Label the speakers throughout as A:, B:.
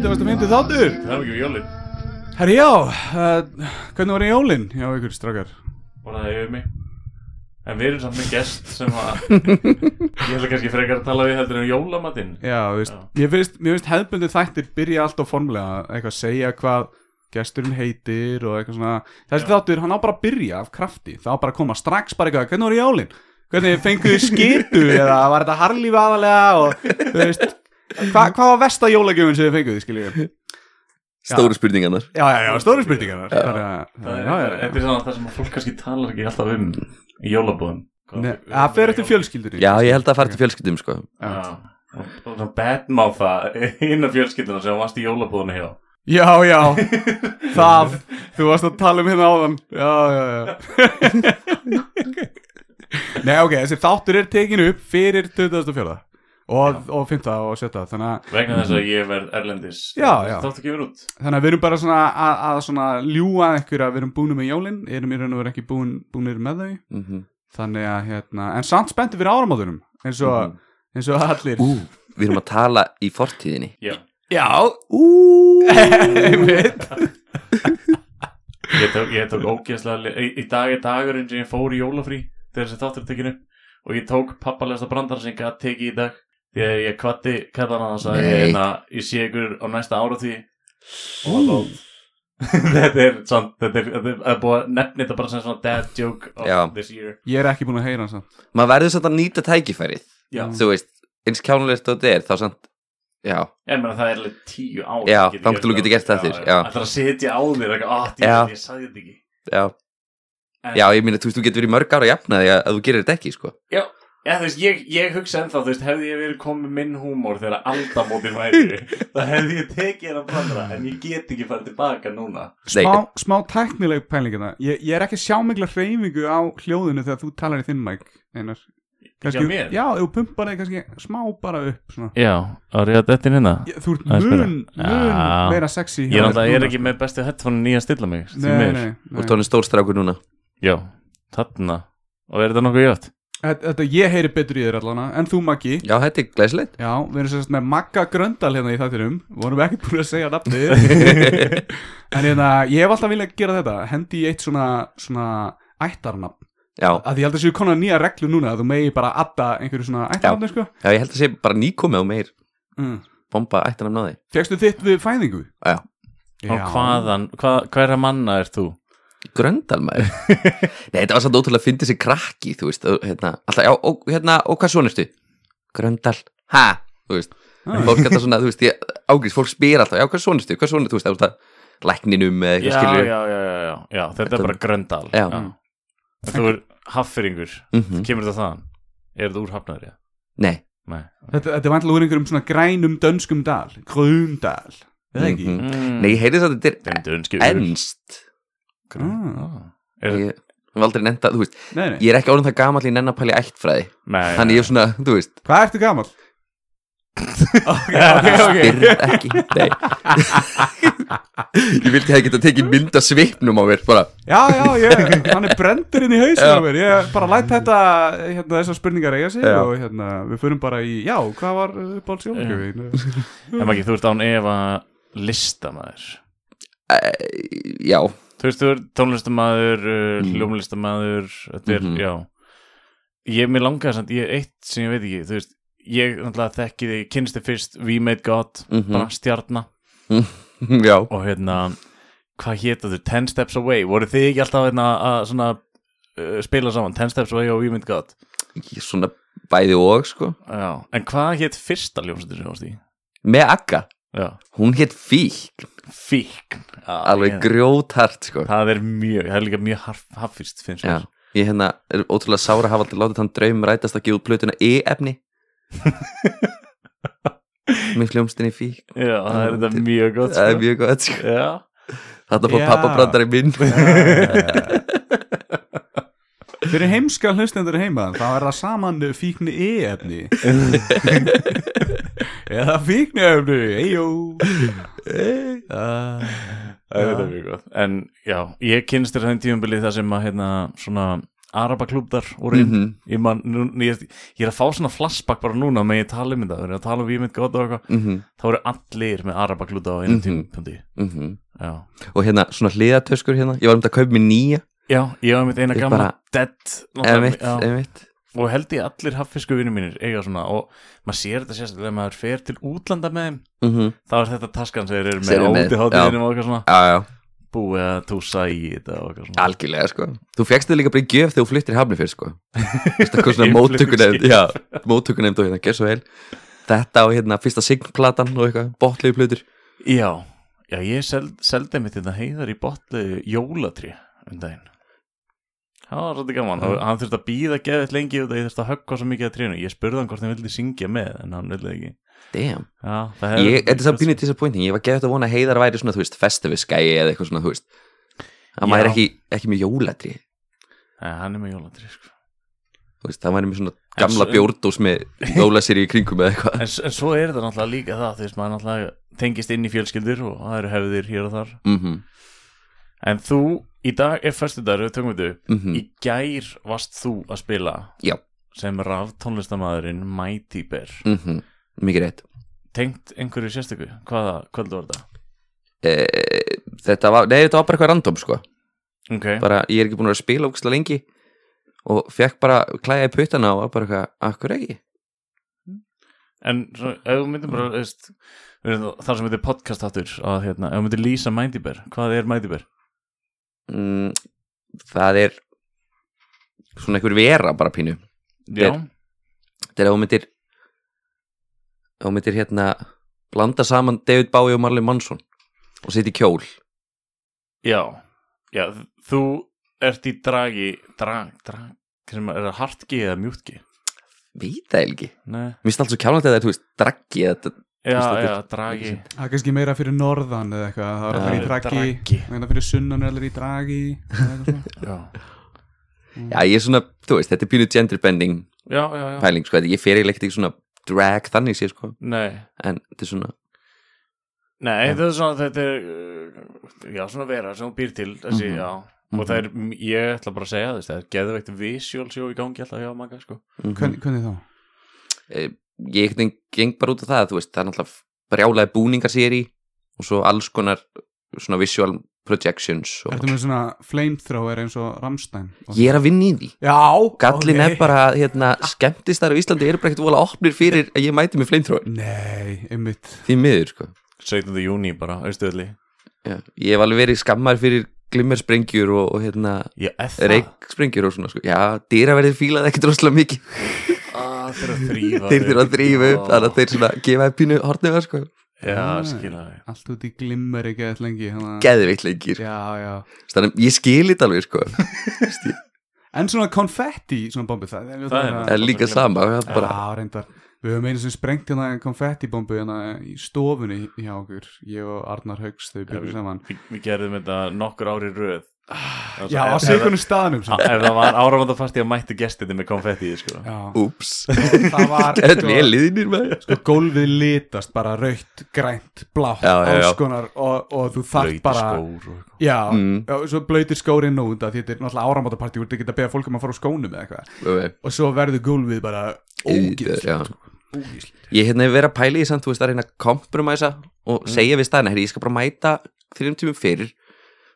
A: Þetta er þáttur
B: Það er ekki um jólin
A: Herri já, uh, hvernig var í jólinn hjá ykkur strákar?
B: Bara það yfir mig En við erum samt með gest sem að Ég ætla kannski frekar að tala við heldur um jólamatinn
A: Já, þú veist,
B: Já.
A: ég finnst, mér finnst hefðbundu þættir byrja alltaf formlega Eitthvað að segja hvað gesturinn heitir og eitthvað svona Þessi
B: Já.
A: þáttur, hann á bara að byrja af krafti Það á bara að koma strax bara eitthvað, hvernig var í jólinn? Hvernig fenguðu þið skitu eða var þetta harlífi aðalega og þú veist hva, Hvað var vesta jólagjöfun sem þið fenguðu, skiljum við?
C: Stóru spurningarnar
A: Já, já, já, stóru spurningar
C: Já.
A: Bara, já,
B: Það er,
A: já, já.
B: Þetta er svona það sem að fólk kannski talar ekki alltaf um Í jólabúðum
A: Nei, Það fer eftir fjölskyldunni
C: Já, ég held að það fara til fjölskyldum sko
B: Já Og svona badmáfa inn af fjölskylduna sem varst í jólabúðinu hjá
A: Já, já, það, þú varst að tala um hérna áðan Já, já, já Nei, ok, þessi þáttur er tekin upp fyrir 24. og, og 5. og 7. Þannig að,
B: Vegna þess að ég verð erlendis
A: Já, já.
B: Þáttu kemur út
A: þannig að við erum bara svona að, að svona ljúga einhverja að við erum búnir með jólin erum í raun og verið ekki búin, búnir með þau
C: mm -hmm.
A: Þannig að, hérna, en samt spennti fyrir áramóðunum eins og, eins og allir
C: Ú, við erum að tala í fortíðinni
B: Já
A: Já,
C: Ú
A: einmitt
B: Ég tók, ég tók ógeðslega le- í, í dag er dagurinn sem ég fór í jólafrí þegar þessi þáttur er tekinu og ég tók pappalesta brandar sem ég gæti tekið í dag því að ég kvatti kæðan að það
C: Nei.
B: en að ég sé ykkur á næsta ára því og þá þetta er samt þetta er, þetta er, er búið að nefna þetta bara sem svona dad joke of
C: Já.
B: this year
A: Ég er ekki búin að heyra hans samt
C: Maður verður samt að nýta tækifærið
B: Já.
C: Þú veist, eins kjánulegt og þetta er þá samt Já,
B: en meina það er alveg tíu ára
C: Já, þangað til þú getur gert það aftur, já.
B: Það er að setja á þér eitthvað, ah,
C: Já.
B: djú, ég sagði þetta ekki
C: já
B: En-
C: Já, ég meina, þú veist, þú getur verið í mörg ára jafna því að að þú gerir þetta ekki, sko
B: Já, þú veist, ég, ég hugsa ennþá, þú veist, hefði ég verið komið með minn húmór þegar aldamótin væri, þá hefði ég tekið hérna brandara, en ég get ekki farið tilbaka núna.
C: Nei,
A: smá, smá tæknileg pælingina ég, ég er ekki að sjá mikla hreyfingu á hljóðinu þegar þú talar í þinn mæk einar
B: Hjá mér?
A: já, þú pumpar þig kannski smá bara upp svona.
B: Já, árið að dettin hérna.
A: ég, þú ert
B: Aðeins
A: mun,
B: meira.
A: mun
B: Já.
A: meira sexy
B: Ég er náttúrulega, ég er ekki með bestu headphone nýja að stilla mig, því
A: nei, nei,
B: miður.
C: þú
A: nei.
C: tónum stórstrákur núna
B: Já, þarna. Og er þetta nokkuð jöft?
A: Þetta, þetta ég heyri betur í þér allana en þú Maggi
C: Já, þetta er glæsilegt
A: já, við erum sérst með Magga Gröndal hérna í þættinum vorum ekki búin að segja nafnið en hérna, ég hef alltaf viljað gera þetta hendi í eitt svona, svona ættarnafn
C: Já,
A: að því ég held að séu konar nýja reglu núna að þú megi bara adda einhverju svona ættarnafni sko
C: já, ég held að sé bara nýkomið og meir
A: mm.
C: Bomba ættanum náði
A: Fegstu þitt við fæðingu?
C: Já.
B: Og hvaðan, hvað, hverja manna er þú?
C: Gröndal maður Nei, þetta var samt ótrúlega að fyndi sér krakki Þú veist, og, hérna, alltaf, já, og, hérna, og hvað svona ertu? Gröndal, ha? Þú veist,
A: Ah.
C: fólk þetta svona, þú veist, ég ágrís Fólk spyr alltaf, já, hvað svona ertu? Hvað svona, þú veist, það er út að lækninum eða
B: Já,
C: eitthvað
B: já,
C: skilur
B: já, já, já, já, þetta er
C: Þetta-
B: bara gröndal.
C: Já.
A: Mm.
B: En Þú er haffyringur,
C: Mhm.
B: kemur þetta þaðan? Er þetta úr hafnaðrið?
C: Nei,
B: Nei.
A: Þetta, þetta er vantilega úr einhverjum svona grænum dönskum dal Gröndal Eða ekki?
C: Mhm.
B: Mm.
C: nei, ég heyrði þess að þetta
B: Þetta er
C: er
B: önskjöfur.
C: ennst
A: Ah.
B: Er-
C: Ég hef aldrei nefnda, þú veist
A: Nei, nei.
C: Ég er ekki orðin það gamall í nennapæli ættfræði
B: Nei,
C: Þannig ég er svona, þú veist,
A: Hvað ertu gamal? ok, ok, ok
C: spyr ekki Nei Ég vildi hefði geta tekið mynda svipnum á mér bara,
A: Já, já, ég, hann er brendur inn í hausinu
C: Já.
A: á mér Ég bara læt þetta, hérna, þessar spurningar eiga sig
C: Já.
A: Og hérna, við förum bara í, já, hvað var uppáhalds jólagjöfin?
B: En maður ekki, þú ert án efa listamæður
C: Já,
B: Þú veist, þú ert tónlistamæður, uh,
C: Mm.
B: hljómlistamæður Þetta er,
C: Mhm.
B: já Ég, mér langaði samt, ég er eitt sem ég veit ekki Þú veist, ég náttúrulega þekki þig Kynst þig fyrst, We Made God
C: Mhm.
B: Bara stjarna
C: já
B: Og hérna, hvað hétu þau? Ten Steps Away, voru þið ekki alltaf hérna, að svona uh, spila saman Ten Steps Away og We Made God
C: Ég svona bæði og sko
B: Já, en hvað hét fyrsta ljómsættur sem þú varst í?
C: með Akka,
B: Já,
C: hún hétt Fík
B: fíkn Já,
C: alveg
B: ég-
C: grjóthart sko
B: Það er mjög, það er líka mjög haffist finnst
C: já,
B: mér
C: ég hérna er ótrúlega sára að hafa aldrei látið þann draum rætast að gefa út plötuna E-efni með hljómstinni Fík
B: Já, það er þetta mjög gott
C: það er mjög gott sko
B: Já,
C: þarna fór
A: Já.
C: pappabrandari minn
A: Já, já, já. Fyrir heimska hlustendur heima þá er það saman fíkni e-efni Eða fíkni efni Eyjó uh,
B: Það er þetta mjög gott En já, ég kynst þér þannig tíumbili það sem að hérna svona arabaklúbdar voru inn
C: Mhm.
B: ég, man, nú, nú- ég, ég er að fá svona flashback bara núna með ég tala um þetta, þegar ég tala um vímynd gott og eitthvað
C: Mhm,
B: þá eru allir með arabaklúta á einum
C: Mhm.
B: tímpundi
C: mhm.
B: Já,
C: og hérna svona hliðatöskur hérna ég var um þetta að kaupa mér nýja
B: já ég var mitt eina
C: Ég
B: gamla
C: bara-
B: dead náttúrulega,
C: emitt,
B: já.
C: emitt
B: og held ég allir haffisku vinnum mínir eiga svona og maður sér þetta sérstaklega þegar maður fer til útlanda með þeim
C: Mhm.
B: þá er þetta taskan sem þeir eru
C: Sem eru
B: með
C: með,
B: óti hátíðinum og eitthvað svona
C: já, já,
B: búið að túsa í þetta og eitthvað svona
C: algjörlega sko þú fegst þig líka bara í gjöf þegar þú fluttir í hafnifjörð sko þetta kom svona
B: Innflutningsskip.
C: móttökunemnd já, móttökunemnd og hérna, gerð svo vel þetta og hérna fyrsta signplatan og eitthvað botliði plötur
B: já, já, ég seld, seldi mitt þetta heiðar í botlu jólatri um daginn það var svolítið gaman, og hann þurfti að býða geðið lengi og það ég þurfti að höggva svo mikið að trénu ég spurði hann hvort hann vildi syngja með en hann vildi ekki
C: damn,
B: já, það hefði-
C: ég, þetta er samt pínu disappointing ég var gefið að vona að heiðar væri svona, þú veist festiviskæi eða eitthvað svona, þú veist að
B: Já.
C: maður er ekki, ekki með jólatri
B: Nei, Eh, hann er með jólatri sko.
C: þú veist, það væri með svona
B: En
C: gamla
B: svo-
C: bjórdós með jólasýri í kringum eða eitthvað
B: en, s- en svo er þetta náttúrulega líka það þú veist, maður náttúrulega tengist inn í fjölskyldur og það eru hefðir hér og þar
C: mm
B: en þú, í dag er föstudagur, við tökum þetta upp
C: Mhm.
B: í gær varst þú að spila
C: Já.
B: sem raftónlistamæðurinn Mighty Bear
C: Mhm. mikið rétt
B: tengt einhverju sérstöku, hvaða kvöldu var þetta?
C: e, þetta var, nei þetta var bara eitthvað random sko
B: ok,
C: bara ég er ekki búin að vera að spila ógustlega lengi og fekk bara klæja í puttana og var bara eitthvað, akkur ekki
B: en svo, ef þú myndir bara veist, við erum þar sem þetta er podcast áttur að hérna, ef þú myndir lýsa Mighty Bear hvað er Mighty Bear?
C: mm, það er svona einhver vera bara pínu
B: já,
C: þetta er að hún myndir hún myndir hérna blanda saman David Bowie og Marley Manson og setja í kjól
B: já, já þú ert í dragi drag, drag, sem er það hartgi eða mjútgi?
C: veit það eiginlega ekki,
B: Nei,
C: mér finnst alltaf svo kjálnætt að það er, þú veist, draggi eða
B: já,
C: Veistu,
B: já, dragi
A: Það er kannski meira fyrir norðan eða eitthvað Það er
C: Já,
A: allir í dragi
B: dragi.
A: Það er fyrir sunnan er allir í dragi eða eitthvað svona.
B: já,
C: já ég er svona, þú veist, þetta er pínu gender bending
B: já, já, já.
C: pæling, sko, ég fer eiginlega ekki í svona drag þannig sé, sko,
B: nei
C: en þetta er svona
B: Nei, þetta er svona, þetta er, uh, já, svona vera sem hún býr til, þessi,
C: Mhm.
B: já, og það er, m- ég ætla bara að segja þess, það er geðveikt visual sjó í gangi alltaf hjá manga, sko.
C: mm
A: Hvern, Hvernig þá?
C: ég einhvern veginn geng bara út af það þú veist, það er náttúrulega brjálaði búningar sér í og svo alls konar svona visual projections og...
A: Ertu með svona flamethrower eins og Rammstein?
C: ég er að vinna í því
A: Já
C: gallin
A: ok.
C: er bara að, hérna, skemmtistar á Íslandi eru bara ekkert vola opnir fyrir að ég mæti með fleimtróin
A: Nei, einmitt
C: því miður sko
B: 17. júni bara, austuðli.
C: Já. ég hef alveg verið skammar fyrir glimmersprengjur og, og hérna
B: Ég eð það.
C: reiksprengjur og svona sko já, dýraverðir fílaði ekkert rosalega mikið
B: Ah, þeir eru að þrýfa.
C: þeir þurfa að drífa upp þannig að þeir svona gefa þeim pínu hortnega sko
B: Já, skilja það.
A: Allt út í glimmer ekki eða lengi hana...
C: geðveikt leikir,
A: Já, já
C: þannig að ég skil þetta alveg sko
A: En svona konfetti, svona bombu Það, það,
B: Það er-
C: það er líka sama það er bara,
A: Já, reyndar Við höfum einu sem sprengt hérna konfettibombu hérna í stofunni hjá okkur Ég og Arnar Haugs þau byrjum saman
B: Vi, við gerðum þetta nokkur ári röð. Ah,
A: Já, á sikunum staðnum
B: Ef
A: samt.
B: ef það var áramöndafartí að mættu gestinni með konfettið, sko.
A: Já,
C: úps
A: það var
C: þetta er vel liðinir með
A: sko, gólfið litast bara rautt, grænt, blátt
C: Já, já, já.
A: alls konar og, og þú þarf
B: Blautir
A: bara
B: skór og eitthvað.
A: Já,
C: Mm.
A: og svo blöytir skórinn nú þetta því þetta er náttúrulega áramótapartí úr þetta geta að beða fólk um að fara á skónum eða eitthvað og svo verður gólfið bara ógæðslega
C: Sko, Já. ég hérna hef verið að pæla í samt þú veist að reyna að kompromæsa og segja við staðina, herri ég skal bara mæta þrjum tímum fyrir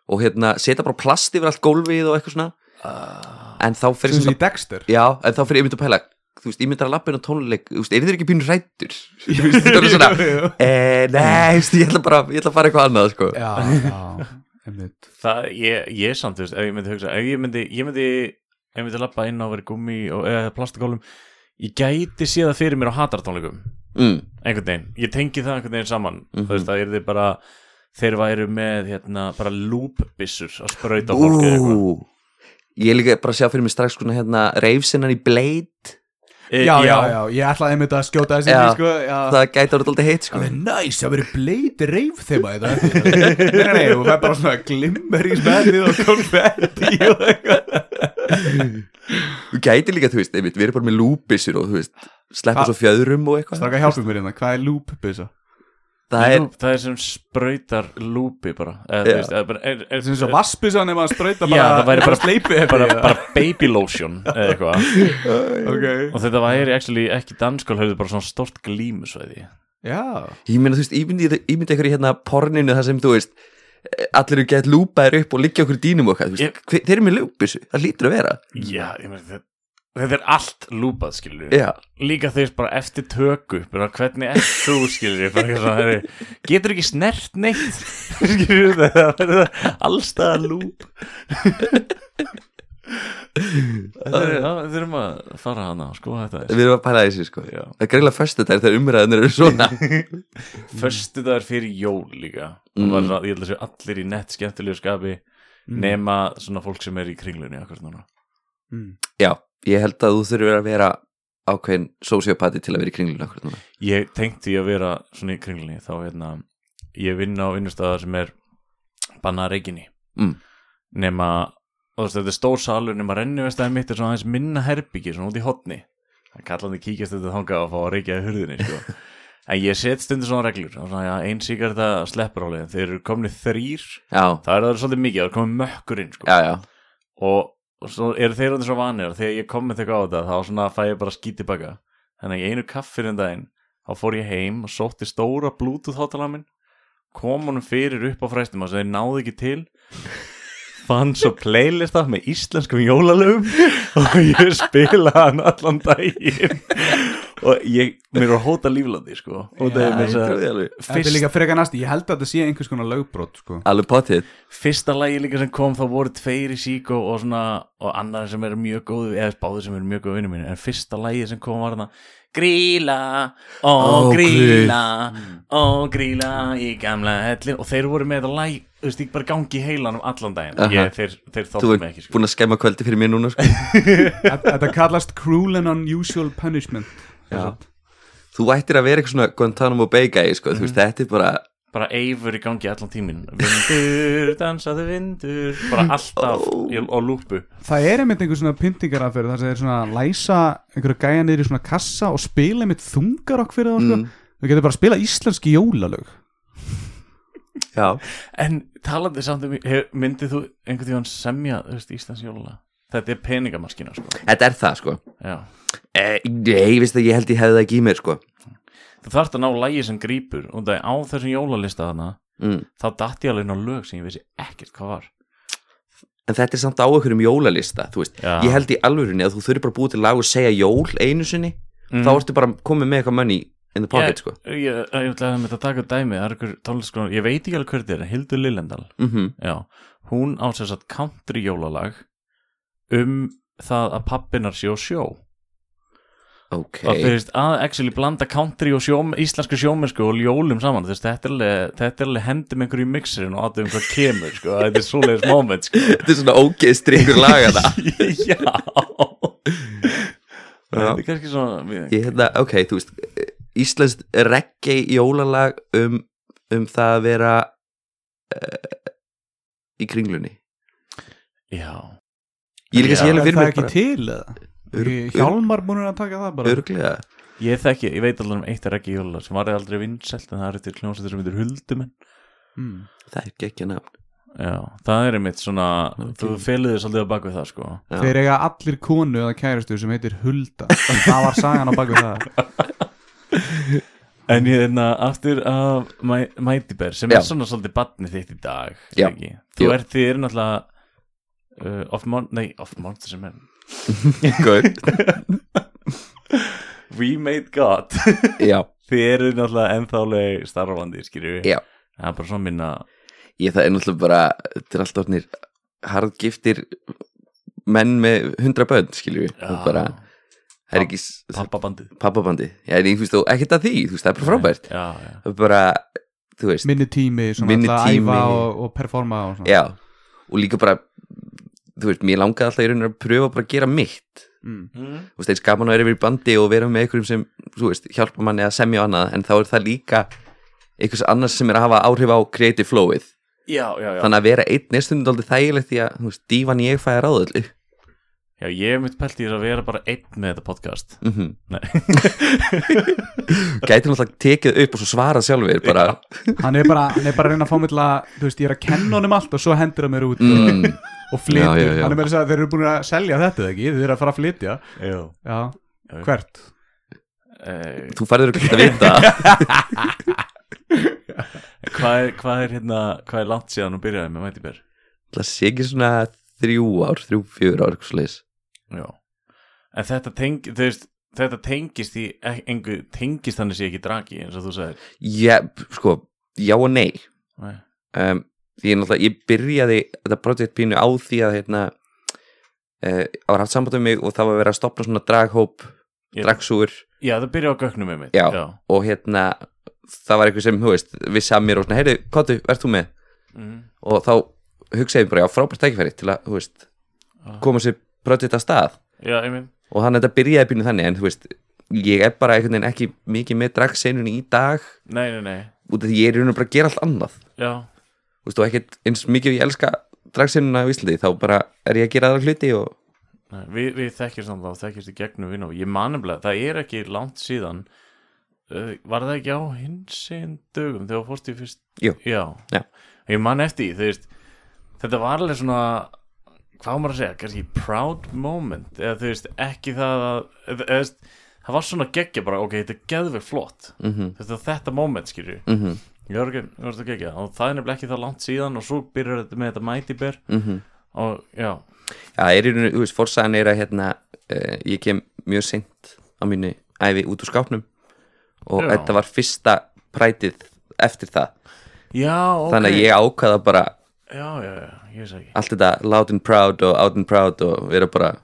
C: og hérna setja bara plast yfir allt gólfið og eitthvað svona en þá fyrir
A: sem
C: svona,
A: þessi Dexter
C: já, en þá fyrir ég myndi að pæla þú veist, ég myndi að lappin á tónleik þú veist, er þér ekki pínu rættur þú veist, það er svona,
A: já,
C: e, nei, þú veist, ég ætla bara ég ætla að fara eitthvað annað, sko
A: já, einmitt
B: Það, ég, ég samt, þú veist, ef ég myndi hugsa ef ég myndi, ég myndi, ef ég myndi lappa inn á verið gummi og eða plastikólum ég gæti séð það fyrir mér á hatartónleikum
C: mm,
B: einhvern veginn, ég tengi það einhvern veginn saman
C: Mhm.
B: þú veist, það er þið bara þeir væru með, hérna, bara lúpbissur að sprauta á fólk eða eitthvað
C: ú, ég er líka bara að sjá fyrir mig strax svona, hérna, reyfsinnan í Blade
B: E,
A: já, já, já, ég ætlaði einmitt að skjóta þessi
C: Já.
A: sko, já.
C: það gæti orðið alltaf heitt, sko
A: Það er næs, það verður bleiti reif þeim að þetta Nei, nei, nei, og það er bara svona glimmer í spennið og konfetti og eitthvað
C: Þú gæti líka, þú veist, einmitt, við erum bara með lúbisir og þú veist, sleppa
A: Hva-
C: svo fjöðrum og eitthvað
A: Stráka hjálpum mér hérna, hvað er loop byssa?
C: Það er,
B: Lúp, það er sem sprautar lúpi bara eða, þú
C: Já.
B: veist, eða bara, er, er,
A: Það er eins og vassbyssa nema að sprauta bara
B: Já, það væri bara-
A: sleipi
B: bara, bara baby lotion eða eitthvað
A: Ok
B: og þetta væri actually ekki danskól höfðu bara svona stort glímusvæði
A: Já
C: ég meina, þú veist, ímyndi, ímyndi ykkur í hérna porninu þar sem, þú veist allir eru gett lúpaðir upp og liggja okkur í dýnum okkar, þú veist,
B: Ég-
C: hver, þeir eru með lúbisu það lítur að vera,
B: já, ég meina þetta þetta er allt lúpað skilur
C: já,
B: líka þeir bara eftir töku bara hvernig er þú skilur bara eitthvað svona, heyrðu, getur ekki snert neitt skilur þetta verður allstaðar lúp þetta er- það- við þurfum að fara hana sko þetta er
C: við erum að pæla í þessu, sko
B: Já.
C: það er greiðlega föstu þær þegar umræðanir eru svona
B: Föstudagur fyrir jól líka
C: Mm.
B: mm. var, svona- Ég held að séu allir í nett skemmtilegu skapi nema svona fólk sem er í kringlunni akkur núna
A: Mm.
C: já, ég held að þú þurfur að vera ákveðin sociopati til að vera í kringlun okkur núna
B: Ég tengdi að vera svona í kringlunni þá hérna ég vinn á vinnustæðar sem er bannað reikinni
C: Mm.
B: nema og þú veist, þetta er stór salur nema rennivestæði mitt er svona aðeins minna herbyggi svona út í hotni það kallandi kíkjast þetta þangað og fá að reykja í hurðinni sko. en ég set stundu svona reglur Það er svona, já, ein síkar þetta sleppur álega þeir eru komni þrýr
C: já,
B: það er það svolítið mikið, það er komið mökkur inn sko.
C: já, já,
B: og, og svo eru þeir undir svo vanir að þegar ég kom með þegar á þetta þá svona fæ ég bara skít tilbaka þannig að í einu kaffir en daginn þá fór ég heim og sótti stóra bluetooth hotala minn kom honum fyrir upp á fræstum að þeir náðu ekki til fann svo playlista með íslenskum jólalöfum og ég spilaði hann allan daginn og ég, mér var hóta líflandi sko og það er
A: Já,
B: mér
C: ég
B: að
C: trúi alveg.
A: Þetta er
B: fyrst
A: líka frekar næst, ég held að þetta sé einhvers konar lögbrót sko.
C: alveg potið
B: fyrsta lagi líka sem kom þá voru tveir í síkó og svona og annar sem er mjög góð eða báður sem er mjög góð vinnu mínu en fyrsta lagi sem kom var þarna Gríla, ó
C: Ó,
B: gríla, ó gríla í gamla hellin og þeir voru með þetta lag, þú veist, ég bara gangi í heilanum allan daginn,
C: Aha.
B: ég, þeir, þeir
C: þú
B: þóttu
C: er
B: mig ekki sko.
C: búin að skemma kvöldi fyrir mér núna sko.
A: Þetta þetta kallast cruel and unusual punishment
C: Já. þú ættir að vera eitthvað svona Guantanamo Bay gæi sko. þú veist, þetta er bara
B: bara eifur í gangi allan tímin vindur, dansaðu vindur bara alltaf
C: Ó.
B: í, á lúpu
A: Það er einmitt einhver svona pyntingar aðferð þar sem þeir svona læsa einhverju gæja niður í svona kassa og spila einmitt þungarokk fyrir þá sko.
C: Mm.
A: Þau getur bara að spila íslenski jólalög
C: já,
B: en talandi samt um, hef, myndið þú einhvern tíðan semja, þú veist, Íslands jólulega þetta er peningamaskina sko
C: þetta er það sko
B: Já.
C: Eh, Nei, ég veist að ég held ég hefði það ekki í mér sko
B: Þú þarft að ná lægi sem grípur og það er á þessum jólalista þarna
C: mm.
B: þá datt ég alveg inn á lög sem ég vissi ekkert hvað var
C: En þetta er samt á einhverjum jólalista Þú veist,
B: Já.
C: ég held í alvörunni að þú þurfir bara búið til lag og segja jól einu sinni Þá ertu bara komið með eitthvað money in the pocket sko
B: Mm. Ég, ég, ég ætla að þetta taka upp dæmi það er einhver tónlistkona, ég veit ekki alveg hver þetta er Hildur Lillendal,
C: mm
B: já hún á sér satt country jólalag um það að pappinar sé á sjó
C: Ok,
B: og þú veist að actually blanda country og sjó, íslensku sjómennsku og jólum saman þú veist, þetta er alveg, þetta er alveg hendum einhverju í mixerin og aðeins hvað kemur sko. þetta er svoleiðis moment sko.
C: þetta er svona ógeðstri ykkur lagana
B: já
C: Já.
B: þetta er kannski svona
C: Ég hefði það, ok, þú veist Íslands reggae jólalag um, um það að vera uh, í kringlunni
B: já,
C: Ég er líka
B: Já.
C: sér
A: Er
C: alveg fyrir
A: það
C: mér
A: ekki
C: bara
A: til eða?
C: Ör-
A: Ekki Hjálmar múnir að taka það bara
C: Örglega,
B: ég þekki, ég veit alveg um eitt er ekki jóla sem var aldrei vinsælt en það er eftir hljómsættir sem heitir Huldumenn
A: mm.
C: það er ekki ekki nafn
B: já, það er einmitt svona
C: Ok.
B: þú felið þér svolítið á bakvið það sko
C: Já.
A: Þeir eiga allir konu eða kæristu sem heitir Hulda Það var sagan á baku það
B: en ég er aftur af Mæ- Mighty Bear sem
C: Já.
B: er svona svolítið batni þitt í dag
C: Já.
B: ekki? þú
C: Jú.
B: ert því er náttúrulega uh, off mon, nei, off monster sem er
C: Good,
B: We Made God
C: já
B: þið eru náttúrulega ennþálega starfandi skilju
C: Já.
B: það er bara svona minna
C: ég það er náttúrulega bara þetta er alltaf orðnir harðgiftir menn með hundra bönn skiljum við, og bara, það er ekki
B: pappabandið
C: pappabandi, já, en ég finnst þú ekkert að því þú veist, það er bara frábært,
B: já, já.
C: það er bara þú veist,
A: Minni tími, svona
C: Minni
A: alltaf
C: tími.
A: æfa og, og performa og svona
C: já og líka bara, þú veist, mér langaði alltaf í rauninu að pröfa bara að gera mitt
A: mm.
C: þú veist, eins gaman að vera yfir í bandi og vera með einhverjum sem, þú veist, hjálpa manni að semja og annað, en þá er það líka einhvers annars sem er að hafa áhrif á creative flowið,
B: já, já, já.
C: þannig að vera einn er stundum aldrei þægilegt því að, þú veist, dívan ég fæði ráðalli
B: Já, ég er mitt pælt í þess að vera bara einn með þetta podcast
C: mm
B: Nei.
C: Gæti náttúrulega tekið upp og svo svarað sjálfur bara
A: hann er bara, hann er bara að reyna að fá mig til að þú veist, ég er að kenna honum allt og svo hendur hann mér út
C: mm,
A: og flytur,
C: Já, já, já.
A: hann er meira að segja þeir eru búin að selja þetta ekki, þeir eru að fara að flytja
B: Já
A: já,
B: Já.
A: hvert
B: eh,
C: Þú færður ekki að vita
B: hvað, er, hvað er hérna, hvað er langt síðan hún byrjaði með Mighty Bear?
C: Það sé ekki svona þrjú ár, þrjú, fjör ár eitthvað sliðis
B: Já En þetta, teng, þú veist, þetta tengist í ek- engu, tengist þannig sé ekki draki eins og þú sagðir
C: Ég, sko, já og nei
B: Nei.
C: um, Því ég náttúrulega, ég byrjaði þetta project pínu á því að hérna uh, á haft samband um mig og það var verið að stopna svona draghóp,
B: Ég-
C: dragsúr
B: Já, það byrjaði á gögnum með mitt
C: Já.
B: Já.
C: og hérna það var eitthvað sem, þú veist, vissi að mér og svona, heyrðu, Kottu, verð þú með?
B: Mm.
C: og þá hugsaði ég bara já, frábært tækifæri til að, þú veist
B: Ah.
C: koma sér projekt að stað
B: Já, ég minn
C: og þannig að þetta byrjaði býnum þannig en þú veist, ég er bara einhvern veginn ekki mikið með dragseinunni í dag
B: Nei, nei, nei
C: út af því ég er í raun og bara að gera allt annað
B: Já,
C: þú veist, og ekkert eins mikið og ég elska dragseinunna á Íslandi, þá bara er ég að gera aðra hluti og
B: Nei, við, við þekkjum samt þá, þekkjumst í gegnum vinn og ég manumlega, það er ekki langt síðan uh, var það ekki á hinsinn dögum þegar þú fórst í fyrst
C: Jú.
B: Já.
C: Já.
B: ég man eftir því, þú veist, þetta var alveg svona hvað á maður að segja, kannski proud moment eða þú veist, ekki það að eða, eða, þú veist, það var svona geggja bara, ok, þetta er geðveg flott
C: mm -hmm,
B: þetta, þetta moment skilur
C: mm -hmm,
B: ég var ekki, ég var ekki geggja og það er nefnilega ekki það langt síðan og svo byrjar þetta með þetta Mighty Bear
C: Mhm.
B: og já,
C: Já, er í raun og, þú veist, forsagan er að hérna, uh, ég kem mjög seint á mínu æfi út úr skápnum og
B: Já.
C: þetta var fyrsta prætið eftir það
B: já, ok
C: þannig að ég ákvaða bara
B: já, já, já, ég segi
C: allt þetta loud and proud og out and proud og vera bara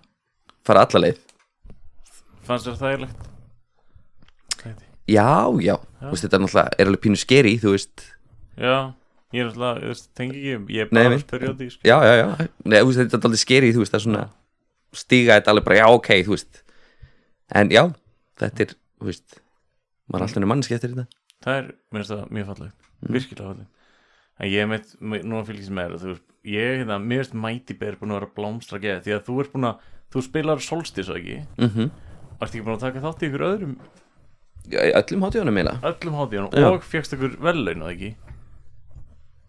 C: fara alla leið
B: Fannst þér þægilegt? Þætti.
C: já, já, þú veist þetta er náttúrulega er alveg pínu skeri, þú veist
B: Já, ég er alltaf, þú veist, tengi ekki um- Ég er
C: Nei,
B: bara
C: nei.
B: að spyrja á því sko.
C: já, já, já, Nei, þú veist, þetta er alveg skeri þú veist, það er svona stíga þetta alveg bara, já, ok, þú veist en já, þetta er, þú veist maður er alltaf ennur mannski eftir þetta
B: Það er, mér finnst það mjög fallegt
C: Mhm.
B: Virkilega fallegt En ég er meitt, núna fylgist með þér þú veist, Ég, hérna, mér finnst Mighty Bear búin að vera að blómstra geða Því að þú ert búin að, þú spilar solstis og ekki
C: mm -hmm.
B: Ertu ekki búin að taka þátt í ykkur öðrum
C: öllum hátíðunum eiginlega
B: Öllum hátíðan
C: Já.
B: og fjöxt ykkur vellaun og ekki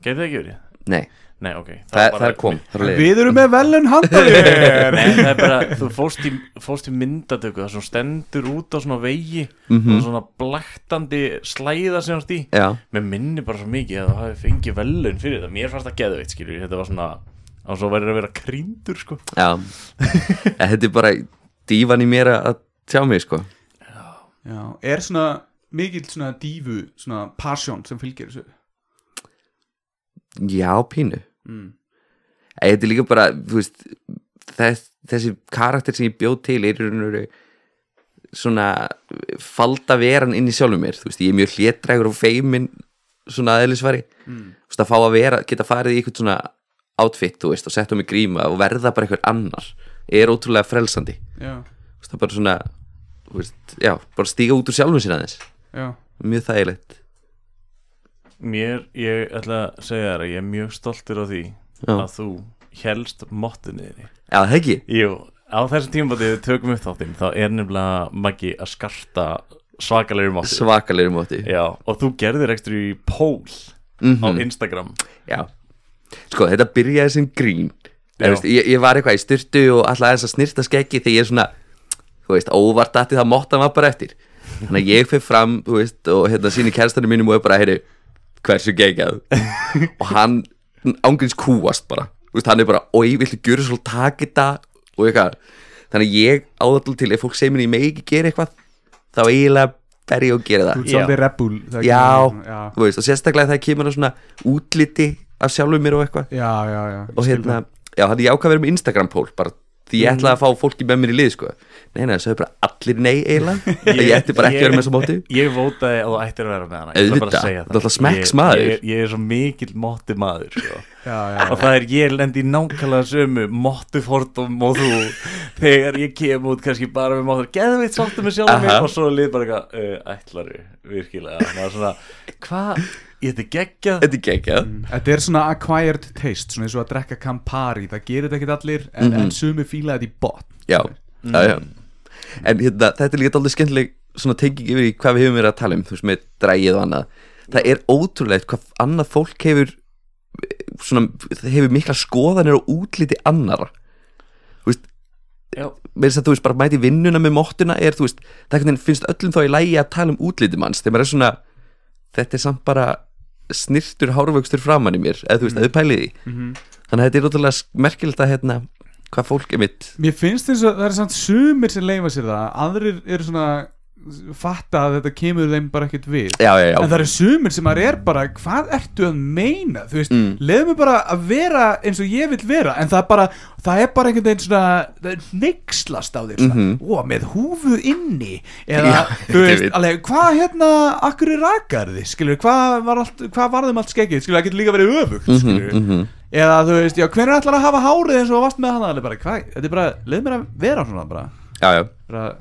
B: Gæti það ekki verið?
C: nei,
B: Nei, ok
C: það,
B: var
C: það,
B: bara-
C: er kom, það er leiðin.
A: við erum með velun handaðir
B: Nei, það er bara, þú fórst í, fórst í myndatöku það sem stendur út á svona vegi og svona blaktandi slæða sem þú ert í
C: já,
B: mér minni bara svo mikið að það hafi fengið velun fyrir það, mér fannst það geðveitt skilur þetta var svona, og svo verður að vera krýndur sko,
C: já En þetta er bara dívan í mér að að tjá mig, sko
A: já, er svona mikill svona dífu, svona passion sem fylgir þessu
C: já, pínu
A: mm.
C: Æ, Þetta er líka bara, þú veist þess, þessi karakter sem ég bjóð til er í raun og veru svona falda veran inn í sjálfum mér, þú veist, ég er mjög hlétrægur og feimin svona aðeinsvari
A: Mm.
C: þú veist, að fá að vera, geta farið í eitthvað svona outfit, þú veist, og setja mig gríma og verða bara eitthvað annar, er ótrúlega frelsandi,
A: já,
C: þú veist, það er bara svona þú veist, já, bara stíga út úr sjálfum sér aðeins,
A: já,
C: mjög þægilegt
B: mér, ég ætla að segja þér að ég er mjög stoltur á því
C: Já.
B: að þú helst mottinni þinni
C: Já, það ekki,
B: Jú, á þessum tímabæti við tökum upp þáttinn þá er nefnilega Maggi að skarta svakalegri motti
C: svakalegri móti
B: Já, og þú gerðir ekstra í pól á Instagram
C: Já Sko þetta byrjaði sem grín
B: Já.
C: Eða, veist, ég, ég var eitthvað í styrtu og alltaf eins að snirta skeggi þegar ég er svona Þú veist, óvart datti það móttan var bara eftir Þannig að ég fyrir fram, þú veist, og hérna síni kærstanum mínum og er bara, heyri, hversu geggjað Og hann ángríns kúast bara Þú veist, hann er bara, oi, viltu gjöra svo taka þetta og eitthvað Þannig að ég áðall til, ef fólk segir mér ég megi ekki gera eitthvað Þá eiginlega fer ég og gera það
A: þú ert
B: Já.
A: svolítið rebel það er
C: já,
A: ekki- já,
C: þú veist, og sérstaklega þegar kemur að svona útliti af sjálfum mér og eitthvað
A: já, já, já.
C: og hérna, já, hann ég ákvað að vera með Instagram pól bara því ég ætlaði að fá fólki með mér í lið sko. nei, nei, þessu er bara allir nei eiginlega, ég, ég ætti bara ekki að vera með þessu móti
B: Ég vótaði að þú ættir að vera með hana Ég ætla bara að
C: Auðvitað,
B: segja
C: þú ætla smekks maður.
B: ég, ég, ég er svo mikill motti maður sko.
A: já, já,
B: Og það er ég lendi í nákvæmlega sömu Motti fordum og þú Þegar ég kem út kannski bara með móttur Geðveitt sáttu með sjálfum mig
C: Aha.
B: "Eh, Og svo er lið bara eitthvað uh, Ætlaru, virkilega Maður svona, Hvað ég þetta geggjað
C: Þetta er geggjað
A: Þetta er svona acquired taste Svona eins og að drekka Campari Það gerir þetta ekkert allir En, mm
C: Mhm.
A: en sumi fíla þetta í botn
C: Já, já, já En hérna, þetta er líka alveg skemmtileg svona tenging yfir í hvað við hefum verið að tala um þú veist með drægið og annað það er ótrúlegt hvað annað fólk hefur eh, svona, hefur mikla skoðanir og útliti annara þú veist
B: Já.
C: með þess að þú veist bara mæti vinnuna með móttuna er þú veist, það einhvern veginn finnst öllum þá í lægi að tala um útliti manns þegar maður er svona, þetta er samt bara snirtur hárvöxtur framan í mér eða þú
A: Mhm.
C: veist, mm. eða pælið í því þannig að þetta er ótrúlega merkilegt að hérna hvað fólk er mitt
A: Mér finnst eins og það er samt sumir sem leifa sér það Aðrir eru svona Fatta að þetta kemur þeim bara ekkert við
C: já, já, já.
A: En það eru sumir sem maður er bara Hvað ertu að meina? Þú veist, mm. mér bara að vera eins og ég vil vera En það er bara, það er bara einhvern veginn svona Það er neykslast á þér mm -hmm. Ó, með húfu inni Eða,
C: Já,
A: þú
C: ég
A: veist,
C: veit.
A: alveg, hvað hérna Akkur er rakar þið, skilur Hvað var, allt, hvað var þeim allt skeggið, skilur Það getur líka verið öfugt, skilur Eða, þú veist, já, hvernig ætlar að hafa hárið eins og þú varst með hana alveg bara, hvað, þetta er bara, leið mér að vera svona bara,
C: já, já.
A: bara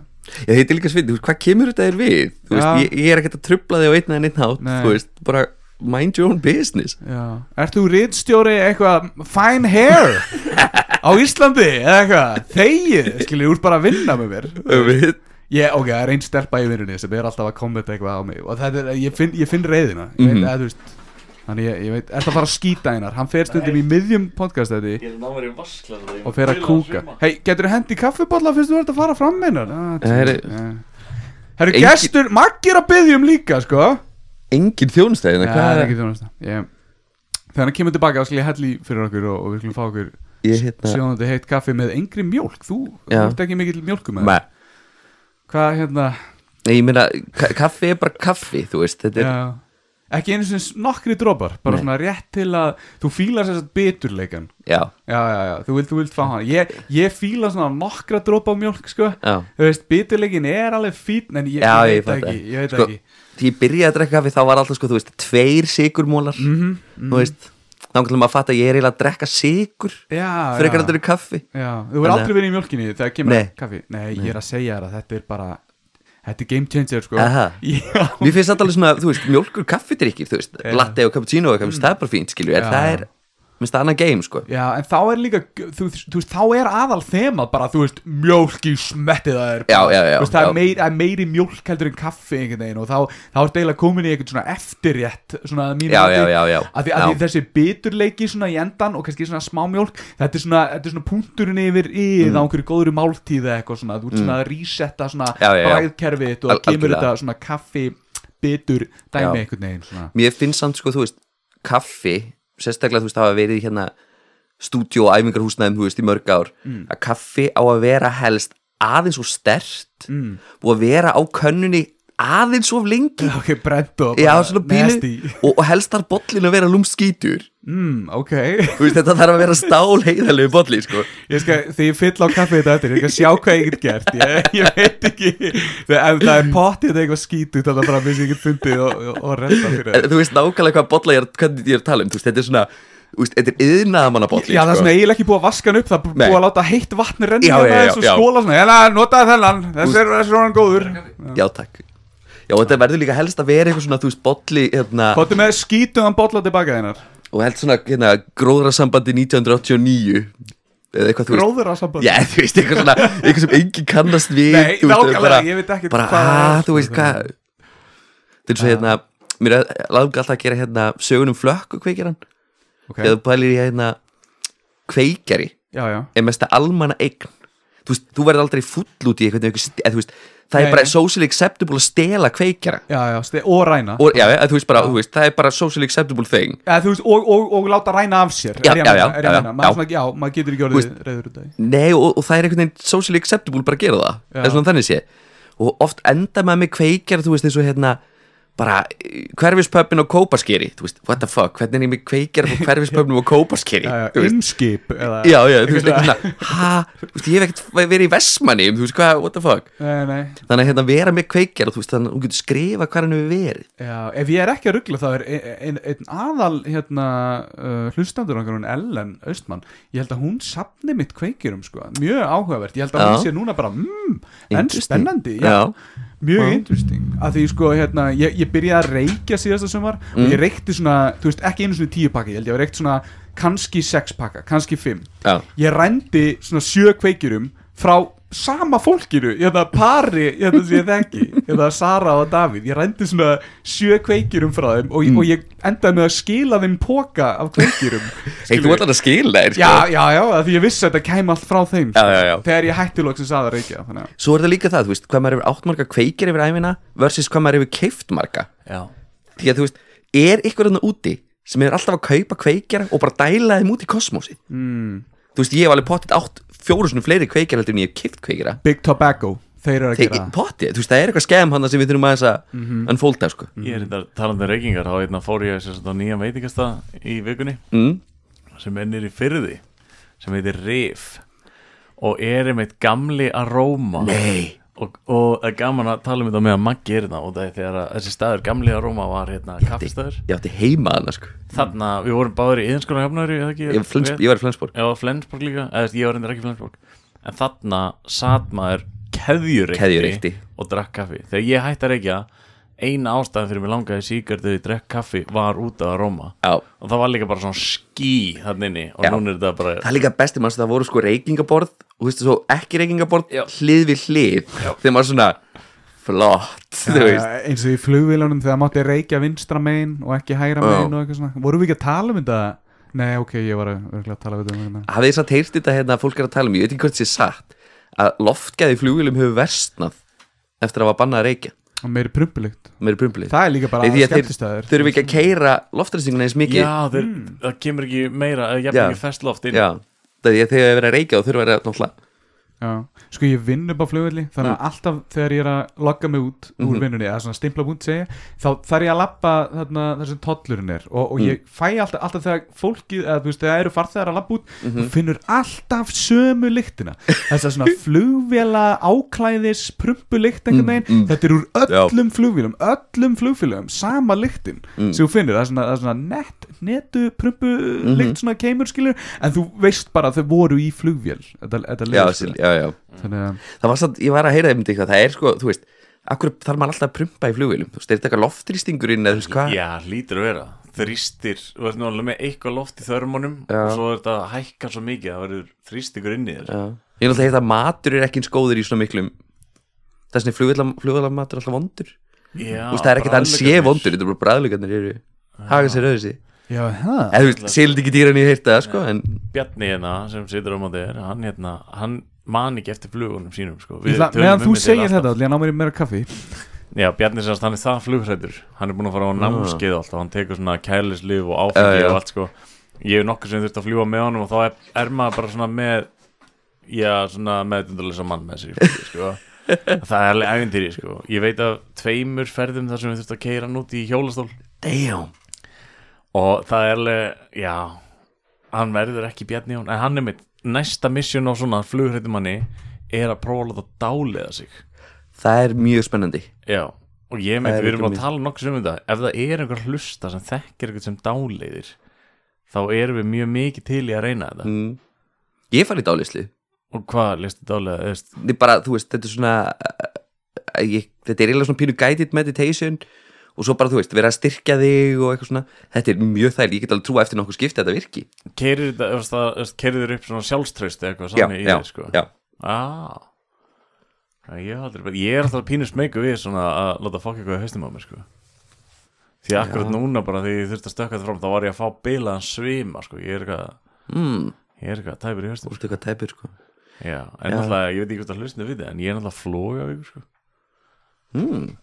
C: Ég heiti líka sveit, hvað kemur þetta þér við? Þú veist,
A: Já.
C: ég, ég er ekkert að trubla þig á einn eða einn hátt
A: Nei.
C: Þú veist, bara mind your own business
A: Já. Ert þú rítstjóri eitthvað fine hair á Íslandi eða eitthvað þegið, skilur, þú ert bara að vinna með mér
C: Öfrið
A: Ég, ok, það er einn stelpa í vinnunni sem er alltaf að kommenta eitthvað á mig og þetta er, ég finn, ég finn reyðina ég veit,
C: Mhm.
A: að, þú veist, þannig ég, ég veit, ert að fara að skýta einar hann fer stundum í miðjum podcast þetta
B: Ég er náður í vaskla
A: og fer að kúka hei, getur þú hendi kaffibotla fyrst þú ert að fara fram með einar ah,
C: Herri-
A: Herru, Herru
C: Engin-
A: gestur, maggir að biðjum líka, sko
C: Engin þjónstæðina,
A: Já,
C: hvað
A: það er
C: er
A: ekki þjónasta Ég- Þegar hann kemur tilbaka þá skal ég helli fyrir okkur og, og við skulum fá okkur
C: Ég hérna
A: sjónandi heitt kaffi með engri mjólk Þú þú
C: Já.
A: ert ekki mikill mjólkum
C: Nei,
A: Hvað hérna
C: Nei, ég meina, ka- kaffi er bara kaffi, þú veist Þetta er,
A: já, Ekki einu sinni nokkri dropar Bara
C: Nei.
A: svona rétt til að Þú fílar þess að biturleikan
C: já,
A: Já, já, já, þú vilt, þú vilt fá hann Ég, ég fíla svona nokkra dropa af mjólk sko
C: já
A: Þú veist, biturleikin er alveg fín En ég,
C: Já,
A: ég
C: ég
A: veit
C: fatta.
A: ekki, ég veit
C: Sko,
A: ekki
C: Því ég byrjaði að drekka kaffi, þá var alltaf, sko, þú veist, tveir sigurmólar mm
A: Mhm,
C: -hmm, Þú veist, þá kannum að fatta að ég er eiginlega að drekka sigur
A: Já,
C: Frekar
A: já.
C: heldur í kaffi
A: Já, þú verður
C: Þannig að-
A: aldrei verið í mjölkinni þegar kemur
C: eh, Nei.
A: kaffi Nei, ég er að segja þér að þetta er bara Þetta er game changer sko
C: Aha.
A: Já,
C: Mér finnst þetta alveg svona, þú veist, mjólkur kaffidrykkir, þú veist, latte og cappuccino og eitthvað, mm. það er bara fínt, skilju, en
A: Já,
C: það
A: já.
C: er, minnst það annað game, sko.
A: já, en þá er líka þú, þú veist, þá er aðal þema bara, þú veist, mjólk í smetti það er
C: Já, já, já,
A: Þú veist, það
C: já.
A: er meiri, það er meiri mjólk heldur en kaffi einhvern veginn og þá, þá er deila komin í einhvern svona eftirrétt svona að mínu
C: Já,
A: mati.
C: já, já, já.
A: Af því, af því
C: Já.
A: þessi biturleiki svona í endan og kannski svona smámjólk þetta er svona, þetta er svona punkturinn yfir í mm. á einhverju góðru máltíð eða eitthvað svona þú ert svona að resetta svona
C: Mm. Já, já, já.
A: bræðkerfið þitt og
C: Al-
A: kemur
C: algjörlega.
A: þetta svona kaffi bitur
C: Já.
A: dæmi einhvern veginn svona
C: Mér finnst samt, sko, þú veist, kaffi, sérstaklega, þú veist, hafa verið í hérna stúdíu og æfingarhúsnaðum, þú veist, í mörg ár,
A: Mm.
C: að kaffi á að vera helst aðeins og stert, mm. búið að vera á könnunni aðeins of lengi,
A: ok, brent og
C: já,
A: bara
C: svona pínu,
A: nasty.
C: og, og helst þar bollin að vera lúmskítur,
A: mm, ok,
C: þú veist, þetta þarf að vera stál heiðalegu bolli, sko.
A: ég skal þegar ég fyll á kaffið þetta eftir, ég skal sjá hvað ég get gert ég, ég veit ekki en það er pottið þetta eitthvað skítut þannig að bara minnst ég get fundið og, og, og renta fyrir
C: En þú veist nákvæmlega hvað bolla ég er, hvernig ég er að tala um þú veist, þetta er svona, þú veist, þetta er yðnaðamanna bolli
A: Já, það er svona eiginlega ekki búið að vaska hann upp Það er bú-
C: eh, sko. Nei.
A: búið að láta heitt vatni renna
C: Já,
A: í hana
C: já, já,
A: eins og
C: já.
A: skóla svona Hérna, notaði þennan, þessi er, þessi er hann góður
C: Já, takk Já, og þetta verður líka helst að vera eitthvað svona, þú veist, bolli hérna,
A: Kóttu með skítuðan bolla tilbaka þennar
C: og helst svona, hérna, gróðrasambandi 1989 eða eitthvað, þú veist
A: Gróður á samband
C: Já, þú veist, eitthvað svona, eitthvað sem enginn kannast við
A: Nei,
C: þú veist,
A: nákvæmlega,
C: bara,
A: ég veit ekkert
C: Bara,
A: hvað það er,
C: að, þú veist,
A: sko,
C: hvað Þetta er svo, hérna, mér laðum alltaf að gera, hérna, sögunum flökku kveikjaran
A: Ok.
C: Eða bælir ég, hérna, kveikjari
A: já, já
C: er mesta almanna eign þú, veist, þú verður aldrei full út í eitthvað, eitthvað eð, veist, það
A: Nei,
C: er bara
A: nei.
C: socially acceptable að stela kveikjara
A: Já, já, ste- og ræna
C: og, já, eð, veist, bara, þú veist, það er bara socially acceptable thing
A: Eða, þú veist, og, og, og láta ræna af sér
C: Já,
A: er ég að
C: já,
A: meina,
C: já,
A: er ég að
C: já,
A: meina.
C: já.
A: Maður svona- Já, maður getur ekki orðið reyður út af því
C: Nei, og, og það er einhvern veginn socially acceptable bara að gera það,
A: Já.
C: það er svona þannig sé og oft enda maður með kveikjara þú veist eins og hérna bara hverfispöppin og kópaskeri þú veist, what the fuck, hvernig er ég með kveikjara og hverfispöppin og kópaskeri
A: Já, já,
C: Þú veist,
A: Innskip eða-
C: já, já, þú veist, eitthvað svona, ha, þú veist, ég hef ekkert verið í Vestmanni, þú veist, hvað, what the fuck
A: Nei, nei
C: þannig að hérna vera með kveikjar og þú veist þannig að hún getur skrifa hvað hann hefur verið
A: Já, ef ég er ekki að ruggla þá er ein, ein, einn aðal hérna, uh, hlustandur okkar hún Ellen Austmann, ég held að hún sapni mitt kveikjurum sko, mjög áhugavert, ég held að
C: Já.
A: hún sé núna bara, mmm, en
C: Interesting.
A: spennandi já.
C: Já.
A: mjög
C: Já.
A: interesting að því sko hérna, ég, ég byrjaði að reykja síðasta sumar og
C: Mm.
A: ég reykti svona, þú veist, ekki einu svona tíu pakka, ég held ég að reykti svona kannski sex pakka, kannski fimm
C: Já.
A: ég rændi svona sjö kveikjurum frá sama fólkinu hérna pari, hérna sem ég þekki hérna Sara og Davíð, ég rændi svona sjö kveikjurum frá þeim og, og ég endaði með að skila þeim póka af kveikjurum
C: Mm. Hey, þú ætlar að skila þér sko.
A: Já, já, já, að því ég vissi að þetta kæmi allt frá þeim sko,
C: Já, já, já.
A: Þegar ég hætti loksins að að reykja þannig að
C: Svo er það líka það, þú veist, hvað maður hefur átt marga kveikir yfir æfina versus hvað maður hefur keift marga
B: Já,
C: Því að þú veist, er ykkur þarna úti sem er alltaf að kaupa kveikjara og bara dæla þeim út í kosmósið mm. Þú veist, ég hef alveg pottit átt fjóru svona fleiri kveikjara heldur en ég hef keift kveikjara
A: Big Tobacco, þeir eru að gera
C: Teki,
A: það
C: pottit, þú veist, það er eitthvað skemm hann sem við þurfum aðeins að mm -hmm. unfolda sko.
B: ég er þetta talandi um reykingar þá einna fór ég sem sagt á nýjan veitingastað í vikunni
C: mm.
B: sem ennir í fyrði sem heitir Rif og er einmitt gamli Aroma
C: Nei.
B: og, og það er gaman að tala um þetta með að Maggi er þetta og það er þegar að þessi staður gamli Aroma var hérna kaffistæður
C: Ég átti heima hann sko.
B: þarna við vorum báður í yðinskóla hefnari
C: ég, flens, ég var í Flensborg
B: Já, Flensborg líka, eða þú veist, ég var reyndir ekki í Flensborg En þarna satt maður keðjureikti,
C: Keðjureykti.
B: og drakk kaffi Þegar ég hætti að reykja, eina ástæðan fyrir mig langaði síkert þegar ég drakk kaffi var út af að róma
C: Já.
B: Og það var líka bara svona ský þarna inni og
C: Já.
B: núna er þetta bara
C: Það er líka besti manns að það voru sko reykingaborð og þú veist svo ekki reykingaborð hlið við hlið þegar maður svona flott, þú veist
A: Eh, Eins og í flugvílunum þegar mátti reykja vinstra megin og ekki hægra megin og eitthvað svona Vorum við ekki að tala um þetta? Nei, ok, ég var örgulega að tala um þetta hérna.
C: hafið þess að teyrst þetta hérna að fólk er að tala um ég veit ekki hvort sé satt að loftgæði í flugvílum hefur versnað eftir að hafa bannað að reykja
A: Og meiri prumpulikt
C: meiri brumbli
A: Það er líka bara skemmtistæður
C: þurfum ekki að keira loftræsinguna eins mikið
B: Já, þeir,
A: Hmm.
B: það kemur ekki meira, eða jafn
C: Já.
B: ekki fest loft inn
C: Já. það er þegar það er verið að reykja og þurfum að vera náttúrulega
A: Já, sko ég vinn upp á flugvelli þannig að alltaf þegar ég er að logga mig út úr vinnunni, eða svona stimpla búnt segja þá þarf ég að lappa þarna þessum tollurinn er og, og ég fæ alltaf, alltaf þegar fólkið, eða þú veist, þegar eru farþegar að lappa út þú finnur alltaf sömu lyktina þess að svona flugvela áklæðis, prumpulykt einhvern veginn, þetta er úr öllum flugvílum öllum flugfélagum, sama lyktin sem þú finnir, það er svona, það er svona nett netu prumpulykt svona keimur skilur, en þú veist bara að þau voru í flugvél, þetta, þetta
C: já,
A: leðurskilur.
C: síl- já, já.
A: Þannig að
C: það var satt, ég var að heyra þeim eitthvað, það er sko, þú veist akkur þarf maður alltaf að prumpa í flugvílum þú veist, er þetta eitthvað loftristingurinn eða þú veist hvað
B: Já, hlýtur að vera Þrýstir, þú veist nú alveg með eitthvað loft í þörmunum
C: Já.
B: Og svo er þetta að hækka svo mikið, það verður þrýstingur inn í þér
C: Já. ég er alltaf að heyra að matur er ekki eins góður í svona miklum þess vegna flugvílam, flugvílam matur er alltaf vondur þú
B: Já,
C: veist, það er ekki að hann sé
B: bragðlaukarnir.
C: vondur þetta er bara bræðlugarnir eru haga sér öðru sér
A: Já, það
C: eða þú veist, sild ekki dýran í heyrta það sko, en
B: Bjarni hérna sem situr á móti þér hann, hérna, hann man ekki eftir flugunum sínum sko. Við
A: Ætla,
B: tölum
A: Meðan
B: um
A: þú
B: þetta
A: segir
B: alltaf.
A: þetta allir, ég ná mér í meira kaffi
B: Já, Bjarni semst, hann er það flugrættur Hann er búin að fara á námskeið alltaf Hann tekur svona kælisliv og áfengi
C: Ah. Já, já.
B: og allt sko. Ég hef nokkuð sem þurft að fljúa með honum og þá er, er maður bara svona með Já, svona meðdundarlösa mann með sér í flugi, sko. Það er alveg ævintýri sko. Ég veit af tveimur ferðum þar sem við þurft að keira hann út í hjólastól
C: damn
B: og það er alveg, já hann verður ekki Bjarni Jón en hann er mitt, næsta mission á svona flugrættumanni er að prófa að láta dáliða sig
C: það er mjög spennandi
B: já, og ég
C: Það
B: meint,
C: er
B: við erum
C: ekki
B: að
C: mín.
B: tala nokkuð um þetta ef það er einhver hlusta sem þekkir einhvern sem dáliðir þá erum við mjög mikið til í að reyna þetta
C: mm. ég farið í dálislu
B: og hvað listu dáliða, þú veist
C: þetta er bara, þú veist, þetta er svona eh, ég, þetta er eiginlega svona pínu guided meditation og svo bara, þú veist, vera að styrkja þig og eitthvað svona, þetta er mjög þægilegt ég get alveg trúa eftir nokkuð skipti að þetta virki
B: keirir þetta, þú veist, það- þú veist, keirir þér upp svona sjálfströst eða eitthvað
C: já,
B: sannig í
C: já,
B: þér sko
C: já,
B: ah. Já, Ég, hef aldrei, ég er alltaf pínust meiku við svona að láta fokk eitthvað í haustum á mér sko. Því akkurat núna bara því ég þurfti að stökka þetta fram þá var ég að fá bilaðan svima sko. ég er eitthvað
C: mm,
B: Ég er eitthvað tæpur í haustum
C: þú veist eitthvað tæpur sko.
B: Já, en
C: Já.
B: náttúrulega, ég veit ekki hvort að hlustinu við það en ég er náttúrulega flóga við sko.
C: mm, ég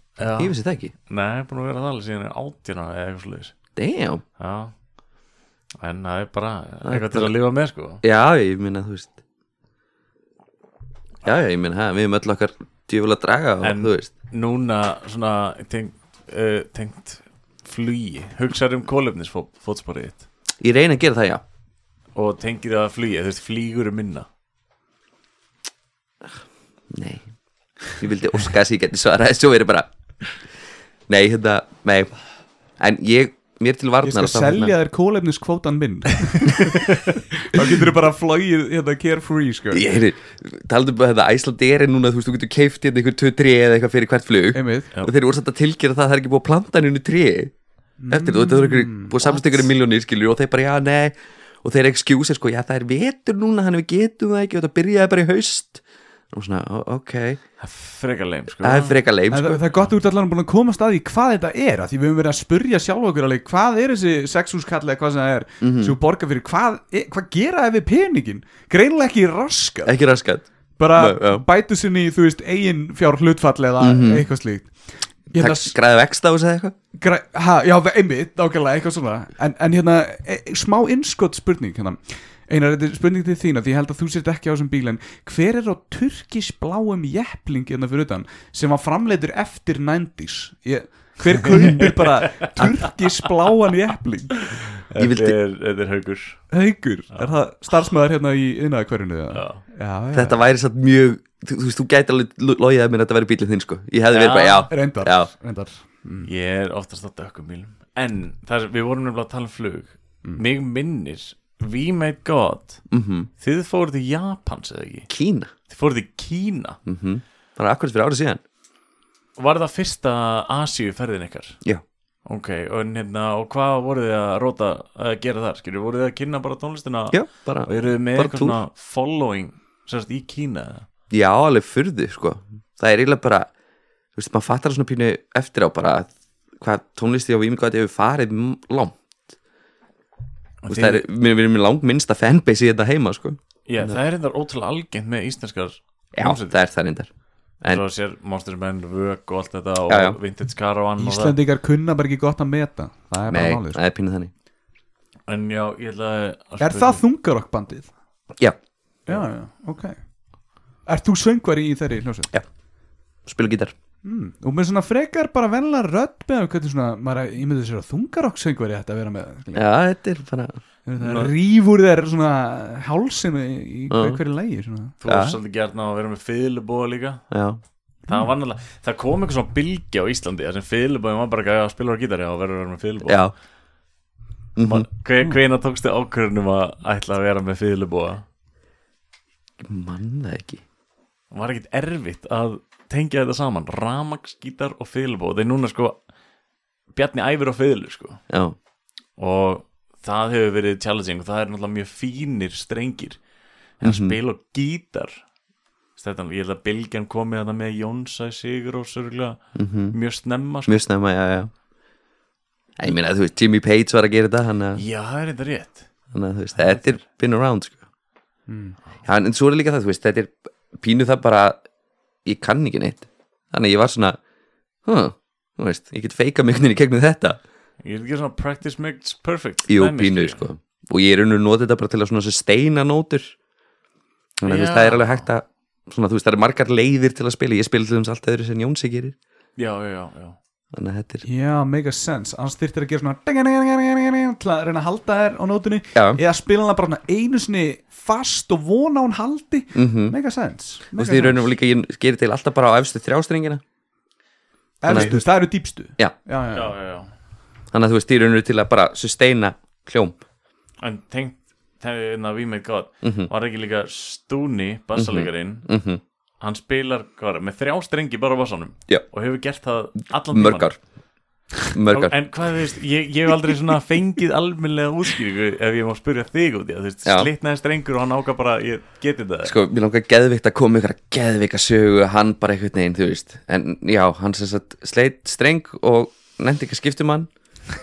B: Já,
C: vissi það ekki
B: nei, búin að vera það alveg síðan átjana eða eitthvað slúðis
C: damn,
B: Já, en það er bara
C: er
B: eitthvað til að lifa með sko.
C: já, ég meina, þú veist já, já, ég meina, ha, við erum öll okkar djöfulega draga og
B: En-
C: þú veist
B: Núna, svona tengt, uh, tengt flugi hugsaður um kólefnisfótsporið þitt
C: ég reyna að gera það, já
B: og tengir það að flýja, þú veist, flýgur um minna
C: Nei Ég vildi óska þess að ég geti svarað Svo verið bara Nei, hérna, nei En ég mér til
A: Ég
C: varnar
A: skal
C: að það- hérna-
A: selja þér kólefniskvótan minn Þá getur þú bara flogið hérna carefree sko
C: Ég heyri, talaðu bara þetta Æslandeir er núna, þú veist, þú getur keift hérna einhver tvö tré eða eitthvað fyrir hvert flug
A: Einmitt
B: Já.
C: og þeir eru úr samt að tilgjöra það að það er ekki búið að planta henni tré eftir þú, þetta er einhver
A: Mm,
C: búið samstökur í miljónir skilur og þeir bara, já, nei og þeir excuse sko, já, það er vetur núna þannig við getum það ekki og það byrjaði bara í haust og svona, "Ó, ok,
B: Það er frekar leim sko
C: það er freka leim
A: En
C: sko.
A: það, það er gott að þú ert allan búin að koma að staði hvað þetta er af Því við höfum verið að spurja sjálf okkur alveg Hvað er þessi sexhúskall eða hvað sem það er
C: Mhm.
A: sem þú borgar fyrir, hvað, er- hvað gera það við peningin? Greinlega ekki raskar
C: ekki raskat
A: Bara
C: Nei, Eh, já. Mhm.
A: bætu sinni, þú veist, eigin fjár hlutfall eða eitthvað slíkt Ég ætla að
C: græði vext á þessu eða eitthvað
A: Græ, ha, já, einmitt, nákvæmlega, eitthvað svona En, en hérna, e, smá innskott spurning hérna. Einar, þetta er spurning til þína Því ég held að þú sért ekki á þessum bíl En hver er á turkisbláum jeppling Hérna fyrir utan, sem var framleitur eftir 90s ég, Hver kaupir bara turkisbláan jeppling
C: Ég vildi-
B: Þetta er, þetta er haugur
A: Haukur, er það starfsmæður hérna í innakverjunu Já,
B: Já.
A: já, já.
C: þetta væri satt mjög, þú, þú veist, þú gæti alveg lo- logið að mér að þetta væri bílinn þinn sko ég hefði verið bara,
B: Já.
C: já,
A: reyndar,
C: Já.
A: reyndar.
B: Mm. Ég er oftast að dökkum bílum En það er, við vorum nefnilega að tala um flug Mig minnir We made God
C: Mm. mhm,
B: Þið fóruð í Japans eða ekki
C: Kína
B: Þið fóruð í Kína
C: mhm, bara akkurat fyrir árið síðan
B: Var það fyrsta Asíu ferðin ykkar?
C: já,
B: Ok, og, en hérna, og hvað voruð þið að róta að gera þar? Skilju, voruð þið að kynna bara tónlistina?
C: já, bara,
B: Og eruð þið með
C: Bara
B: eitthvað
C: túr.
B: svona following sérst í Kína? eða?
C: Já, alveg furðu sko Það er eiginlega bara Þú veist, maður fattar það svona pínu eftir á bara að Hvað tónlisti á Vími Gáti hefur farið m- langt Þú
B: Og
C: veist, það
B: þið-
C: er Við erum í langminnsta fanbase í þetta heima sko
B: Já, það er hérna ótrúlega algengt með íslenskar
C: Já,
B: hljómsveitir.
C: það er það reyndar en-
B: Svo sér Monsters Men, Vök og allt þetta og
C: Já, já.
B: Vintage Caravan og það.
A: Íslendingar kunna bara ekki gott að meta Það er
C: Nei,
A: bara málið sko.
C: það er pínu þannig
B: En já, ég ætlaði að
A: Er það þungarokkbandið?
C: Já,
A: Já, já, ok Ert þú söngvari í þeirri hljósið?
C: spila gítar
A: Mm. Og með svona frekar bara venla rödd með hvernig svona, maður ímyndið sér að þungarokksöngveri þetta að vera með skilja.
C: Já, þetta er bara
A: það
B: Nú-
A: rýfur þér svona hálsinu í í
C: Já.
A: hver, hverju lægi svona.
B: Þú er
C: Já. Mm.
B: svolítið gert ná að vera með fiðlubóða líka
C: Já,
B: Það var náttúrulega, það kom eitthvað svona bylgi á Íslandi þar sem fiðlubóðin var bara að gæja að spila á gítari og verður að vera með fiðlubóða
C: já mm
B: Man, hve- Hvena tókst þið ákvörðunum um að ætla að vera með fiðlubóða?
C: Mann það ekki
B: Var ekkit erfitt að tengja þetta saman Ramagsgítar og fiðlubóða Þeir núna sko Bjarni æfir á fiðlu sko
C: Já,
B: og það hefur verið challenging og það er náttúrulega mjög fínir strengir en
C: Mhm.
B: að spila og gítar Stættan, ég held að Bilgjan komið þetta með Jónsa Sigur og sörgulega
C: Mhm.
B: mjög snemma sko.
C: mjög snemma, já, já Æ, Ég meina, þú veist, Jimmy Page var að gera þetta Hann að
B: já, það er þetta rétt
C: þannig að þú veist, þetta er been around sko. já, en en svo er líka það, þú veist, þetta er pínu það bara ég kann ekki neitt þannig að ég var svona huh, þú veist, ég get feika mjögnir í gegnum þetta
B: ég er ekki svona practice makes perfect
C: jú,
B: dæmi,
C: pínu,
B: skilju.
C: sko og ég er unnur notið þetta bara til að svona steina nótur þannig að þú veist, það er alveg hægt að svona, þú veist, það eru margar leiðir til að spila ég spila til þess allt öðru sem Jónsi gerir
B: já, já, já, já.
C: þannig að þetta er,
A: Já, mega sense, annars þyrftir að gera svona ding-a-ding-a-ding-a-ding-a-ding til að reyna að halda þér á nótunni
C: já,
A: eða spila hana bara svona einu sinni fast og vona að hún haldi
C: mhm
A: mega sense,
C: Þú
A: mega
C: veist, ég raunum líka, ég gerir til alltaf bara á efstu þrjástrengina
A: Efstu, það eru dýpstu
C: Já.
A: já, já, já.
B: já, já, já.
C: Þannig að þú veist, ég raunum til að bara sustaina hljóm
B: en tengt hérna þegar við með gátt
C: Mhm.
B: var ekki líka Stúni bassalegarinn
C: mm
B: hann spilar hvað, er það, með þrjá strengi bara á bassanum
C: Já.
B: og hefur gert það allan tímann.
C: mörgar mörgar,
B: En hvað þú veist, ég, ég hef aldrei svona fengið almennlega útskýringu ef ég má spyrja þig út í það, þú veist,
C: Já.
B: slitnaði strengur og hann áka bara, ég geti þetta
C: sko, mér langar geðvikt að koma ykkur að geðvika sögu, hann bara einhvern veginn, þú veist, en já, hann sem sagt sleit streng og nefndi ekki að skiptum hann,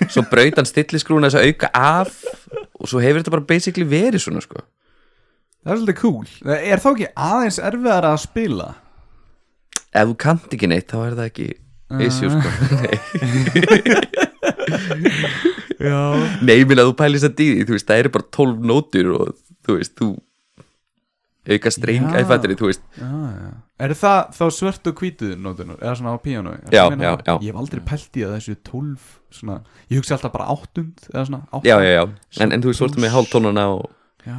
C: svo braut hann stilliskrúna þess að auka af og svo hefur þetta bara basically verið svona, sko
A: það er svolítið cool er þá ekki aðeins erfiðar að spila?
C: ef þú kannt ekki neitt, þá er það ekki issue, sko
A: Já,
C: nei, ég minna, þú pælist að dýði, þú veist, það eru bara 12 nótur og þú veist, þú auka streng,
A: Já.
C: æ, fættari, þú veist
A: Já, já. Er það þá svört og hvítuð nótunar, eða svona á píanói? Er
C: Já,
A: það meina
C: já,
A: það?
C: já.
A: Ég hef aldrei pælt í að þessu 12 svona, ég hugsa alltaf bara áttund eða svona áttund.
C: já, já, já, en, en þú veist, þú ert með hálftónana og
A: Já.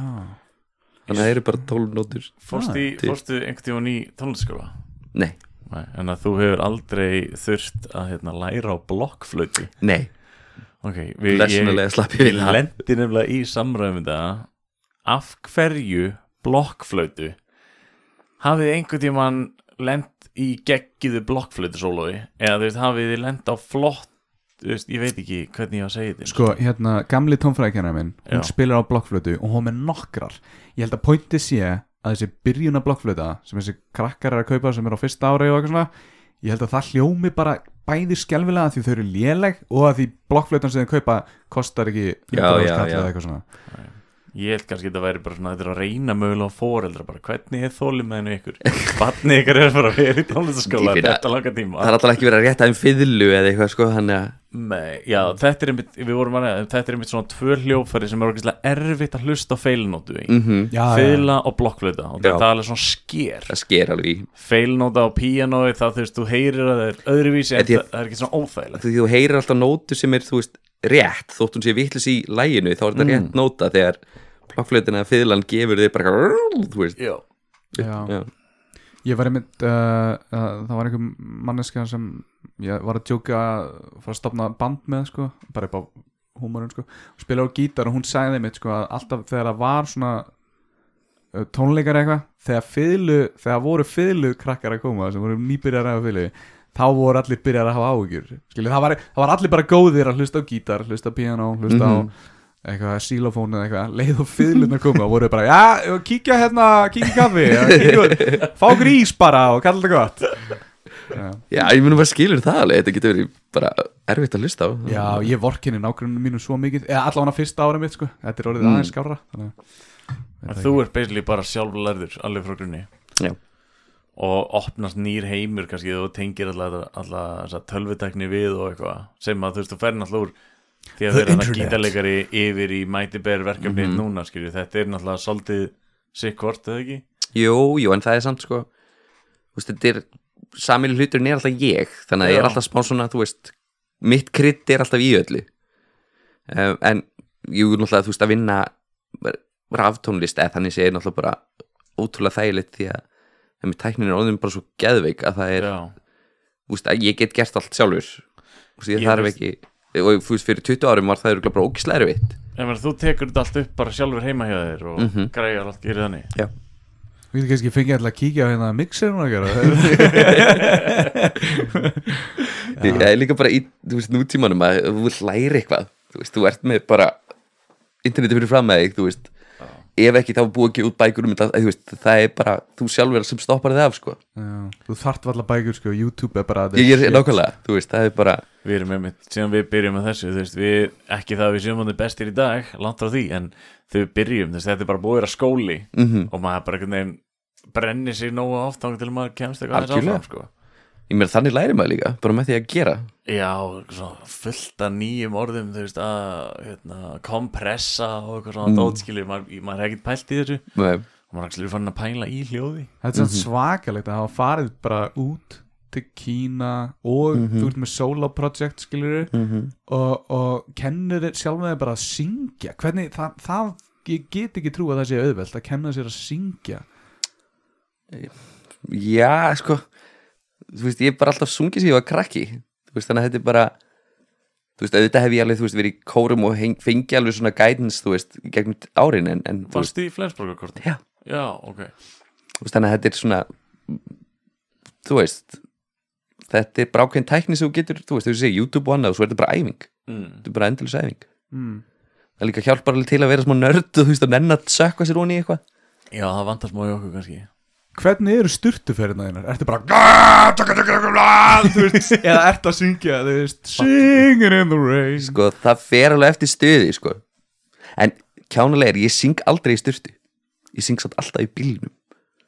C: þannig að það eru bara 12 nótur
B: Fórstu, í-
C: ah, til.
B: fórstu einhvern tímann í tónlistaskóla?
C: nei,
B: Nei, en að þú hefur aldrei þurft að hérna, læra á blokkflötu
C: nei,
B: ok við,
C: Versunalega slappi
B: ég
C: við það
B: lendi nefnilega í samræðum þetta af hverju blokkflötu hafið þið einhvern tímann lent í geggiðu blokkflötu sólói eða þú veist hafið þið lent á flott þú veist, ég veit ekki hvernig ég á að segja þetta
A: Sko, hérna, gamli tónfrækjarnar minn hún
B: Já.
A: spilar á blokkflötu og hún er nokkrar ég held að pointi sé að þessi byrjuna blokkflöta sem þessi krakkar er að kaupa sem er á fyrsta ári og eitthvað svona ég held að það hljómi bara bæði skelfilega að því þau eru léleg og að því blokkflötan sem þau kaupa kostar ekki 100
C: já,
A: kall eða
C: já.
A: eitthvað svona
B: ég held kannski þetta væri bara svona þetta er að reyna mögulega á foreldra bara hvernig er þólið með hennu ykkur barnið ykkur er bara að vera í tónlistaskóla
C: Ég finn að-
B: þetta langa tíma
C: Það er alltaf ekki verið að rétta um fiðlu eða eitthvað sko Þannig að
B: Nei, já, þetta er einmitt, við vorum að ræða, þetta er einmitt svona tvö hljófæri sem er orðislega erfitt að hlusta á feilinótu í.
C: Mhm.
B: Mm.
A: já, já.
B: Feila og blokkflöta og
C: Ah, Já.
B: þetta er alveg svona sker.
C: það sker alveg í
B: Feilinóta á píanói, það þú veist, þú heyrir að það er öðruvísi en
C: Þetta er-
B: það, það er ekki svona óþægilegt.
C: Því þú heyrir alltaf nótu sem er, þú veist, rétt Þótt hún sé vitlis í læginu Þá er þetta rétt nóta þegar plokkflötin eða fiðlan gefur þér bara eitthvað, Þú veist
B: Já.
A: Já.
C: Já.
A: ég var einmitt uh, uh, það var einhver manneska sem ég var að tjóka að fara að stopna band með sko, bara upp á húmorinn sko, og spila á gítar og hún sagði einmitt sko að alltaf þegar það var svona uh, tónleikar eitthvað þegar fiðlu, þegar voru fiðlu krakkar að koma sem voru nýbyrjar að hafa fiðlu þá voru allir byrjar að hafa áhugjur Skilu, það, var, það var allir bara góðir að hlusta á gítar hlusta á piano, hlusta á
C: Mhm.
A: eitthvað sílofón eða eitthvað, leið og fiðlunar koma og voru bara, já, kíkja hérna kíkja í kaffi, já, kíkja, fá grís bara og kalla þetta gott já.
C: Já, ég munum bara skilur það alveg Þetta getur verið bara erfitt að hlusta á
A: Já, ég vorkinni nákvæmlega mínu svo mikið eða allavega fyrsta ára mitt sko, þetta er orðið
C: Mm.
A: aðeins skárra þannig, að-
B: En þú ert basically bara sjálflærður, alveg frá grunni.
C: Já.
B: Og opnast nýr heimur kannski þú tengir alltaf þessa tölvutekni við og eitthvað sem að þú veist, þú ferð náttúrulega úr því að
A: The
B: þeir hann að
A: internet.
B: gítalegari yfir í Mighty Bear verkefni
C: Mhm.
B: núna, skilju, þetta er náttúrulega svolítið sick hvort, eða ekki?
C: Jú, jú, en það er samt sko þú veist, þetta er samil hluturinn er alltaf ég þannig að ég
B: Já.
C: er alltaf smá svona, þú veist mitt krydd er alltaf í öllu um, en jú, náttúrulega, þú veist, að vinna raftónlist eða þannig sé er náttúrulega bara ótrúlega þægilegt því að með tæknin er orðin bara svo geðveik að það er,
B: Já,
C: þú veist, að ég get gert allt sjálfur þú veist, ég
B: Ég
C: þarf
B: veist-
C: ekki og þú veist, fyrir 20 árum var það eru bara ógislega erfitt
B: en þú tekur þetta allt upp bara sjálfur heima hjá þér og
C: Mhm.
B: græjar allt gerir þannig
A: Við getum kannski fengið alltaf að kíkja á hérna mixerinn og gera
C: Ég er líka bara í, þú veist, nútímanum að þú læri eitthvað, þú veist, þú ert með bara interneti fyrir fram með þig, þú veist ef ekki þá er búið ekki út bækur um þetta, þú veist, það er bara þú sjálfur sem stoppar þig af, sko
A: Já, Þú þart valla bækur sko, YouTube er bara
C: ég er nákvæmlega, þú veist, það er bara
B: Við erum einmitt, síðan við byrjum með þessu þú veist, við, ekki það að við séum hann bestir í dag langt frá því, en þau byrjum þú veist, þetta er bara búið að vera skóli
C: mhm.
B: og maður bara einhvern veginn brennir sér nógu oft þangað til maður kemst eitthvað aðeins
C: Algjörlega.
B: áfram sko.
C: ég meira þannig læri maður líka, bara með því að gera
B: Já, svona fullt af nýjum orðum þú veist, að hérna, kompressa og eitthvað svona
C: Mm.
B: mm. dótskilur, maður, maður er ekkert pælt í þessu
C: Nei.
B: og maður er fann að pæla í hljóði
A: Þetta er
C: Mhm.
A: mm svakalegt að hafa farið bara út til Kína og
C: Mhm.
A: þú ert með solo project skilur og, og kennir þér sjálf með þér bara að syngja hvernig, það, það ég get ekki trú að það sé auðvelt að kenna sér að syngja
C: já, sko þú veist, ég er bara alltaf sungið sem ég var krakki þú veist, þannig að þetta er bara þú veist, auðvitað hef ég alveg, þú veist, verið í kórum og heng- fengið alveg svona guidance, þú veist, í gegnum árin, en, en þú veist,
B: Fannst þið í Flensborgarkortin?
C: Já.
B: Já, ok
C: Þú veist, þannig að þetta er svona þú veist þetta er bara ákveðin tækni sem þú getur þú veist, þú segir YouTube og annað og svo er þetta bara æfing
B: mm.
C: þetta er bara endalus æfing
A: mm.
C: það líka hjálpar alveg til að vera smá nörd og þú veist að nenn að sökka sér onni í eitthvað
B: Já, það vantar smá í okkur kannski
A: Hvernig eru styrtuferðina þínar? Ertu bara þú veist, eða ertu að syngja þú veist, singing in the rain
C: sko, það fer alveg eftir stuði sko. en kjánulega er ég syng aldrei í styrtu ég syng samt alltaf í bílnum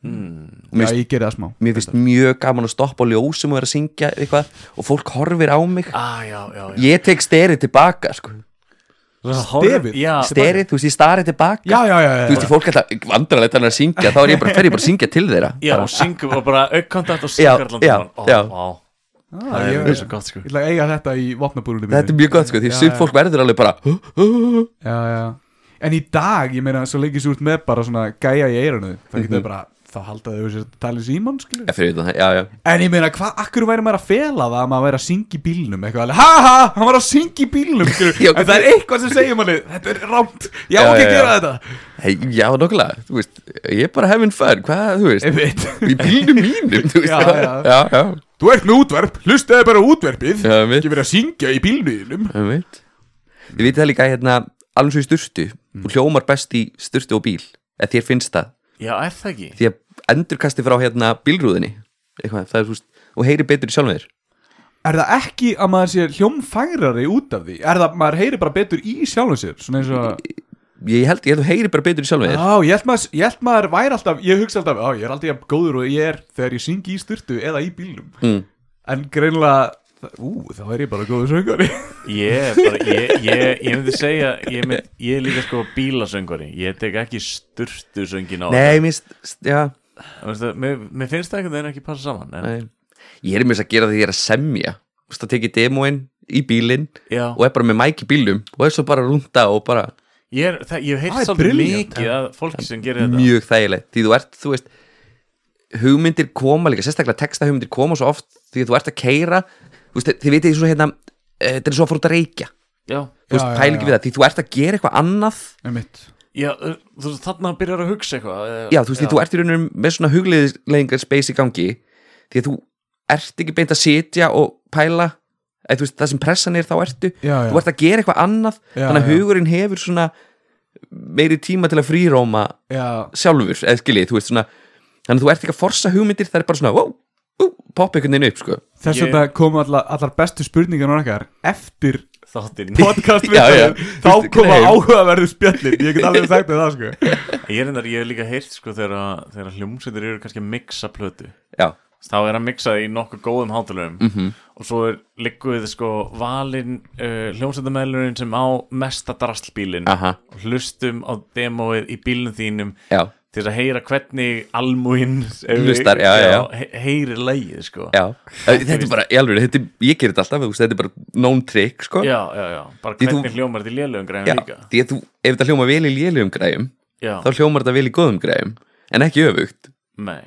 B: mm.
C: og mér,
A: Já, ég gerði það smá
C: mér finnst mjög gaman að stoppa á ljósum og vera að syngja eitthvað og fólk horfir á mig
B: ah, Já, já, já
C: ég tek sterið tilbaka sko.
A: Stefið?
B: Já,
C: sterið, þú veist, ég starið tilbaka
A: Já, já, já, já,
C: þú veist,
A: já.
C: því fólk alltaf vandralegt hann er að syngja þá er ég bara, fer ég bara að syngja til þeirra
B: já og syngum og bara aukkontakt og syngur
C: Já,
B: allan
C: já,
B: tímann. Ó,
C: já.
B: vá,
A: Ah,
B: Það er
A: ég,
B: verið svo
A: ég,
B: gott sko
A: ætla að eiga þetta í vopnabúrunum
C: þetta er mjög gott sko, því
A: Já,
C: sumt
A: já.
C: fólk verður alveg bara "Hú, hú, hú." Mhm.
A: já, já. En í dag, ég meina, svo leikir svo út með bara svona gæja í eirunu Það getur bara, þá þá halda þau sér að tala í símann skilur
C: Já, fyrir utan það, já, já
A: En ég meina, hvað, akkur væri maður að fela það að maður væri að syngja í bílnum eitthvað alveg, ha ha, hann var að syngja í bílnum skilur,
C: Já,
A: en það er eitthvað sem segir manni, þetta er rámt, já,
C: Já,
A: ok,
C: já, já.
A: gera þetta
C: hey, Já, nokkulega, þú veist, ég er bara having fun Hvað, þú veist,
A: Einmitt.
C: í bílnum mínum Þú veist,
A: Já, já.
C: já, já,
A: Þú ert með útverp, hlustaði bara á útverpið,
C: Já, einmitt.
A: ekki verið að syngja í bílnum
C: já um veit Þið vitið það líka, hérna, alveg svo í sturtu Þú hljómar best í sturtu og bíl Eða þér finnst það
B: Já, er það ekki?
C: Því að endurkasti frá, hérna, bílrúðinni Eitthvað, það er, þú veist, og heyri betur í sjálfum þér
A: Er það ekki að maður sé hljómfængrari út af því, er það, maður heyri bara betur í sjálfum sér, svona eins og
C: Ég held, ég held þú heyri bara betur í sjálfum þér
A: Já, ég held maður, ég held maður væri alltaf, ég hugsa alltaf, já, ég er alltaf jafn góður og ég er þegar ég syngi í styrtu eða í bílnum
C: Mm.
A: En greinlega, ú, þá er ég bara góður söngari
B: Ég, er bara, ég, ég, ég myndi segja ég, mynd, ég er líka sko bílasöngari Ég tek ekki sturtu söngin á
C: Nei, mér, finnst- já,
B: Þú veist það, Mér, mér finnst það einhvern veginn ekki passa saman en,
C: Nei. Ég er mjög að gera það því ég er að semja Þú veist, það tekið demóin í bílinn
B: Já,
C: og er bara með mæk í bílnum og er svo bara að rúnda og bara
B: ég, er, það, ég
A: Það er
B: hef heilt svolítið
A: brilliant,
B: mikið að fólki sem gerir þetta
C: mjög þægilegt því þú ert, þú veist hugmyndir koma líka, sérstaklega texta hugmyndir koma svo oft því að þú ert að keira þú veist, þið vitið svo hérna eh, þetta er svo að fór út að reykja,
B: Já,
C: þú veist,
A: Já, já,
C: pæl ekki
A: já.
C: við það því þú ert að gera eitthvað annað
A: Einmitt
B: já uh, þú veist þarna byrjar að hugsa eitthvað eh,
C: já, þú veist, því þú ert í raunum með svona hugleðingar space í gangi því að þú ert ekki beint að sitja og pæla eða þú veist, það sem pressan er þá ertu
A: Já, já.
C: þú ert að gera eitthvað annað
A: Já,
C: þannig að
A: já.
C: hugurinn hefur svona meiri tíma til að frýróma
A: Já,
C: sjálfur, eða skiljið, þú veist svona þannig að þú ert ekki að forsa hugmyndir, það er bara svona wow, uh, poppa einhvern veginn upp, sko
A: þess
B: Ég-
A: vegna komu allar, allar bestu spurningar og okkar eftir
B: Þáttir
A: podcast
C: Já, já.
A: þá
C: Veistu,
A: koma
C: nei.
A: áhugaverðu spjallin ég get alveg sagt þér það sko
B: Ég er endar, ég hef líka heyrt sko þegar, að- þegar að hljómsveitir eru kannski að mixa plötu
C: já,
B: þá er að mixa það í nokkuð góðum hátalöfum
C: Mhm.
B: -hmm. og svo er ligguð sko valinn uh, hljómsættamælurinn sem á mesta drastlbílinn
C: Aha.
B: og hlustum á demóið í bílnum þínum
C: já,
B: til þess að heyra hvernig almúinn
C: Hlustar, já, já, já.
B: he heyri lægið sko
C: já þetta er bara, í alveg, þetta er, ég ger þetta alltaf þú veist, þetta er bara known trick, sko
B: já, já, já. bara
C: Því
B: hvernig
C: þú-
B: hljómar þetta í lélögum
C: Já,
B: græðum líka
C: því að þú, ef þetta hljóma vel í lélugum græjum
B: já,
C: þá hljómar þetta vel í góðum græjum en ekki öfugt
B: nei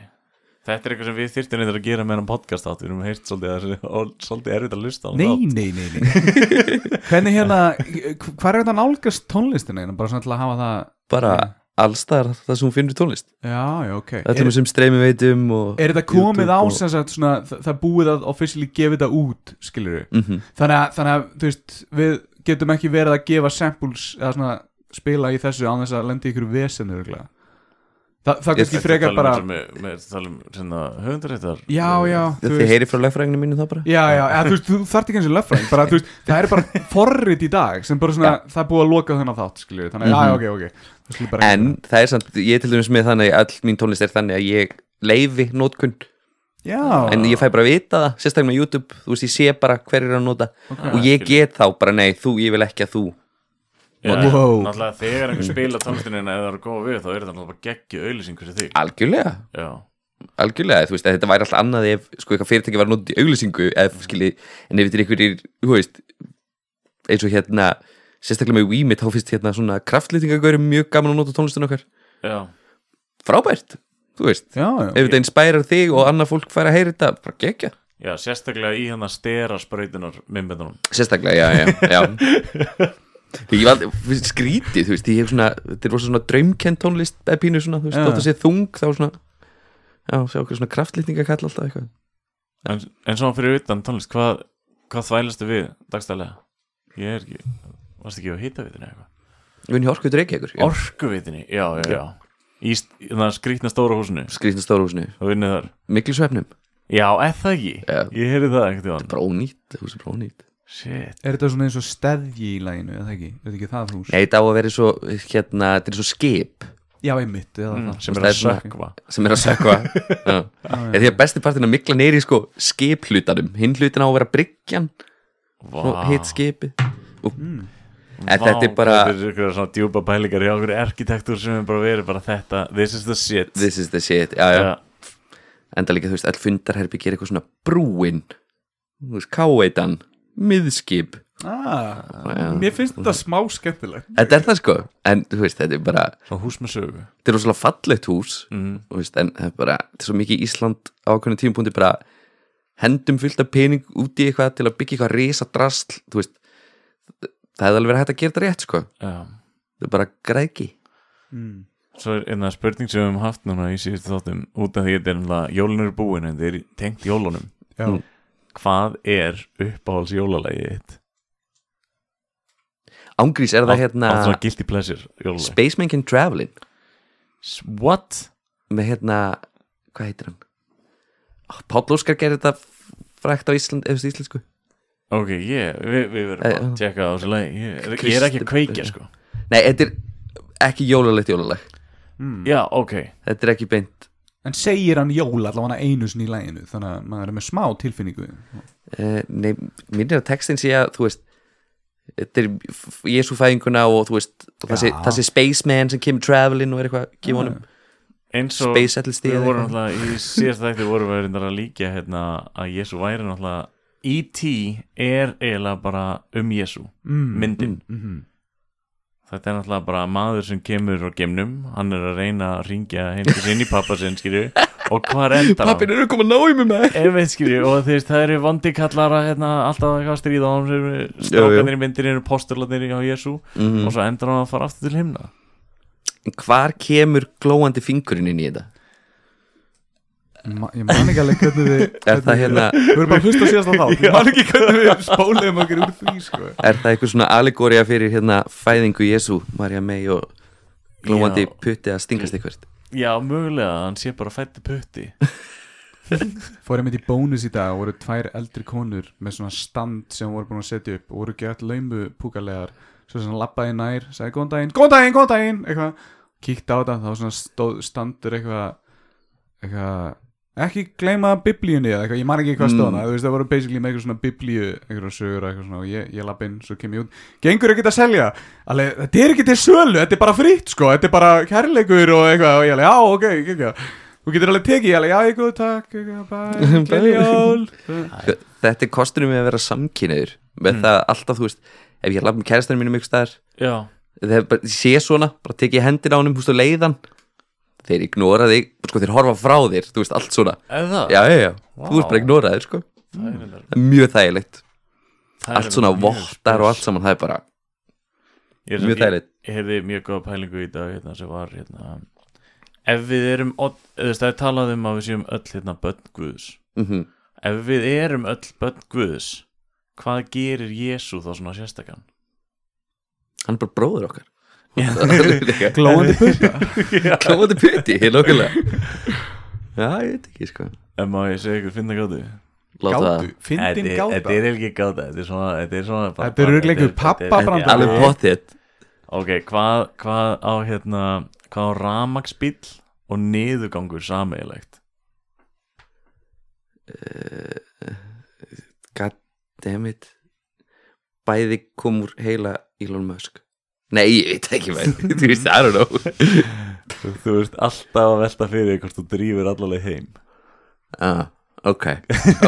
B: Þetta er eitthvað sem við þyrftum eitthvað að gera með hann podcast átt, við erum heyrt svolítið að og svolítið erfitt að hlusta á hann
A: Nei, nei, nei, nei Hvernig hérna, hvað er þetta nálgast tónlistina hérna, bara svona til að hafa það
C: bara allstar það sem hún finnur tónlist
A: Já, já, ok
C: það
A: Mm.
C: er
A: Er,
C: það sem streymi veitum og
A: er þetta komið á
C: YouTube og-
A: sem sagt svona, það, það búið að officially gefa þetta út, skilur við
C: Mhm.
A: þannig, að, þannig að, þú veist, við getum ekki verið að gefa samples eða svona spila í þessu án þess að lenda í ykkur vesen örugglega. Þa, það
C: Ég- um
A: kannski frekar
B: um
A: bara
B: Við talum hérna, höfundaréttar
A: Já, já, þú
C: þið heyri frá lögfræðinu mínu þá bara
A: Já, já, eða, þú veist, þú þarft ekki eins og löffræðing bara, þú veist, það er bara forrit í dag sem bara svona, það er búið að loka þennan þátt skiljur, þannig að, já, ok, ok, ok Það bara-
C: Mhm. en það er samt, ég er til dæmis með þannig að all mín tónlist er þannig að ég leifi nótkunn,
A: Já,
C: en ég fæ bara að vita það sérstaklega með YouTube, þú veist, ég sé bara hver er að nota og
B: Ah,
C: ég
B: skil.
C: get þá bara, nei, þú, ég vil ekki að þú
B: Já,
A: Wow.
B: náttúrulega þegar einhver spila tónlistinina eða það er góð við þá er það náttúrulega bara geggju auðlýsingur sem þig
C: algjörlega,
B: Já,
C: algjörlega, þú veist, að þetta væri alltaf annað ef, sko, eitthvað fyrirtæki var notið í auglýsingu, ef, skilji, en ef þetta er einhverjir, þú veist, eins og hérna, sérstaklega með Weemit, þá finnst hérna svona kraftlýtingagörum mjög gaman að nota tónlistin okkar,
B: já,
C: frábært, þú veist,
A: já,
C: ef
A: já,
C: þetta inspirar þig og annað fólk fær að heyra þetta, bara gegja,
B: já, sérstaklega í hérna hann að stera sprautinar minnbendunum
C: sérstaklega, já, já, já. Ég var aldrei skrítið, þú veist, ég hef svona, þetta er svona draumkend tónlist, eða pínu svona, þú veist,
A: Já.
C: þótt að sé þung, þá svona, já, sjá okkur svona kraftlýtingakall alltaf eitthvað.
B: en, en svona fyrir utan tónlist, hvað, hvað þvælastu við dagstælega? Ég er ekki, varst ekki á hitavitinni eða eitthvað?
C: Við erum hjá Orkutur Reykjavíkur. já.
B: Orkuvitinni, já, já, já Í st- í það skrýtna stóra húsinu
C: skrýtna stórhúsinu,
B: og vinnið þar
C: miklu svefnum
B: Já, eða það ekki,
C: Já.
B: ég heyrði það einhvern tíðan
C: bara ónýtt, hús er bara ónýtt
B: Shit,
A: Er þetta svona eins og steðji í læginu, eða ekki, er þetta ekki það hús?
C: Nei, þetta á að vera svo, hérna, þetta er svo skip
A: Já, einmitt, eða
B: mm,
A: það
B: sem er
C: Það er
B: að
C: svona-
B: sökva
C: sem er að sökva Já. Eða því að besti partin að mikla neyri sko skiphlutanum, hinn hlutin á að vera bryggjan og hitt skipið og, en þetta Hmm. er bara,
B: Þetta er ykkur svona djúpa pælingar hjá okkur arkitektur sem er bara verið bara þetta This is the shit
C: this is the shit já, já.
B: Já,
C: enda líka, þú veist, all fundarherbi gerir eitthvað svona brúin þú veist, káveitan, miðskip
A: ah,
C: Já.
A: Mér finnst þetta smá skemmtilegt
C: Þetta er það sko, en þú veist, þetta er bara
B: Svo hús með sögu
C: þetta er rosalega fallegt hús
B: mm.
C: þú veist, en það er bara, þetta er svo mikið Ísland á okkurna tímapunkti bara hendum fullt af pening út í eitthvað til að byggja eitthvað risa drasl, þú veist það hefði alveg verið hægt að gera þetta rétt sko
B: Já
C: þetta er bara græðki
A: mm.
B: Svo er einna spurning sem við höfum haft núna í síðustu þáttum út af því að þetta er náttúrulega jólun eru búin en þeir tengt jólunum
A: Já,
C: Mm.
B: Hvað er uppáhalds jólalagið þitt?
C: ángrís er það
B: Allt-
C: hérna
B: Allt svona guilty pleasure jólalag
C: Spaceman Can Travelin
B: S- What?
C: með hérna, hvað heitir hann oh, Páll Óskar gerir þetta frækt á Ísland, eða íslensku
B: Ok, yeah, við, við verðum að
C: Eh,
B: tjekka á þessu lagi ég, ég er ekki að kveikja sko
C: nei, þetta er ekki jólalegt jólaleg
B: sko. Já, ok
C: þetta er ekki beint
A: En segir hann jól allavega einu sinni í læginu Þannig að maður er með smá tilfinningu
C: Eh, Nei, minnir að textin sé að þú veist þetta er f- Jesú fæðinguna og þú veist og það, sé,
A: Já.
C: það sé spaceman sem kemur travelin og er eitthvað, gefa honum
B: Eins og
C: space settle stíð
B: við vorum náttúrulega í síðast þætti vorum við reyndar að líka hérna að Jésu væri náttúrulega E.T. er eiginlega bara um Jésu
C: Mhm.
A: mm.
B: myndin
A: mm.
B: Þetta er náttúrulega bara maður sem kemur á gemnum Hann er að reyna að ringja heimtis inn í pappa sinn, skilju Og hvað endar hann?
C: eru komið að ná í mig með
B: Ef veit, skilju, og þeir, það eru vandikallara hérna, Alltaf eitthvað að stríða á hann
C: Jú,
B: Strákanir í myndinni eru postularnir á Jésu
C: Mhm.
B: Og svo endar hann að fara aftur til himna
C: Hvar kemur glóandi fingurinn inn í þetta?
A: Ma, Ég man ekki alveg hvernig við
C: Er
A: hvernig
C: það
A: við-
C: hérna-
A: Við erum bara að hlusta síðast á þá Ég man ekki hvernig við spólum okkur úr því sko.
C: Er það eitthvað svona allegória fyrir hérna fæðingu Jesú, Marja May og glóandi
B: Já.
C: putti að stingast eitthvað
B: Já, mögulega, hann sé bara fætti putti
A: Fór ég með í bónus í dag og voru tvær eldri konur með svona stand sem voru búin að setja upp og voru ekki all laumu púkalegar svo sem lappaði nær, sagði góðan daginn góðan daginn, góðan daginn, eitthvað kíkti á þetta, þá var svona stóð, standur eitthvað eitthvað ekki gleyma biblíunni eða eitthvað, ég man ekki hvað stóðna mm. þú veist það voru basically með eitthvað svona biblíu eitthvað sögur eitthvað svona og ég, ég lapp inn, svo kem ég út gengur ekki að selja, alveg þetta er ekki til sölu, þetta er bara fritt sko þetta er bara kærleikur og eitthvað og ég alveg, já, ok, ekki, þú getur alveg tekið, ég alveg, já, ég góð, takk, eitthvað, bæ, gleðjól
C: Þetta er kostunum með að vera samkynniður með það alltaf, þú veist, ef ég laf með kærastanum mínum ykkur staðar
B: Já,
C: þegar ég bara sé svona, bara tekið hendir á honum húst og leiðan þeir ignora þig, sko þeir horfa frá þér þú veist allt svona,
B: eða
C: já já já
B: Vá.
C: þú veist bara ignoraðir sko,
B: Það er reyndar-
C: það er mjög þægilegt
B: það er
C: allt svona
B: reyndar mjög
C: vottar
B: spes.
C: og allt saman, það er bara
B: Ég er-
C: mjög þægilegt
B: Ég heyrði mjög góða pælingu í dag hérna, sem var hérna, ef við erum odd- þú veist, það er talað um að við séum öll hérna, börn Guðs
C: mm -hmm.
B: ef við erum öll börn Guðs hvað gerir Jésu þá svona sérstakann
C: hann er bara bróður okkar
B: Já.
A: glóðandi putta
C: klóðandi putti, hér lókulega já, ég veit ekki sko
B: en má ég segja ykkur finna gátu
C: láta það,
A: gátu, fyndin
B: þetta er
A: gáta
B: ekki gáta þetta er svona þetta er svona bara-
A: Þetta er örugglega einhver
B: þetta er- þetta er-
A: pabbabrandari.
B: Já.
C: alveg potið
B: ok, hvað, hvað á hérna hvað á ramaksbíll og niðurgangur sameigilegt
C: goddammit bæði kom úr heila Elon Musk nei, ég veit ekki maður, þú veist, I don't know
B: þú, þú veist alltaf að velta fyrir þér hvort þú drýfur allaleg heim
C: ah, ok,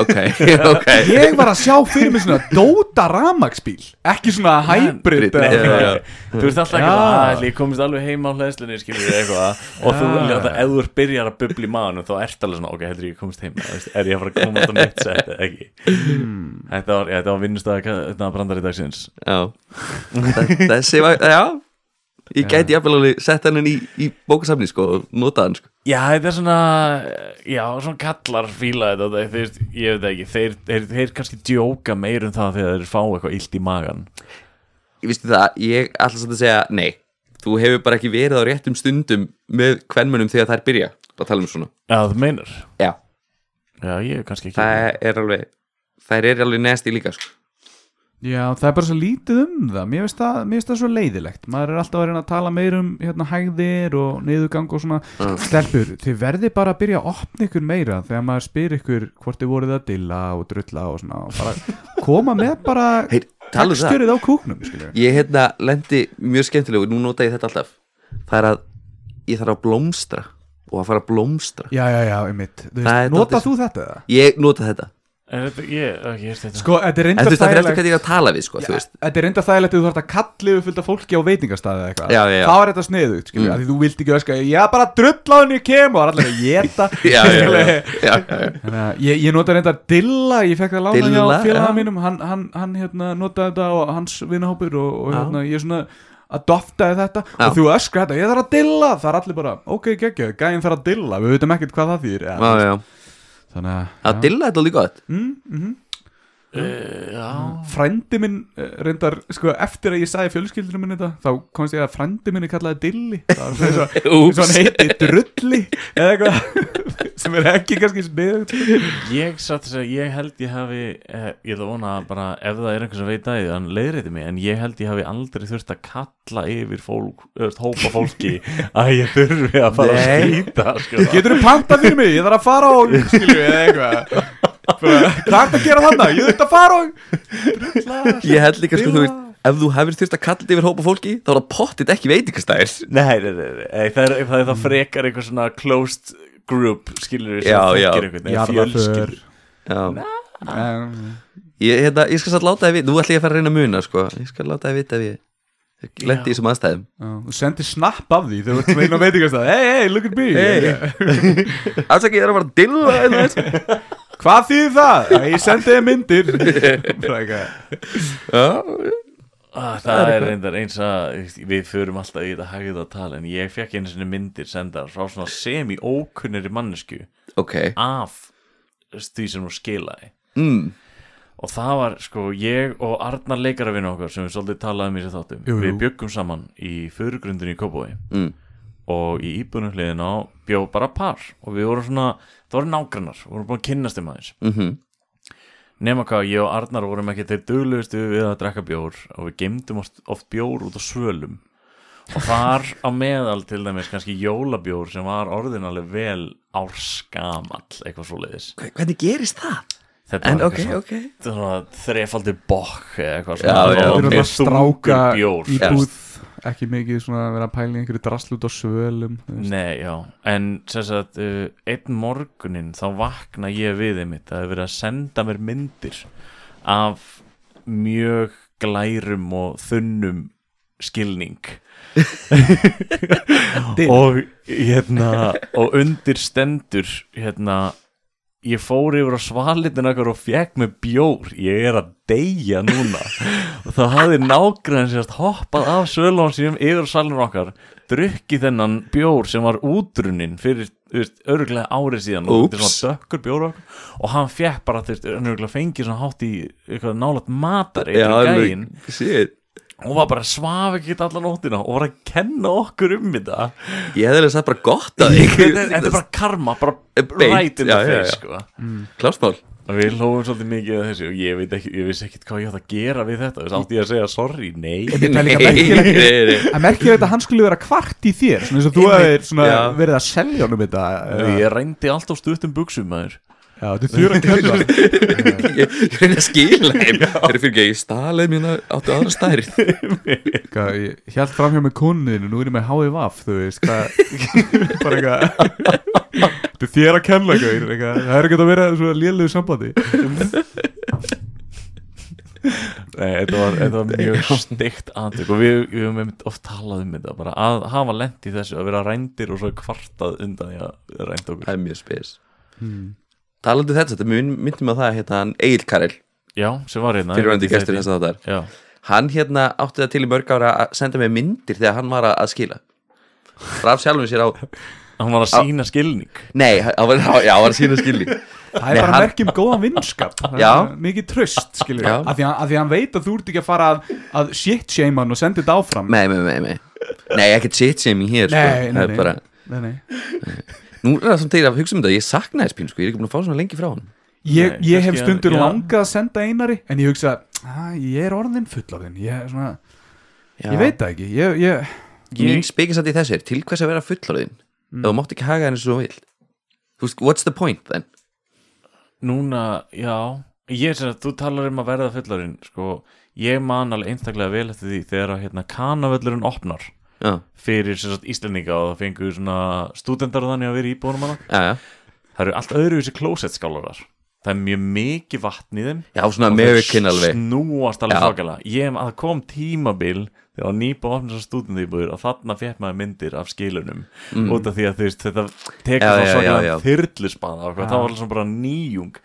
C: ok, ok
A: ég var að sjá fyrir mig svona Dota ramagsbíl, ekki svona hybrid
C: Hybrid,
A: eða-
C: já, já, já.
B: Þú veist alltaf ekki
A: Já.
B: að ætli ég komist alveg heim á hlæðslunni skilur við eitthvað og þú vilja að ef þú ert byrjar að bubli maðurinn þá ert alveg svona ok, heldur ég komist heim þú veist, er ég að fara að komast á mitt set eða ekki Þetta var, já, þetta var vinnustæða þetta var brandari dagsins
C: Já Þa- Þessi var, já Ég gæti jafnvel alveg sett hann inn í, í bókasafni sko og notað hann sko
B: Já, þetta er svona já, svona kallar fíla þetta þeir, þeir, ég veit ekki, þeir, þeir, þeir kannski djóka meir um það þegar þeir fá eitthvað illt í magan
C: Ég vistu það, ég ætla samt að segja nei Þú hefur bara ekki verið á réttum stundum með kvenmunum þegar þær byrja að tala um svona
B: Já, þú meinar
C: Já,
B: Já, ég er kannski ekki
C: það er alveg Þær eru alveg nesti líka sko
A: Já, það er bara svo lítið um það Mér finnst það, mér finnst það svo leiðilegt Maður er alltaf að reyna að tala meir um hérna, hægðir og niðurgang og svona
C: Mm.
A: Stelpur, þið verði bara að byrja að opna ykkur meira þegar maður spyr ykkur hvort þið voruð að dilla og drulla og svona og bara koma með bara
C: Heyr, talaðu um það.
A: texturinn á kúknum skilurðu.
C: Ég hérna lendi mjög skemmtilegu Nú nota ég þetta alltaf Það er að ég þarf að blómstra og að fara að blómstra
A: Já, já, já, einmitt Þú
C: Það er
A: veist, Nota
C: dálítið-
A: þú þetta eða?
C: Ég nota þetta
B: En þetta, ég, ok, ég er þetta
A: Sko, þetta er
C: En
A: reynda
C: þú veist, það er eftir
A: þægilegt
C: hvað ég er að tala við, sko,
A: Já,
C: þú veist
A: Þetta er reynda þægilegt ef þú þarf að kalli upp fylgta fólki á veitingastæði eða eitthvað
C: Já, já, já.
A: Þá er þetta sniðugt, skilur, mm. því þú vilt ekki öskra Ég bara drull á henni ég kem og það er allir að geta
C: Já, já, já,
A: skilur.
C: já, já, já.
A: Þannig að Ég, ég nota reynda Dilla, ég fekk það lána
C: Dilla,
A: hjá félaga
C: já.
A: mínum Hann, hann, hann hérna, notaði þetta og hans vinahópur og, og
C: Já.
A: hérna, ég svona adoptaði þetta
C: Já.
A: og þú öskra þetta, ég þarf að dilla það er allir bara, ok, geggjöð, gæinn þarf að dilla við veitum ekkert hvað það þýr
C: já, já.
A: þannig að,
C: Að dilla þetta líka gott
A: Mm, mhm.
B: uh, Já,
A: frændi minn eh, reyndar, sko, eftir að ég sagði fjölskyldinu minn þetta, þá komst ég að frændi minn er kallaði Dilli Það var eins og- eins og
C: Úps,
A: hann heiti Drulli eða eitthvað sem er ekki kannski sniðugt
B: ég satt þess að ég held ég hafi eh, Ég ætla að vona að bara ef það er einhver sem veit að því Þannig leiðriti mig, en ég held ég hafi aldrei þurft að kalla yfir fólk eh, Hópa fólki að ég þurfi að fara að
C: Nei.
B: skýta sko.
A: getur þú panta fyrir mig, ég þarf að fara og skilju eða eitthvað Bara, hvað er að gera þarna, ég þurft að fara og Drulla
C: ég held líka, sko, þú veist Ef þú hefur þurft að kalla þetta yfir hópa fólki Þá er það pottit ekki veitingastæðir
B: Nei, nei, nei, nei, nei það, er, það er það frekar einhver svona closed group skilur við sem
C: Já, já.
B: þekkir einhvern eða
A: Jarðaför
B: fjölskyldur.
C: Já,
A: Em,
C: ég, hérna, ég skal satt láta það við Nú ætla ég að fara að reyna að muna, sko Ég skal láta það vita ef ég Lendi í þessum aðstæðum
A: já, Þú sendir snapp af því þegar þú ert með veitingast að Hey, hey, look at me
C: Alls ekki, ég er að fara að dilla hérna, þessu.
A: Hvað þýð það? Æ, Ég sendi þér myndir Bara eitthvað.
C: Já,
B: Ah, það er reyndar eins að við förum alltaf í þetta hægða að tala en ég fekk einu sinni myndir sendar frá svona semi-ókunnari mannesku
C: ok
B: af því sem hún skilaði
C: mm.
B: og það var sko ég og Arnar leikarafinn okkar sem við svolítið talaðum í þessu þáttum
A: Jú, jú.
B: við bjöggum saman í fyrirgrundinu í Kópói
C: Mm.
B: og í íbunum hliðin á bjó bara par og við vorum svona, það voru nágrannar vorum búin að kynnast um aðeins
C: Mm
B: nema hvað ég og Arnar vorum ekki þeir duglegustu við að drekka bjór og við geymdum oft, oft bjór út á svölum og þar á meðal til dæmis kannski jólabjór sem var orðin alveg vel árskamall eitthvað svoleiðis
C: Hvernig gerist það?
B: þetta
C: En
B: var
C: ok,
B: eitthvað svona,
C: ok
B: svona þrefaldur bokk eða eitthvað
C: Já,
B: svona
C: já.
B: og
A: Þetta er
B: mjög
A: að stráka
B: þungur bjór
A: í
B: þú veist.
A: búð Ekki mikið svona að vera að pæla í einhverju drasl út á svölum þú veist.
B: Nei, já, en sem sagt, uh, einn morgunin þá vakna ég við þeim mitt að vera að senda mér myndir af mjög glærum og þunnum skilning og hérna og undir stendur hérna ég fór yfir á svalitin akkur og fekk með bjór ég er að deyja núna og það hafði nágræðin sérst hoppað af svölun sínum yfir salin okkar drukkið þennan bjór sem var útrunin fyrir þú veist, örgulega árið síðan og þetta er
C: Úps.
B: svona dökkur bjór okkur og hann fekk bara þú veist, örgulega fengið svona hátt í eitthvað nálat matari
C: Já,
B: gæin,
C: alveg, shit
B: hún var bara svaf ekki allan nóttina og var að kenna okkur um þetta
C: Ég hefði alveg sagt bara gott að þig
B: þetta er- þetta er bara karma, bara
C: Beint,
B: right in the
C: já, já,
B: face
C: já.
B: sko
C: Klásmál
B: Og Við hlófum svolítið mikið að þessu og ég, veit ekki, ég vissi ekkit hvað ég átt að gera við þetta Þess átti ég að segja sorry, nei
A: Þetta er líka merkilegt Það merkir þetta að hann skulle vera kvart í þér Svona eins og þú hefur svona
C: Já.
A: verið að selja honum þetta eða-
B: Ég reyndi allt á stuttum buksum maður
A: Já, þetta er þjóra að kenna
C: Ég ég reyni að skila þeim Það er fyrir ekki, ég stalaði mín áttu aðra stærð
A: Hvað, Ég held framhjá með koninu, nú er ég með HVF Þú veist, hvað Bara eitthvað Þetta er þér að kenna eitthvað, eitthvað Það er ekki að vera svona lélugu sambandi
B: Nei, þetta var, þetta var mjög steikt aðtök og við, við höfum einmitt oft talað um þetta bara að hafa lent í þessu að vera reyndir og svo kvartað undan því að reynd okkur
C: Það er mjög spes Talandi um þetta, þetta mun- myndi mig á það að hérna, hann Egil Karel,
B: Já, sem var hérna
C: fyrirvændi gestur þess að þetta
B: Já,
C: Hann hérna átti það til í mörg ára að senda mér myndir þegar hann var að- að skila Raf sjálfum sér á
B: hann var að sína skilning
C: Nei, hann var, já, hann var að sína skilning
A: Það er
C: Nei,
A: bara
C: hann-
A: merki um góðan vinskap Það er
C: Já.
A: svona Mikið tröst, skilur
C: Já.
A: við Af því að- af því að hann veit að þú ert ekki að fara að, að shit shame hann og senda þetta áfram
C: Nei, nei, nei, nei Nei, ekkert shit shaming hér sko.
A: Nei, nei,
C: Það er
A: nei.
C: bara,
A: nei, nei.
C: Nú er það samt þegar að hugsa um þetta Ég saknaði spín, sko, ég er ekki búin að fá svona lengi frá hann
A: Ég,
B: Nei,
A: ég hef
B: kannski að-
A: stundur
B: já.
A: langað að senda einari En ég hugsa, "Ah, ég er orðin fullorðin Ég, er svona,
C: já.
A: ég veit það ekki ég, ég,
C: Mín spekir samt í þessu er til hvers að vera fullorðin mm. þú mátt ekki haga henni svo vilt Þú veist, what's the point then?
B: Núna, já Ég sem að þú talar um að verða fullarinn sko, Ég man alveg einstaklega vel eftir því þegar að hérna, kanavöllurinn opnar
C: Já,
B: fyrir sem sagt Íslendinga og það fengu svona stúdendar þannig að vera íbúinum hana
C: já, já
B: Það eru allt öðruvísi klósetskálarar það er mjög mikið vatn í þeim
C: já, svona
B: og
C: American
B: þeir
C: alveg
B: snúast alveg
C: Já.
B: svakalega ég hef að það kom tímabil þegar var nýpa að opna svo stúdendýbúður að þarna fekk maður myndir af skilunum út af því að þú veist þetta tekur
C: Mm. Já,
B: það
C: já, já, já.
B: svakalega þyrlusbana og hvað,
A: Já.
B: það var svona bara nýjung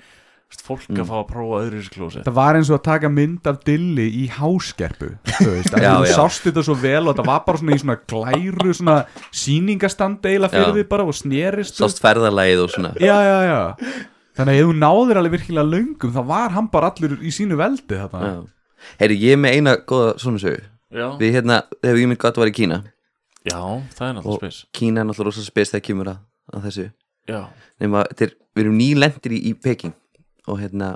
B: Þú veist, fólk
C: Mm.
B: að fá að prófa öðru í klósi
A: Það var eins og að taka mynd af dilli í háskerpu Þú veist,
C: Já,
A: að þú
C: já.
A: sást þetta svo vel og þetta var bara svona í svona glæru svona sýningastand eila fyrir
C: Já.
A: því bara og snerist
C: sást ferðalagið og svona
A: Já, já, já Þannig að ef þú náðir alveg virkilega löngum þá var hann bara allur í sínu veldi þetta
C: Já. Heyri, ég er með eina góða svona sögu
B: já.
C: Við hérna, þegar ég mynd gott var í Kína
B: já, það er
C: Og-
B: náttúrulega spes
C: Kína er náttúrulega rosa spes þegar kemur að, að þessu
B: já,
C: Nefna, þeir, Við erum nýlendir í, í Peking Og hérna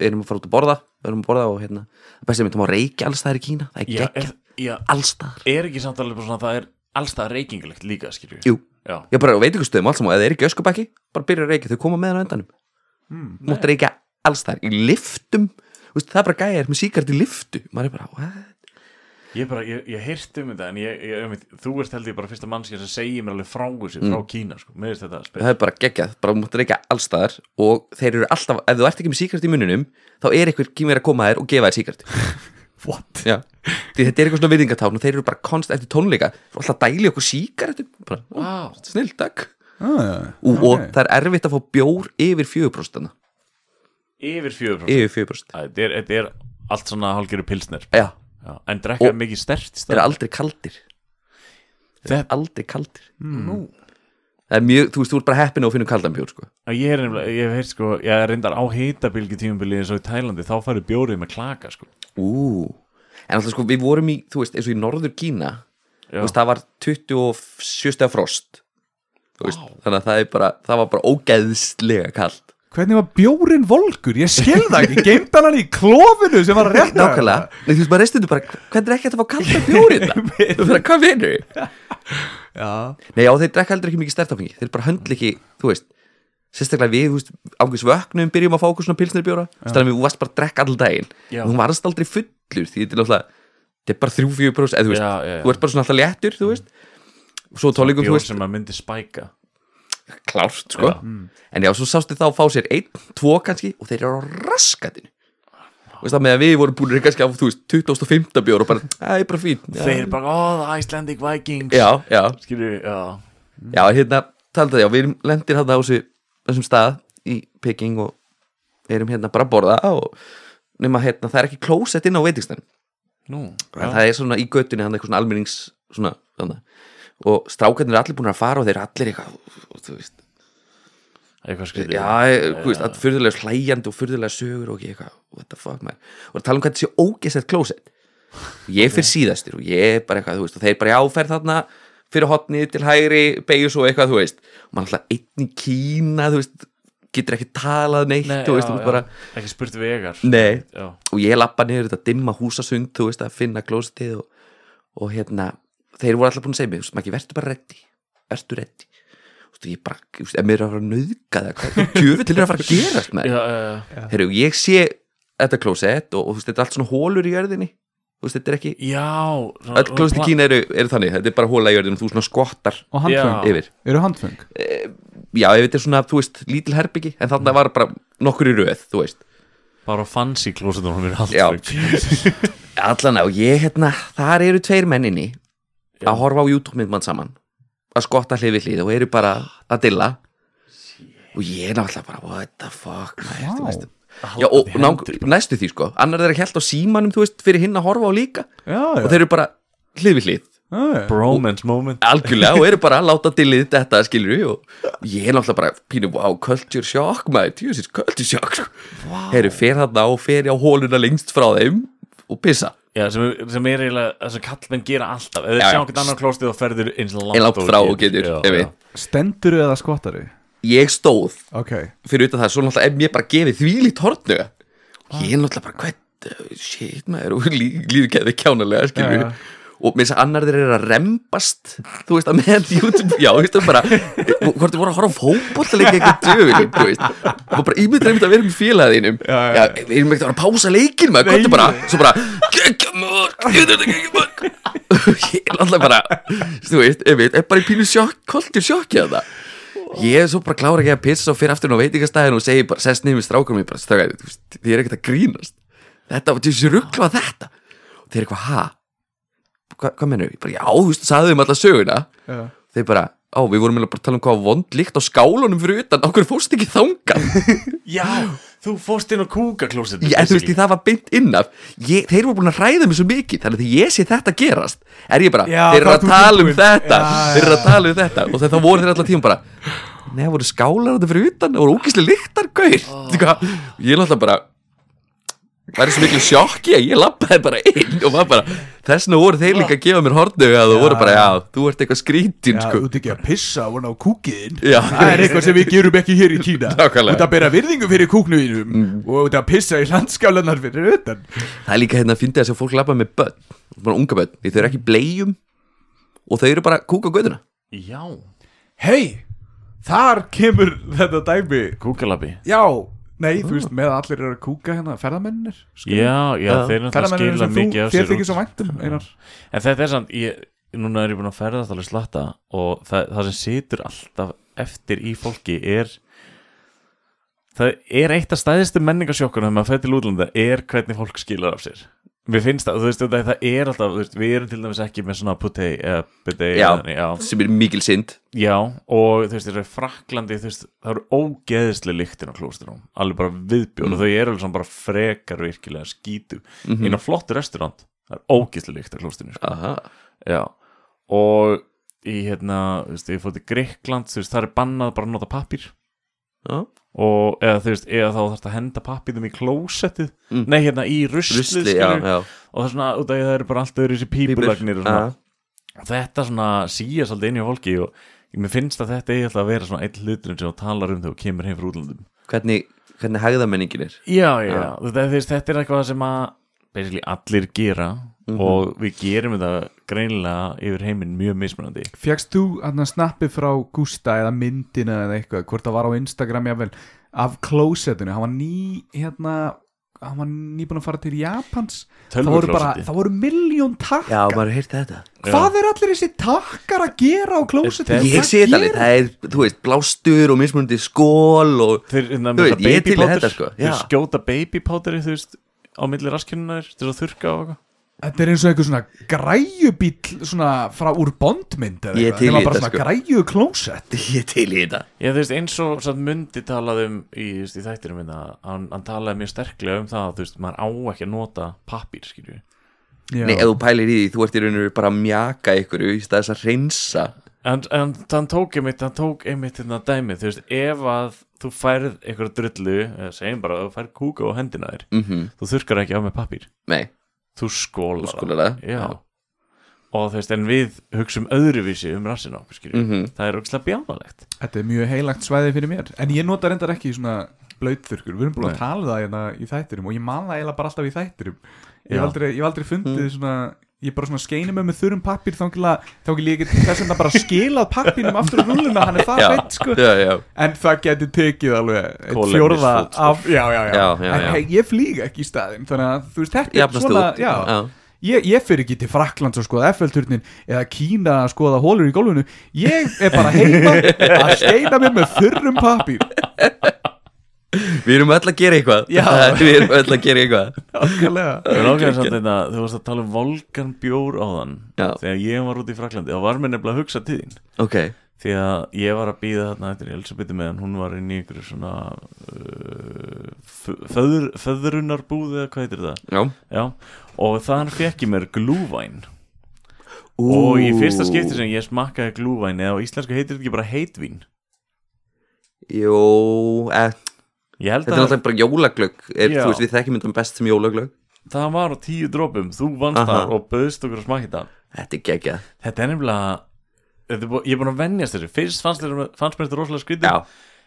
C: Við erum að fara út að borða Við erum að borða og hérna Bestið myndum að reykja alls staðar í Kína Það er
B: já,
C: geggja
B: er, já
C: alls staðar
B: er ekki samt alveg bara svona að það er allstað reykingilegt líka skilju
C: Jú,
B: já,
C: ég bara veit ykkur stöðum alls saman, Ef þeir eru ekki öskubæki, bara byrja að reykja Þau koma með hann á endanum
A: Hmm.
C: Mátt reykja alls staðar Í liftum Þú veist, Það er bara gæjar með síkart í liftu Maður er bara, "What?"
B: Ég bara, ég, ég heyrti um þetta en ég, ég, um, þú ert held ég bara fyrsta mannskja sem segir mér alveg frá þessu, frá Kína sko, með þess þetta spil.
C: Mm. það er bara geggjað, bara mútt reykja allstaðar og þeir eru alltaf, ef þú ert ekki með síkart í mununum þá er einhver kýmur að koma að þér og gefa þér síkart
A: What?
C: Já. því þetta er eitthvað svona virðingatákn og þeir eru bara konst eftir tónleika og alltaf dæli okkur síkart bara, ó,
B: Vá.
C: snill, takk
A: Ah,
C: og, og
A: ok.
C: það er erfitt að fá bjór yfir 4%
B: Yfir fjögur frá.
C: yfir 4%
B: Þetta er, þetta er allt svona hálfgeru pilsner.
C: Já,
B: Já, en drekka
C: Og-
B: mikið stert í
C: þeir
B: stað.
C: eru aldrei kaldir
B: Þetta,
C: aldrei kaldir
B: nú.
C: það er mjög, þú veist, þú ert bara heppin á að finna kaldan bjór sko.
B: Já, Ég er nefnilega, ég hef heyrt sko, ég er reyndar á heitabilgi tímabilið eins og í Tælandi, þá færi bjórið með klaka sko.
C: Ú, en alltaf sko við vorum í, þú veist, eins og í norður Kína
B: Já.
C: þú veist, það var 27 stað frost Þú veist, þannig að það, er bara, það var bara ógeðslega kalt
A: Hvernig var bjórin volgur? Ég skil það ekki, geimt hann hann í klófinu sem var að rétta
C: nákvæmlega, Nei, þú veist, maður reistundu bara hvernig er ekki hægt að fá kalda bjórið það bara, hvað vinur
A: Já,
C: nei, já, þeir drekka heldur ekki mikið stertafengi þeir bara höndla ekki, þú veist sérstaklega við, þú veist, ángjörs vöknum byrjum að fá okkur svona pilsnirbjóra þannig að við varst bara að drekka all daginn
B: Já.
C: þú varst aldrei fullur því þetta er náttúrulega þetta er bara 3-4 brós, eða þú veist,
B: Já, já, já.
C: þú ert bara svona alltaf léttur þú veist, svo á tónleikum, þú
B: Bjór
C: veist
B: sem að myndi spæka.
C: klárt sko
B: Já.
C: en já, svo sástu þá fá sér einn, tvo kannski og þeir eru á raskatinu og það með að við vorum búin kannski af, þú veist, 2015 bjór og bara, það er bara fín já.
B: Þeir bara, oh, the Icelandic Vikings.
C: já, já,
B: Skilju, já.
C: já, hérna taldaði, já, við erum lendir hérna á þessu þessum stað í Peking og erum hérna bara að borða og nema hérna, það er ekki klósett inn á veitingstæðin
B: Nú.
C: það er svona í göttunni, hann er eitthvað svona almennings svona, þannig og strákarnir eru allir búin að fara og þeir eru allir eitthvað þú veist,
B: Eitthvað skrítið.
C: Já, ég- þú veist, að fyrðulega hlæjandi og fyrðulega sögur og ég eitthvað, what the fuck man og að tala um hvað þetta sé ógeðsett klósett ég fyrir síðastur og ég er bara eitthvað, þú veist og þeir bara jáferð þarna fyrir hotni til hægri, beigjus og eitthvað, þú veist og maður alltaf einn í Kína, þú veist getur ekki talað neitt,
B: Nei,
C: þú
B: já,
C: veist þú
B: já.
C: ert bara,
B: Ekki spurt vegar.
C: nei
B: Já.
C: og ég lappa niður þetta dimma húsasund, þú veist, að finna klósettið og, og hérna, þeir voru alltaf búin að segja mig, þú veist, maður verður bara reddi verður reddi og ég bara, þú veist, ef mér er að fara að nauðga það hvað djöfull er að fara að gerast með
B: Já, já, já.
C: þegar ég sé þetta klósett og, og þú veist, þetta er allt svona hólur í jörðinni þú veist, þetta er ekki
B: Já
C: öll klósett í Kína eru, eru þannig, þetta er bara hóla í jörðinni og þú svona skottar
A: og handfeng,
B: Já.
C: yfir Eh,
A: eru handfeng
C: já, ef þetta er svona, þú veist, lítil herbyggi en
B: Mm.
C: þannig var bara nokkur í röð, þú veist
B: Bara fancy klósetunum mér
C: Já.
B: alltaf
C: Allan á, ég hérna, þar eru tveir menninni að horfa á YouTube myndmann saman að skotta hlið við hlið og eru bara að dilla og ég er náttúrulega bara, what the fuck maður,
A: Vá.
C: þú veist. Já, og
B: því
C: náng, næstu því sko annar þeirra held á símanum, þú veist, fyrir hinn að horfa á líka
A: Já, já,
C: og þeir eru bara hlið við hlið
A: já, já.
B: Bromance moment
C: algjörlega og eru bara að láta dillið þetta skilur við og ég er náttúrulega bara pínu, wow, culture shock maður, tjóðsins culture shock sko. wow. heyrðu, fer þarna og fer á hóluna lengst frá þeim og pissa
B: Já, sem, sem er eiginlega Það sem kallmenn gera alltaf Ef þið
C: Já, já.
B: sjá okkur annar klósið og ferður eins langt,
C: en langt
B: og
C: frá
B: þú
C: og getur,
B: Já,
C: ef
B: já.
C: við
A: Stenduru eða skottaru?
C: ég stóð
A: Ok,
C: fyrir utan það, svo náttúrulega ef mér bara gefið þvílíkt hornu ég er náttúrulega bara hvað uh, shit maður, og lí- líður geðið kjánalega skilur
A: Já, já.
C: og með þess að annar þeir eru að rembast þú veist að með YouTube, já, þú veist að bara eh, hvort þið voru að horfa á fótbollaleik eitthvað döfum, þú veist og bara ímyndir einmitt að vera með félagðinum já,
A: já,
C: já, við erum ekkert að vera að pása leikin maður, hvort þið
A: Nei.
C: bara, svo bara geggjamörk, ég veit þetta geggjamörk ég er alltaf bara, þú veist, ég veit, er bara í pínu sjokk, koltur sjokk í þetta ég er svo bara klára ekki að pissa og fyrir aftur inn á veitingastæðin og segi bara, sest niður með strákum ég bara, strákar, þú veist, þið er ekkert að grínast þetta, þú veist, ruggla þetta og þeir eru eitthvað, ha? Hva, hvað mennur? Ég bara, já, þú veist, sagðu þeim alla söguna
A: Já.
C: þeir bara, á, við vorum eiginlega bara að tala um hvað vond líkt á skálunum fyrir utan, okkur fórst ekki þangan
B: Já, þú fórst inn á kúkaklósinu
C: ég, en þú veist, því það var beint inn af ég, þeir voru búin að hræða mig svo mikið þannig að því ég sé þetta gerast er ég bara,
A: Já,
C: þeir eru
A: þá ert
C: að
A: þú
C: tala um
A: tilbúin.
C: þetta
A: Já, já,
C: þeir eru
A: já.
C: að tala um þetta og þegar þá voru þeir allan tíma bara neða, voru skálar þetta fyrir utan það voru ógæslega lyktar, gaur oh. ég er alltaf bara væri svo miklu sjokki að ég lappaði bara inn og var bara, þess vegna voru þeir líka að gefa mér hornu að þú voru bara, já, þú ert eitthvað skrítin,
A: Já,
C: sko
A: þú ert ekki að pissa og ná kúkiðinn
C: Já.
A: Það er eitthvað sem við gerum ekki hér í Kína
C: Nákvæmlega.
A: Þú ert að bera virðingu fyrir kúknuðinum mm. Og þú ert að pissa í landskálanar fyrir utan
C: Það er líka hérna að fyndi að sjá fólk lappa með börn bara unga börn, því þau eru ekki blegjum og þau eru bara að kúka á göðuna
B: Já,
A: Hei, þar kemur þetta dæmi
B: kúkalabbi
A: Já, nei, þú veist, með að allir eru að kúka hérna Ferðamennir
B: Já, já,
C: Já.
B: þeir eru náttúrulega að
A: Ferðamennir
B: skila
A: sem þú,
B: mikið af
A: þér
B: sér
A: þykir
B: út.
A: svo væntum Einar
B: En þetta er samt, ég, núna er ég búin að ferðast alveg slatta og það, það sem situr alltaf eftir í fólki er það er eitt af stæðistu menningasjokkunum þegar maður fer til útlanda er hvernig fólk skilur af sér Mér finnst það, þú veist, það, það er alltaf þú veist, við erum til dæmis ekki með svona putei eða butei,
C: Já.
B: eða- já,
C: sem er mikil synd
B: já, og þú veist, þeir eru í fraklandi, þú veist, það eru ógeðislega lyktin á klóstunum, alveg bara viðbjóð og þau eru alveg svona bara frekar virkilega skítu inn á flottu restaurant það er ógeðislega lykt á klóstunum sko.
C: Aha.
B: Já, og í hérna, þú veist, ég fór til Greikland, þú veist, það er bannað bara að nota pappir
C: Já.
B: og eða þú veist, eða þá þarfst að henda pappirnum í klósettið, nei hérna í ruslið,
C: Rusli, já,
B: skilurðu.
C: já.
B: og það er svona, út af því að það eru bara alltaf öðru þessi pípulagnir og svona, og þetta svona síja svolítið inn í fólki og mér finnst að þetta eigi alltaf að vera svona einn hluturinn sem þú talar um þegar þú kemur heim frá útlandum
C: Hvernig, hvernig hegðamenningin er
B: Já, já, já. Þetta, þú veist, þetta er eitthvað sem að basically allir gera og við gerum þetta greinilega yfir heiminn mjög mismunandi
A: Fjækst þú hann snappi frá Gústa eða myndina eða eitthvað, hvort það var á Instagram jáfnvel, af klósettinu hann var ný, hérna hann var nýbúin að fara til Japans það voru, bara,
B: Tölvuklósetti.
A: það voru miljón takkar
C: Já, maður heyrti þetta
A: hvað er allir þessi takkar að gera á klósettinu
C: Ég sé þetta alveg, það er, þú veist, blástur og mismunandi skól og
B: Þeir, hérna,
C: Þú
B: með
C: veist,
B: það
C: ég er til í
B: babypowder,
C: þetta, sko.
B: Þeir
C: Já.
B: skjóta babypátari, þú veist á milli raskinunar, til að þurrka og eitthvað
A: þetta er eins og einhver svona græjubíl svona frá úr bondmynd eða
C: Ég
A: eitthvað,
C: til í
A: nema bara
C: þetta,
A: svona
C: sko.
A: græju klósett
C: Ég er til í þetta
B: Já, þú veist, eins og satt Mundi talaði um í, þú veist, í þættirum minna, hann, hann talaði mjög sterklega um það, að, þú veist, maður á ekki að nota pappír, skilju
A: Já.
C: Nei, ef þú pælir í því, þú ert í rauninu bara að mjaka ykkur í stað þess að reynsa
B: En, en hann tók einmitt, hann tók einmitt hérna dæmið, þú veist, ef að þú færð einhverja drullu, eða segjum bara að þú færð kúka á hendina þér,
C: mm
B: þú þurrkar ekki á með pappír,
C: Nei,
B: þú skólar
C: þú
B: það.
C: skólar það
B: Já. Og þú veist, en við hugsum öðruvísi um rassin á, skilju
C: Mhm.
B: Það er ógstlega bjánvalegt
A: þetta er mjög heilagt svæði fyrir mér en ég nota reyndar ekki svona blöytþurkur við erum búin
B: Nei.
A: að tala um það hérna í þættirum og ég man það eiginlega bara alltaf í þættirum ég
B: Já.
A: hef aldrei, ég hef aldrei fundið svona ég bara svona skeini mig með þurrum pappir þá ekki líka þess að það bara skilað pappinum aftur úr rúluna, hann er það
C: Já,
A: fett sko
C: já, já,
A: en það getur tekið alveg einn
B: Kolefnisfót,
A: fjórða
B: sko.
A: af, já, já, já,
C: Já, já,
A: en
C: já.
A: hei, ég flýg ekki í staðin þannig að þú veist, þetta er
C: jafnast
A: svona
C: út
A: já, ég, ég fyrir ekki til Fraklands að skoða FL-turnin eða Kína að skoða hólur í gólfinu ég er bara heima að skeina mér með þurrum pappir
C: Við erum öll að gera eitthvað
A: Já.
C: Við erum öll að gera eitthvað
A: okkarlega
B: Ég lókaði samt þetta, þú varst að tala um Volkan bjór á þann
C: Já.
B: Þegar ég var út í Fraklandi, þá var mér nefnilega að hugsa til þín
C: Ok,
B: Því að ég var að býða þarna eftir Elisabethu meðan hún var inn í ykkur svona uh, fö- föður, föðrunarbúð eða hvað heitir það
C: já
B: Já, og þar fekk ég mér glúvæn Og í fyrsta skipti sem ég smakkaði glúvæn eða á íslensku heitir þetta ekki bara heitvín
C: Jó, eh,
B: Ég held
C: þetta er
B: að
C: náttúrulega bara jólaglögg er,
B: Já.
C: Þú veist, við þekkjum þetta best sem jólaglögg
B: það var á tíu dropum, þú vannst
C: Aha.
B: þar og böðst okkur að smakka þetta
C: Þetta er geggjað
B: Þetta er nefnilega þetta er bú- Ég er búin að venjast þessu Fyrst fannst, þér, fannst mér þetta rosalega skrítið
C: Já,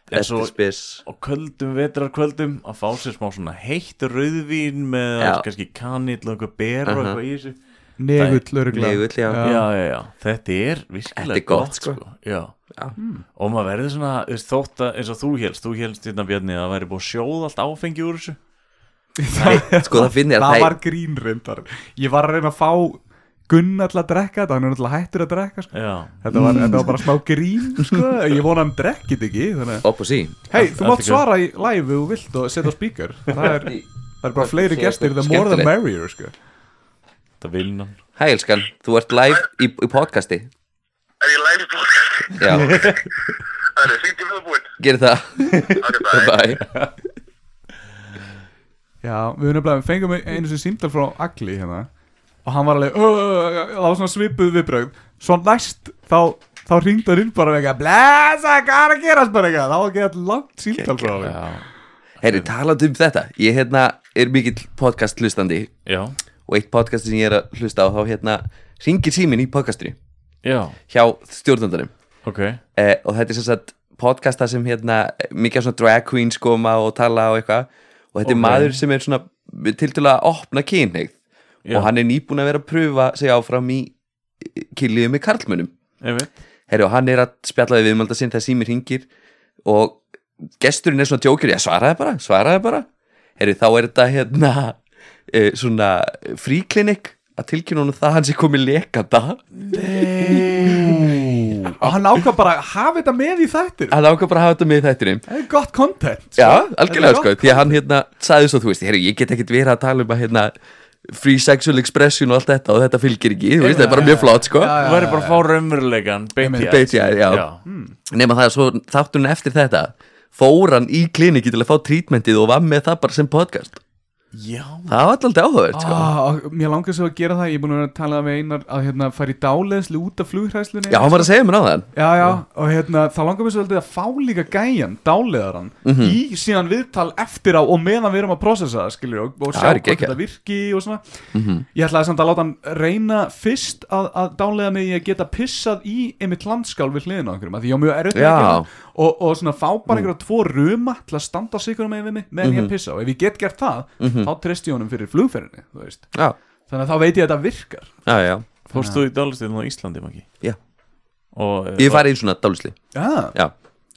B: En
C: þetta
B: svo
C: er spes
B: á köldum vetrarköldum Að fá sér smá svona heitt rauðvín Með
C: Já. Uh-huh.
B: kannski kanill og eitthvað ber og
C: Aha.
B: eitthvað í þessu
A: negull öruglega
C: Negull, já.
B: já. já, já, Þetta er virkilega
C: Þetta er gott, sko.
B: Já
C: Já.
B: Og maður verður svona, þú veist, þótt að eins og þú helst, þú helst hérna Bjarni að það væri búið að sjóða allt áfengi úr þessu
A: það,
C: Sko það finn ég að
A: það
C: það
A: var grín reyndar ég var að reyna að fá gunn alltaf að drekka þetta, hann er alltaf hættur að drekka sko.
B: já
A: þetta, var, þetta var bara smá grín sko. ég vona hann drekkið ekki þannig að
C: Opp og sí
A: Hei,
B: Allt-
A: þú
B: allt
A: mátt
B: í góðu.
A: svara í live ef þú vilt og setja á speaker það er, það er bara fleiri gestir, the more the
C: Skemmtilegt.
A: merrier sko.
B: þetta vilna
C: Hæ elskan, þú ert live í, í podcasti
D: Er ég live í podcast?
C: Já,
D: Það er fint í viðbúinn.
C: gerir það
D: Ok, bye.
C: Bye
A: Já, við nefnilega fengum einu sem símtal frá Agli hérna og hann var alveg "Ö, ö, ö", það var svona svipuð viðbrögð svo næst þá þá ringd hann inn bara eitthvað blessa, hvað er að gerast bara eitthvað þá var ekki alltaf langt símtal frá hann
B: já
C: Herri, talandi um þetta Ég hérna er mikill podcast hlustandi
B: já
C: Og eitt podcast sem ég er að hlusta á Þá hérna ringir síminn í podcastinu
B: já
C: Hjá stjórnandarum
B: ok
C: eh, Og þetta er sem sagt podcast þar sem hérna Mikið af svona drag queens koma og tala og eitthvað Og
B: Ok.
C: þetta er maður sem er svona Til til að opna kynneigð
B: Já.
C: Og hann er nýbúin að vera að pröfa sig áfram í Kynliðu með karlmönnum
B: einmitt
C: Herru, og hann er að spjalla við viðmælda sinn þegar sími ringir og gesturinn er svona djókur, já svaraði bara, svaraði bara Herru, þá er þetta hérna uh, svona fríklinik að tilkynna honum það að hann sé komið lekanda
A: og hann ákvað bara að hafa þetta með í þættir
C: hann ákvað bara að hafa þetta með í þættinum
A: það er gott content sko.
C: Ah. Já, algjörlega
A: Þetta
C: sko,
A: er
C: því að hann hérna sagði svo, þú veist, herru, ég get ekkit verið að tala um að hérna free sexual expression og allt þetta og þetta fylgir ekki, þú veist, það er bara mjög flott sko
A: Já,
B: þú verður bara að fá raunverulegan beint í
C: Beint í æð, já.
B: já
C: nema það að svo þáttunum eftir þetta fór hann í kliniki til að fá trítmentið og var með það bara sem podcast
B: já
C: það var alltaf áhugavert sko.
A: Ah, og mér langar svo að gera það, ég er búin að vera að tala með einar að hérna, fara í dáleðslu út af flughræslinni
C: já, hann var að segja mér á það
A: já, já, og hérna, þá langar mér svolítið að fá líka gæjan, dálegaran
C: Mhm.
A: í síðan viðtal eftir á og meðan við erum að processa það, skilur og, og
C: Já,
A: sjá
C: það er
A: hvort
C: geggjað. Mhm.
A: þetta virki og svona ég ætlaði samt að láta hann reyna fyrst að, að dálega mig í að geta pissað í einmitt landskál við hliðina á einhverjum, af því ég á mjög erfitt með
C: Já.
A: að
C: Mhm.
A: gera það. og, og svona fá bara einhverja tvo ruma til að standa sigur með við mig meðan ég pissa og ef ég get gert það,
C: Mhm.
A: þá treysti ég honum fyrir flugferðinni, þú veist
C: já,
A: þannig að þá veit ég að þetta virkar
C: já, já,
B: fórst þú í dálistin á Íslandi Maggi
C: já.
B: og eh,
C: ég farið í svona dálisli
A: Já,
C: já.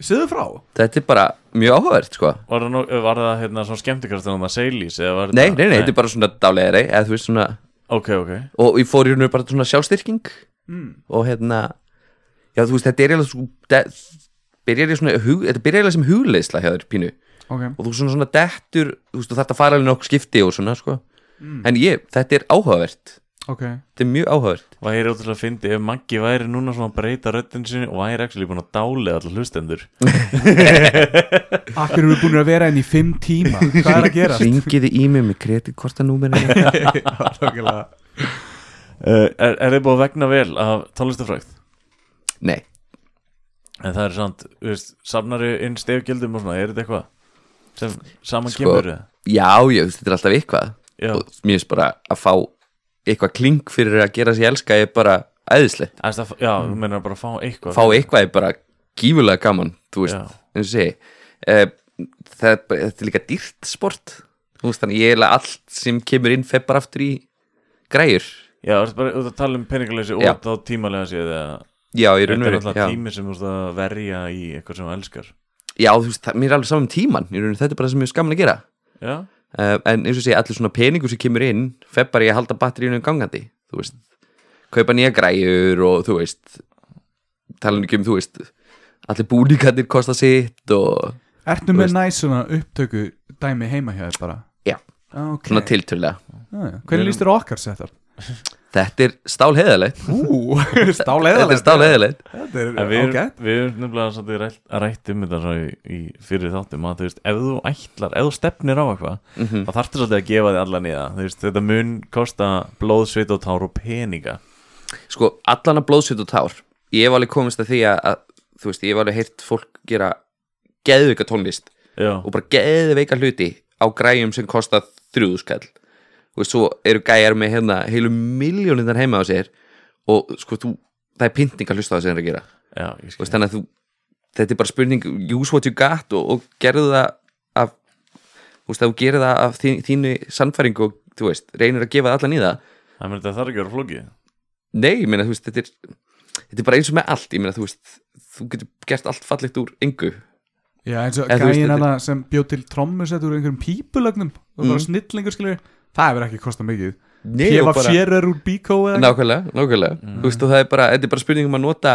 A: séðu frá
C: þetta er bara mjög áhugavert sko.
B: var, það nú- var það hérna svona skemmtikrastin á það seilís eða var
C: nei, nei, nei, þetta er bara svona dálegari eða þú veist svona,
B: ok, ok
C: og ég fór í rauninu bara svona sjálfstyrking
A: Hmm.
C: og hérna já, þú veist, þetta er eiginlega svo de- byrjar í svona, hug, þetta byrjar eiginlega sem hugleisla hjá þér pínu
A: okay.
C: og þú svona, svona dettur, þú veist, þú þarft að fara alveg nokkuð skipti og svona, sko
A: Hmm.
C: en ég, þetta er áhugavert
A: Okay.
C: þetta er mjög áhugavert
B: væri ótrúlega að fyndi ef Maggi væri núna svona að breyta röddinn sinni og væri actually búin að dálega allar hlustendur
A: Akkur eru búin að vera enn í fimm tíma Hvað er að gera?
C: ringiði í mig með kreditkortanúmerinu
A: Nákvæmlega
B: uh, er, er þið búið að vegna vel af tónlistafrækt
C: nei,
B: en það er samt, þú veist, safnari inn stefgjöldum og svona, er þetta eitthvað sem saman
C: Sko,
B: kemur eða?
C: já, já, þú veist, þetta er alltaf eitthvað
B: Já,
C: og mér finnst bara að fá eitthvað kling fyrir að gera sér elska er bara æðislegt,
B: Æst, að, já þú meinar bara að fá eitthvað
C: Mm. fá eitthvað er bara gífulega gaman, þú veist,
B: Já.
C: eins og segi uh, það er, bara- þetta er líka dýrt sport, þú veist, þannig ég er allt sem kemur inn fer bara aftur í græjur,
B: Já, þú ert bara út að tala um peningaleysi
C: Já.
B: og þá tímalega séð eða
C: já, ég
B: Þetta er
C: raunverið
B: alltaf
C: já.
B: tími sem þú veist að verja í eitthvað sem þú elskar
C: já, þú veist, það, mér er alveg um saman tíman raunverið, þetta er bara það sem ég er skaman að gera
B: Já,
C: uh, en eins og segja, allir svona peningur sem kemur inn fer bara í að halda batteríunum gangandi þú veist, kaupa nýja græjur og þú veist tala ekki um, þú veist allir búningarnir kosta sitt og
A: Ertu með næs svona upptöku dæmi heima hjá þér bara?
C: já,
A: Ah, Ok
C: svona tiltölulega
A: ah, já. Hvernig líst þér á okkar setup?
C: þetta er stálheðalegt
A: Ú,
C: þetta
A: stáleðalegt
C: er stálheðalegt
A: Þetta er
B: en við,
A: ok
B: okay. við erum nefnilega svolítið rætt, að rætt um þetta svona í, í fyrir þáttum að þú veist, ef þú ætlar, ef þú stefnir á eitthvað þá þarftur svolítið að gefa þig alla niða þú veist, þetta mun kosta blóð, svit og tár og peninga
C: sko, allan að blóðsvit og tár ég hef alveg komist að því að, að þú veist, ég hef alveg heyrt fólk gera geðvika tónlist
B: Já,
C: og bara geðveika hluti á græjum sem kosta þrjúðuskall og svo eru gæjar með hérna heilu miljóninnar heima á sér og sko þú, það er pynting að hlusta á það sem það er að gera Þú
B: já, ég skil
C: veist, þannig að þú, þetta er bara spurning use what you got og, og gerðu það af, þú veist, að þú gerir það af þín, þínu sannfæringu og þú veist, reynir að gefa það allan í það
B: Það meni þetta þarf ekki að vera flókið
C: nei, ég meina, þú veist, þetta er þetta er bara eins og með allt, ég meina, þú veist þú getur gert allt fallegt úr yngu
A: Já, eins og hérna
C: En þú veist,
A: gæin
C: þetta-
A: hana sem bjóð til trommusett úr einhverjum pípulögnum og bara snillingur skilur við. Það hefur ekki kostað mikið
C: Nei, Mm. og
A: Gefa
C: bara- Mm.
A: sér er úr bíkó eða eitthvað.
C: Nákvæmlega, nákvæmlega Þú veist, og það er bara, þetta er bara spurning um að nota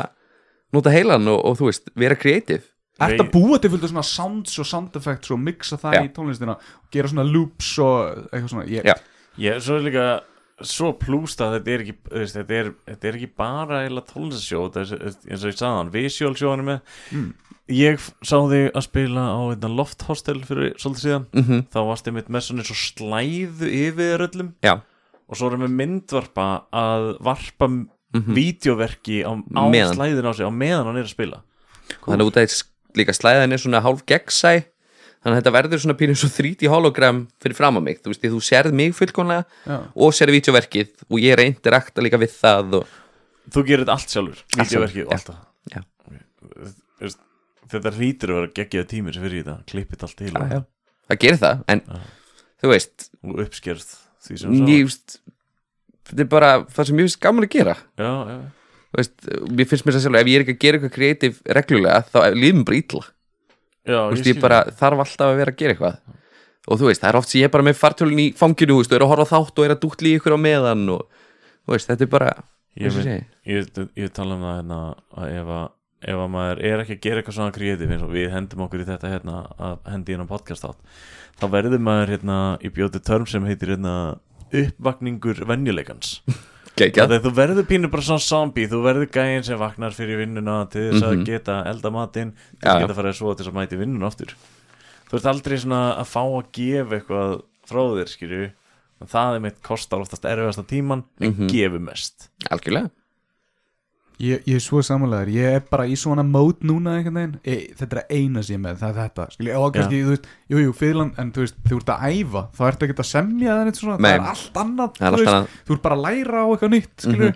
C: nota heilan og, og þú veist, vera kreatív
A: Ertu að búa til fullt af svona sounds og sound effects og mixa það
C: Já.
A: í tónlistina og gera svona loops og eitthvað svona ég,
C: Já.
B: Ég er svo er líka svo plúst að þetta er ekki þú veist, þetta, er, þetta er ekki bara eila tónlistasjó þetta er- eins og ég sagði hann, visual sjó hann er með
C: Mm.
B: Ég f- sá þig að spila á einna lofthostel fyrir svolítið síðan
C: Mhm.
B: þá varst ég mitt með svona eins og slæðu yfir þér öllum
C: Já,
B: og svo erum við myndvarpa að varpa mm vídeoverki á, á
C: Mhm. Meðan.
B: slæðin á sig á meðan hann er að spila
C: þannig að út af því s- líka slæðan er svona hálf gegnsæ þannig að þetta verður svona pínu svo 3D hologram fyrir fram á mig, þú veist, því þú sérð mig fullkomlega
A: Já.
C: og sérð vítjóverkið og ég er að interakta líka við það og
B: þú gerir þetta allt sjálfur,
C: Allt sjálfur,
B: vídeoverki og
C: já.
B: allt það
C: Já.
B: Þú veist, þetta hlýtur að vera geggjaði tímir sem fyrir þetta, klippið allt til
C: Já, já.
B: og,
C: það gerir það, en þú veist,
B: og uppskerð því sem
C: ég,
B: sá
C: veist þetta er bara það sem ég finnst gaman að gera
B: já, já.
C: Þú veist, mér finnst mér það sjálf ef ég er ekki að gera eitthvað kreatív reglulega þá líðum bara ítla
B: Já,
C: þú veist,
B: skil
C: ég bara þarf alltaf að vera að gera eitthvað og þú veist, það er oft sem ég er bara með fartölun í fanginu, þú veist, og er að horfa á þátt og er að dútli ykkur á meðan og, þú veist, þetta er bara
B: ég,
C: eins og
B: mynd,
C: segi.
B: ég, ég tala um það hérna að ef að ef að maður er ekki að gera eitthvað svona kreatív eins og við hendum okkur í þetta hérna að hendi hérna podcast átt þá verður maður hérna í bjóti törm sem heitir hérna uppvakningur venjuleikans
C: Gekkað.
B: Þegar þú verður pínu bara svona zombie þú verður gæinn sem vaknar fyrir vinnuna til þess að
C: Mhm.
B: geta elda matinn til
C: Já,
B: þess að
C: já.
B: geta farið svo til þess að mæti vinnuna aftur þú ert aldrei svona að fá að gefa eitthvað frá þér skilju það er mitt kostar oftast erfiðasta tíman en mm
C: Mhm.
B: gefur mest
C: algjörlega
A: ég, ég er svo samanlegar, ég er bara í svona mót núna einhvern veginn, ég, þetta er að eina sem ég er með það er þetta, skilja, og kannski, þú veist jú, jú, fyrirlan, en þú veist, þú ert að æfa þá ert ekki að semja það neitt svona,
C: Nei.
A: það er allt annað,
C: Það er
A: þú
C: allt
A: veist,
C: annað.
A: þú ert bara að læra á eitthvað nýtt, skilju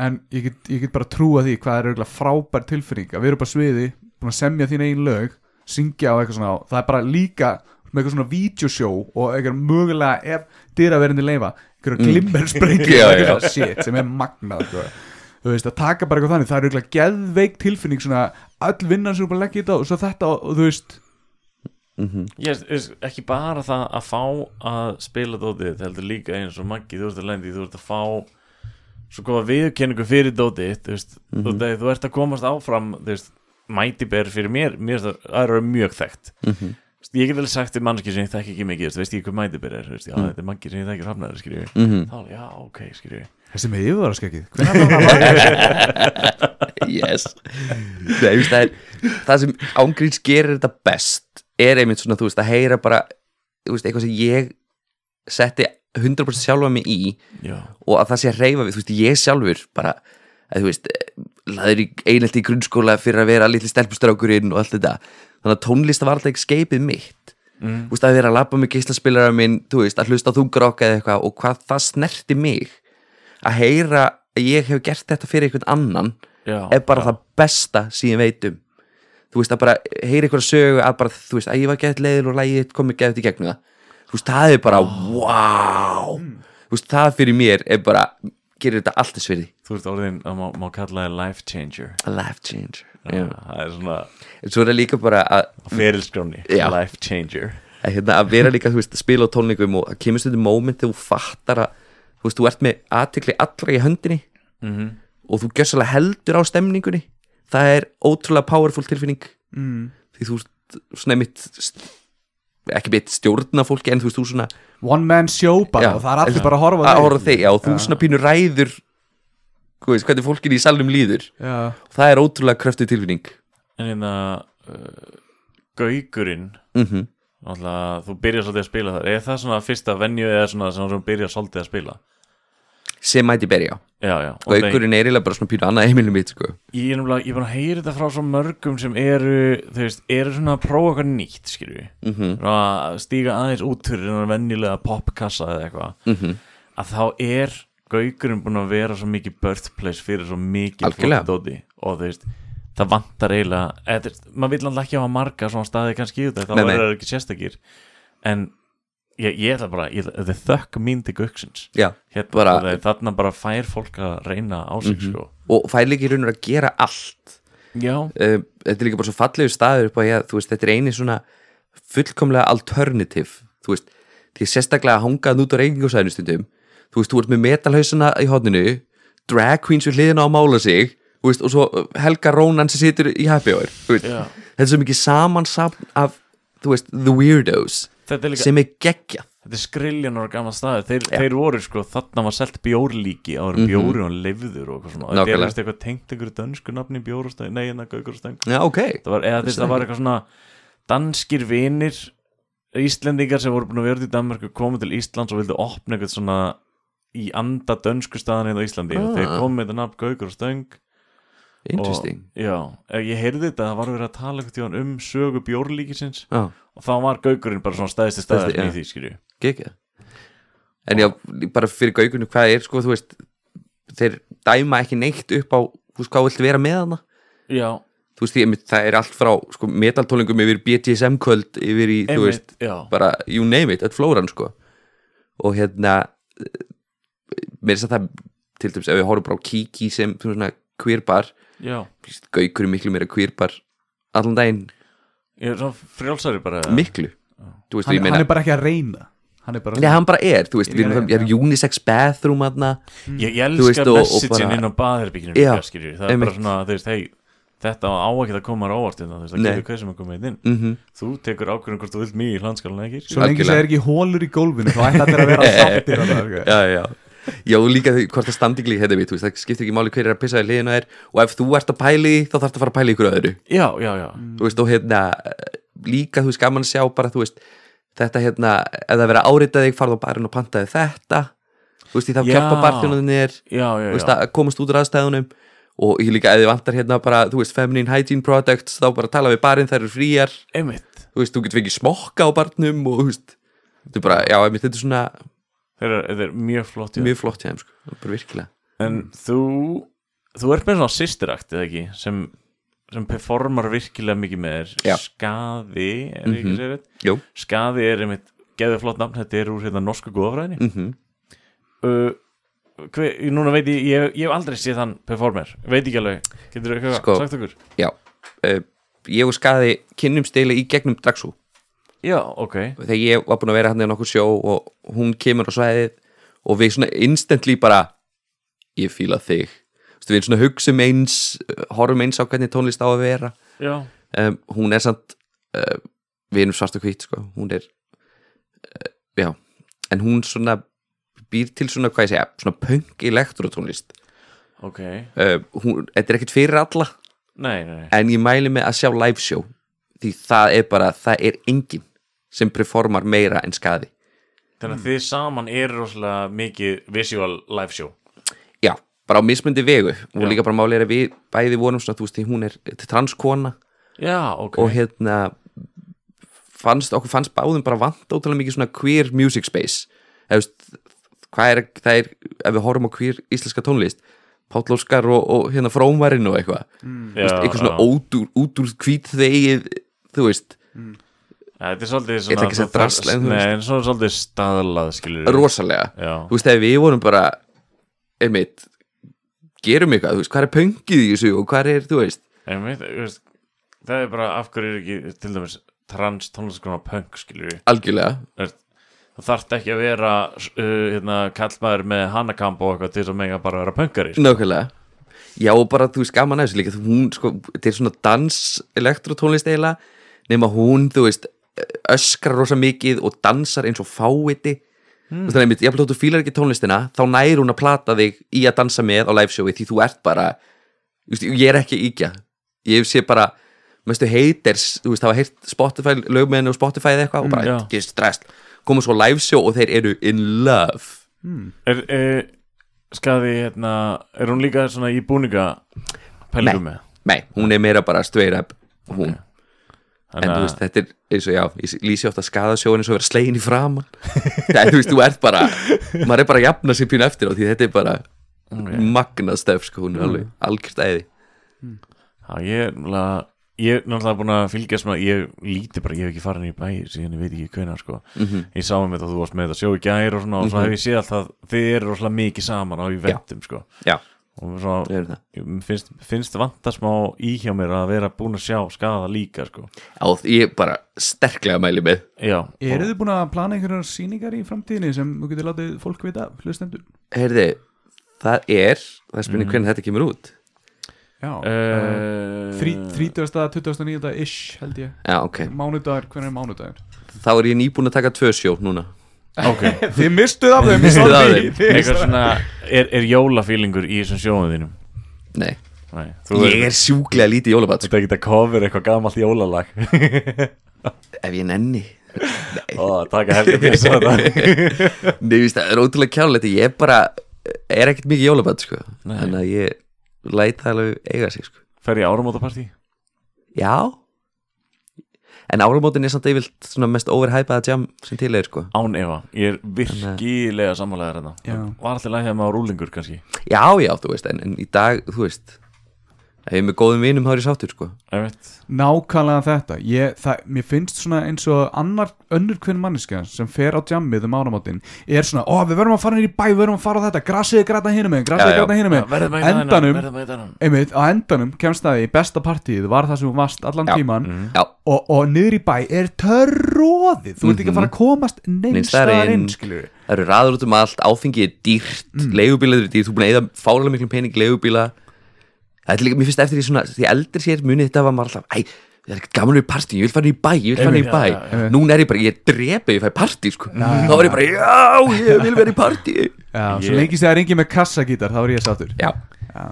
A: en ég get, ég get bara trúa því hvað er auðvitað frábær tilfinning að við erum bara sviði, búin að semja þín eigin lög syngja á eitthvað svona, og það er bara líka með eitthvað svona vídeosjó og eitthvað mögulega ef dyraverindi leifa eitthvað glimmer
C: Mm. Já,
A: sprengi
C: já.
A: shit sem er magnað sko. þú veist að taka bara eitthvað þannig það er auðvitað geðveik tilfinning svona öll vinnan sem þú bara leggja í þetta og svo þetta og, og þú veist
B: ég, ég, ekki bara það að fá að spila dótið þetta heldur líka eins og Maggi þú ert að lendi þú ert að fá svo góða viðurkenningu fyrir dótið þú, veist, mm
C: Mhm.
B: -hmm. þú ert að komast áfram þú veist, mæti ber fyrir mér mér er það það eru mjög þekkt
C: Mhm.
B: Þú veist, ég get alveg sagt til mannski sem ég þekki ekki mikið þú veist, veist ég hvað mæti ber er þú veist, já, þetta er Maggi sem ég þekki hrafnaður skrifi
C: Mhm.
B: þá, já, ok, skrifi
A: þessi með yfirvaraskegið hvernig er það að
C: yes Nei, þú veist, það, er, það sem ángríns gerir þetta best er einmitt svona, þú veist, að heyra bara þú veist, eitthvað sem ég setti 100% sjálfa mig í
B: já,
C: og að það sé að reyfa við, þú veist, ég sjálfur bara, að þú veist laður í einelt í grunnskóla fyrir að vera litli stelpustrákurinn og allt þetta þannig að tónlist var alltaf ekki skeipið mitt
B: Mm.
C: þú veist, að vera að labba með geislaspilara minn þú veist, að hlusta á þungarokka eða eitthvað og hvað það snerti mig að heyra að ég hef gert þetta fyrir einhvern annan
B: já
C: er bara það besta sem ég veit um þú veist að bara heyra einhverja sögu að bara þú veist að ég var gett leiðil og lægið komið gett í gegnum það þú veist það er bara wow
B: Mm.
C: þú veist það fyrir mér er bara gerir þetta allt þess fyrir
B: þú ert orðin að má, má kalla það life changer
C: a life changer
B: já.
C: yeah.
B: það er svona
C: svo er það líka bara að
B: ferilskráni
C: Já.
B: life changer
C: að, hérna, að vera líka, þú veist, að spila á tónleikum og að kemur stundum moment þegar þú fattar að þú veist, þú ert með aðtekli allra í höndinni
B: Mhm.
C: og þú gjössalega heldur á stemningunni það er ótrúlega powerful tilfinning
A: mm.
C: því þú ert svona mitt ekki mitt stjórna fólki en þú veist, þú svona
A: one man show bara
C: Já.
A: og það er allir bara að horfa á
C: að
A: þig.
C: horfa á þig, já, þú svona pínu ræður þú veist, hvernig fólkin í salnum líður
A: Já.
C: og það er ótrúlega kröftu tilfinning
B: en hérna uh, gaugurinn
C: mm
B: Náttúrulega, þú byrjar svolítið að spila þar Er það svona fyrsta venju eða svona sem þú byrjar svolítið að spila?
C: sem mæti berja
B: Já, já Og
C: og aukurinn er eiginlega bara svona pínu annað heimilum mitt sko.
B: Ég ég er nefnilega, ég er bara að heyra þetta frá svo mörgum sem eru, þú veist, eru svona að prófa eitthvað nýtt, skilju mm
C: Mhm.
B: -hmm. að stíga aðeins út fyrir en venjulega popkassa eða eitthvað
C: Mhm.
B: að þá er gaugurinn búin að vera svo mikið birthplace fyrir svo mikið
C: Algjörlega.
B: flottóti og þú veist, það vantar eiginlega eða, þú veist, maður vill alltaf ekki hafa marga svona staði kannski út, þá
C: Nei, nei.
B: verður það ekki sérstakir en ég, ég ætla bara ég, ætla- þetta er þökk mín til gauksins
C: já,
B: hérna,
C: Bara- Mhm.
B: bara, þarna bara fær fólk að reyna á sig sko.
C: og fær líka í raunur að gera allt
B: já,
C: um, þetta er líka bara svo fallegu staður upp á ég, þú veist, þetta er eini svona fullkomlega alternative, þú veist því sérstaklega að hanga þarna út á reyngingarsæðinu stundum þú veist, þú ert með metalhausuna í hodninu drag queens við hliðina á að mála sig þú veist, og svo uh, Helga Rónan sem situr í happy hour þú veist,
B: Já.
C: þetta er svo mikið samansapn af, þú veist, the weirdos
B: Þetta er líka,
C: sem er geggja
B: þetta er skriljanar gamla staður þeir, þeir voru sko, þarna var selt bjórlíki áður mm -hmm. bjóri og lifður og eitthvað svona Þetta er
C: Mhm. Nákvæmlega.
B: veist eitthvað tengt einhverju dönsku nafni bjórastöng, nei, en að gaukurastöng
C: Já, ok,
B: Það var, eða þetta var eitthvað svona danskir vinir Íslendingar sem voru búin að vera út í Danmarku komu til Íslands og vildu opna eitthvað svona í anda dönsku staðan hérna á Íslandi og
C: Ah.
B: þeir komu með þetta nafn Gaukur og Stöng
C: interesting
B: og, Já, eh, ég heyrði þetta, það var verið að tala eitthvað tíðan um sögu bjórlíkisins
C: Já,
B: og þá var Gaukurinn bara svona stæðisti
C: Stærsti,
B: staðar
C: já.
B: í því skilju
C: geggja En já, bara fyrir gaugunni hvað er, sko, þú veist þeir dæma ekki neitt upp á þú veist, hvað vilt vera með hana
B: Já,
C: þú veist, því, einmitt, það er allt frá sko, metaltólingum yfir BDSM kvöld yfir í, þú veist,
B: einmitt, já
C: bara you name it, þetta flóran sko og hérna eh, mér er þess að það, til dæmis ef við horfum bara á Kiki sem sem svona queerbar
B: Já,
C: gaukur er miklu meira queerbar allan daginn,
B: ég er svona frjálsari bara
C: miklu þú veist,
A: hann,
C: ég meina
A: hann er bara ekki að reyna hann er bara
C: Nei, hann bara er, þú veist,
A: Ég
C: við erum
A: meina,
C: það, ég er unisex bathroom aðna,
B: Ég, ég
C: Þú veist,
B: elska
C: og- og
B: messagin
C: bara-
B: inn á baðherbygginu
C: Já,
B: líka, skilju. það er bara
C: einmitt.
B: svona, þú veist, hei þetta á ekki að koma á óvart hérna, þú veist, það
C: Nei.
B: getur hvað sem að koma einn inn
C: mm -hmm.
B: þú tekur ákvörðum hvort þú vilt mig í hlandskalun ekki
A: svo lengi
C: Algjörlega.
A: sem er ekki hólur í gólfinu þá ætti þetta að vera sáttir sko. alveg.
C: já, já Já, og líka því hvort það standingli hefði við, þú veist, það skiptir ekki máli hver er að pissa í liðinu þér og ef þú ert að pæli þá þarf að fara að pæli ykkur öðru
B: já, já, já,
C: þú veist, og hérna líka, þú veist, gaman að sjá bara, þú veist þetta hérna, ef það verið að árita þig farðu á barinn og pantaði þetta þú veist, því þá
B: Já.
C: keppa barþjónunni er
B: já, já,
C: þú veist,
B: já.
C: að komast út úr aðstæðunum og ég líka, ef þið vantar hérna bara, þú veist, feminine hygiene products, þá bara tala við barinn, þær eru fríar
B: einmitt
C: þú veist, þú getur fengið smokka á barnum og, þú veist, þetta er bara, já, einmitt, þetta er svona
B: þeir eru, þeir eru mjög flott já.
C: mjög flott hjá þeim, sko, bara virkilega
B: en þú þú ert með svona sýstirakt eða ekki sem, sem performar virkilega mikið með
C: Já.
B: þér skaði, er mm
C: Mhm.
B: ekki sér þetta
C: Jú,
B: skaði er einmitt, geðu flott nafn þetta er úr hérna norsku góðafræðinni
C: mhm,
B: uh, hver, núna veit ég, ég ég hef aldrei séð hann performer, veit ekki alveg getur þú eitthvað
C: Sko.
B: sagt okkur?
C: já uh, ég og skaði kynnum stili í gegnum dragsú
B: já, ok,
C: þegar ég var búin að vera hann í nokkur sjó og hún kemur á svæðið og við svona instantly bara ég fíla þig Þú veist, við svona hugsum eins, uh, horfum eins á hvernig tónlist á að vera
B: já,
C: um, hún er samt uh, við erum svart og hvít sko. hún er uh, já, en hún svona býr til svona, hvað ég segja, svona punk elektrótónlist
B: ok
C: uh, hún, þetta er ekkert fyrir alla
B: nei, nei, nei,
C: en ég mæli mig að sjá live show því það er bara, það er enginn sem performar meira en skaði
B: þannig að þið saman er rosalega mikið visual live show
C: já, bara á mismundi vegu og
B: Já.
C: líka bara málið er að við bæði vorum svona, þú veist, því hún er þetta er transkona
B: já, ok,
C: og hérna fannst, okkur fannst báðum bara vant ótrúlega mikið svona queer music space eða, þú veist, hvað er, það er ef við horfum á queer íslenska tónlist Páll Óskar og, og hérna Frómarinn og eitthvað,
B: Mm. já,
C: eitthvað svona
B: já.
C: út úr, út úr hvít þegið, þú veist
B: Ja, þetta er svolítið
C: Ég ætla
B: svona
C: ekki að segja
B: þú þarf-
C: drasl, en þú
B: nei,
C: veist.
B: en svona svolítið staðlað skilur
C: rosalega
B: já,
C: þú veist, ef við vorum bara einmitt, gerum eitthvað þú veist, hvað er pöngið í þessu og hvað er, þú veist
B: en veit, veist, það er bara af hverju er ekki til dæmis trans tónlistkona punk skilur
C: algjörlega,
B: það þarf ekki að vera uh, hérna, kallmaður með hanakamp og eitthvað til þess að mega bara vera punkari sko.
C: nákvæmlega já, og bara, þú veist, gaman að þessu líka þú- hún, sko, þetta er svona dans elektrotónlist eiginlega, nema hún, þú veist öskrar rosa mikið og dansar eins og fáiti mm. þannig einmitt, jafnvel þótt þú fílar ekki tónlistina þá nær hún að plata þig í að dansa með á liveshowi því þú ert bara þú veist, ég er ekki að íkja ég sé bara, mestu haters þú veist, hafa heyrt Spotify, lögmenni og Spotify eða eitthvað og bara,
B: já.
C: mm, ekki stress koma svo live show og þeir eru in love
B: er, er, skaði hérna er hún líka svona í búninga pælingum með
C: nei, hún er meira bara straight up hún, en þú
B: Þannig
C: veist, þetta er eins og já, ég lýsi oft að skaða sjóin eins og vera slegin í framan það er, þú veist, þú ert bara maður er bara að jafna sér pínu eftir á því þetta er bara
B: Ok.
C: magnað stöf, sko, hún er alveg algjört æði,
B: að já, ég er náttúrulega ég er náttúrulega búin að fylgjast með ég líti bara, ég hef ekki farin í bæ síðan ég veit ekki hvenær sko
C: Mhm.
B: ég sá um þetta að þú varst með þetta sjó í gær og svona og svo hef ég séð alltaf þið eru rosalega mikið saman á í vettum sko
C: já,
B: og svona,
C: Hefur það.
B: finnst, finnst vanta smá í hjá mér að vera búin að sjá skada líka sko.
C: Já, ég bara sterklega mæli með
B: já,
A: Eru þið búin að plana einhverjar sýningar í framtíðinni sem þú getur látið fólk vita, hlustendur?
C: Heyrði, það er það er spurning hvernig þetta kemur út
A: Já,
B: uh,
A: 30. 29. ish held ég
C: Já, ok,
A: Mánudagur, hvernig er mánudagur?
C: þá er ég nýbúin að taka tvö sjó núna
B: okay.
A: Þið mistuð af þeim,
C: Mistuð af
A: sorry,
C: þeim.
A: þið
B: eitthvað svona er, er jólafílingur í þessum sjóðum þínum
C: Nei,
B: Nei,
C: ég er sjúklega lítið jólabat sko,
B: Þetta geta cover eitthvað gamalt jólalag
C: Ef ég nenni
B: Ó, taka helga fyrir svo þetta
C: Nei, víst, það er ótrúlega kjálulegt Ég er bara, er ekkert mikið jólabat sko. Þannig að ég læta alveg eiga sig sko.
B: Fer ég áramótapartí?
C: Já En áramótin er samt yfirlt svona mest overhypaða jam sem til er sko
B: Án efa, ég er virkilega sammálaðar þetta
A: Já.
B: Var alltaf lægja með á rúlingur kannski
C: Já, já, þú veist, en, en í dag, þú veist Ef ég er með góðum vinum þá er ég sáttur sko
B: Ég veit
A: Nákvæmlega þetta ég, það, Mér finnst svona eins og annar önnur hvern manneska sem fer á jammið um áramáttin er svona, ó við verðum að fara nýr í bæ við verðum að fara á þetta, grasið er græta hinum með grasið
C: Já,
A: er
C: já.
A: græta hinum
B: Verðum
A: með
B: að hitta þennan,
A: endanum,
B: verðum að hitta þennan.
A: einmitt, á endanum kemst það í besta partíð var það sem hún vast allan
C: Já.
A: tíman
C: Já,
A: og, og niður í bæ er törróðið þú ert ekki að fara að komast
C: Neins
A: neinstaðar
C: staðar
A: Mhm.
C: inn.
A: inn skilur við.
C: það eru raður út um allt, áfengið er dýrt mm. leigubílar eru dýrt, þú er búin að eða fálega miklum pening í leigubíla það er líka, mér finnst eftir því svona, því eldri sér munið þetta var maður alltaf, æ, það er ekkert gaman við partí ég vil fara niður í bæ, ég vil fara niður í bæ
B: Einmitt,
A: já, já.
C: núna er ég bara, ég drepa, ef ég fæ partí sko. þá er ég bara, já, ég vil vera í partí
A: Já, svo
B: Ég-
A: lengi sem það er engin með kassagítar þá er ég sáttur
C: já,
B: Já,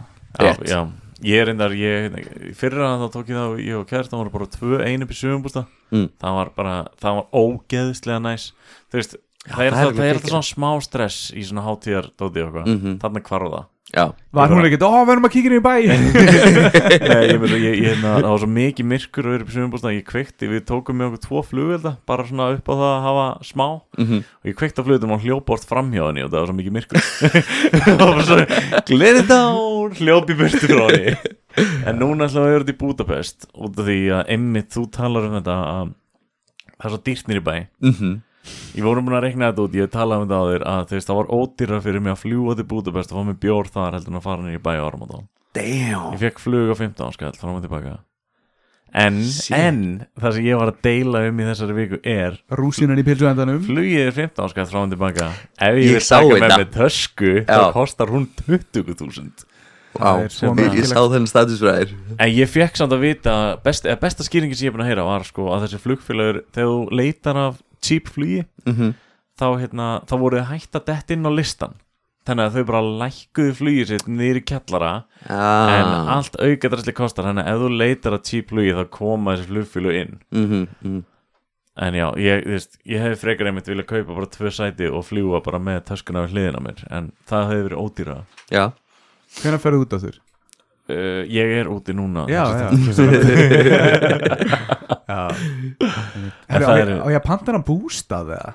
C: Rétt.
B: já Ég er reyndar, ég, hérna, í fyrra þá tók ég þá ég og kæristan voru bara tvö einu upp í sögumbústa
C: Mm.
B: það var bara, það var ógeðslega næs þú veist, það er,
C: það er
B: það,
C: alveg
B: það er
C: geggjað.
B: alltaf svona smá stress í svona hátíðar dótið og eitthvað,
C: Mhm.
B: þarna hvarf það
C: já,
A: Var hún
B: Bara-
A: ekkert, ó við verðum að kíkja inn í bæ
B: Nei, ég meina, ég, ég, na, það var svo mikið myrkur og upp í sögumbústa, ég kveikti, við tókum með okkur tvo flugvelda, bara svona upp á það að hafa smá,
C: Mhm.
B: og ég kveikti á flugveldum og hljóport framhjóðinni og það var svo mikið myrkur það var bara svo, gleði dán hljóp í burtu frá henni en núna ætlum við að vera þetta í Budapest út af því að emmitt þú talar um þetta að það er svo dýrt nýri bæ
C: mhm,
B: ég voru búin að rekna þetta út, ég talaði um þetta á þér að þú veist, það var ódýra fyrir mig að fljúa til Budapest og fá mig bjór þar heldur en að fara nýri bæ á áramótón
C: damn
B: Ég fekk flug á 15 skall fram og tilbaka En, en það sem ég var að deila um í þessari viku er
A: Rúsinan í pilsuendanum
B: Flugið er 15 skall fram og tilbaka Ef
C: Ég
B: ég vil
C: sá
B: taka með
C: þetta.
B: með tösku
C: Já.
B: þá kostar hún 20.000
A: Það er svo
C: Ég, ég sá þennan status frá þér
B: En ég fekk samt að vita best, eða besta skýringin sem ég er búin að heyra var sko að þessi flugfélagur þegar þú leitar af cheap flugi
C: Mhm.
B: þá, hérna, þá voru þau hætt að detta inn á listan Þannig að þau bara lækkuðu flugið sitt niður í kjallara En
C: ah,
B: allt aukadræsli kostar Þannig að ef þú leitar að cheap flugi þá koma þessi flugfélagu inn
C: mhm, mhm.
B: En já, ég, þú veist, ég hefði frekar einmitt viljað kaupa bara tvö sæti og fljúa bara með töskuna við hliðina á mér En það hefði verið ódýra
C: já,
A: Hvernig ferðu út af þér?
B: uh, Ég er úti núna
A: Já,
B: Þessi-
A: já
B: En
A: Herru, á
B: það
A: ég-
B: eru-
A: á ég að panta hann bústað eða?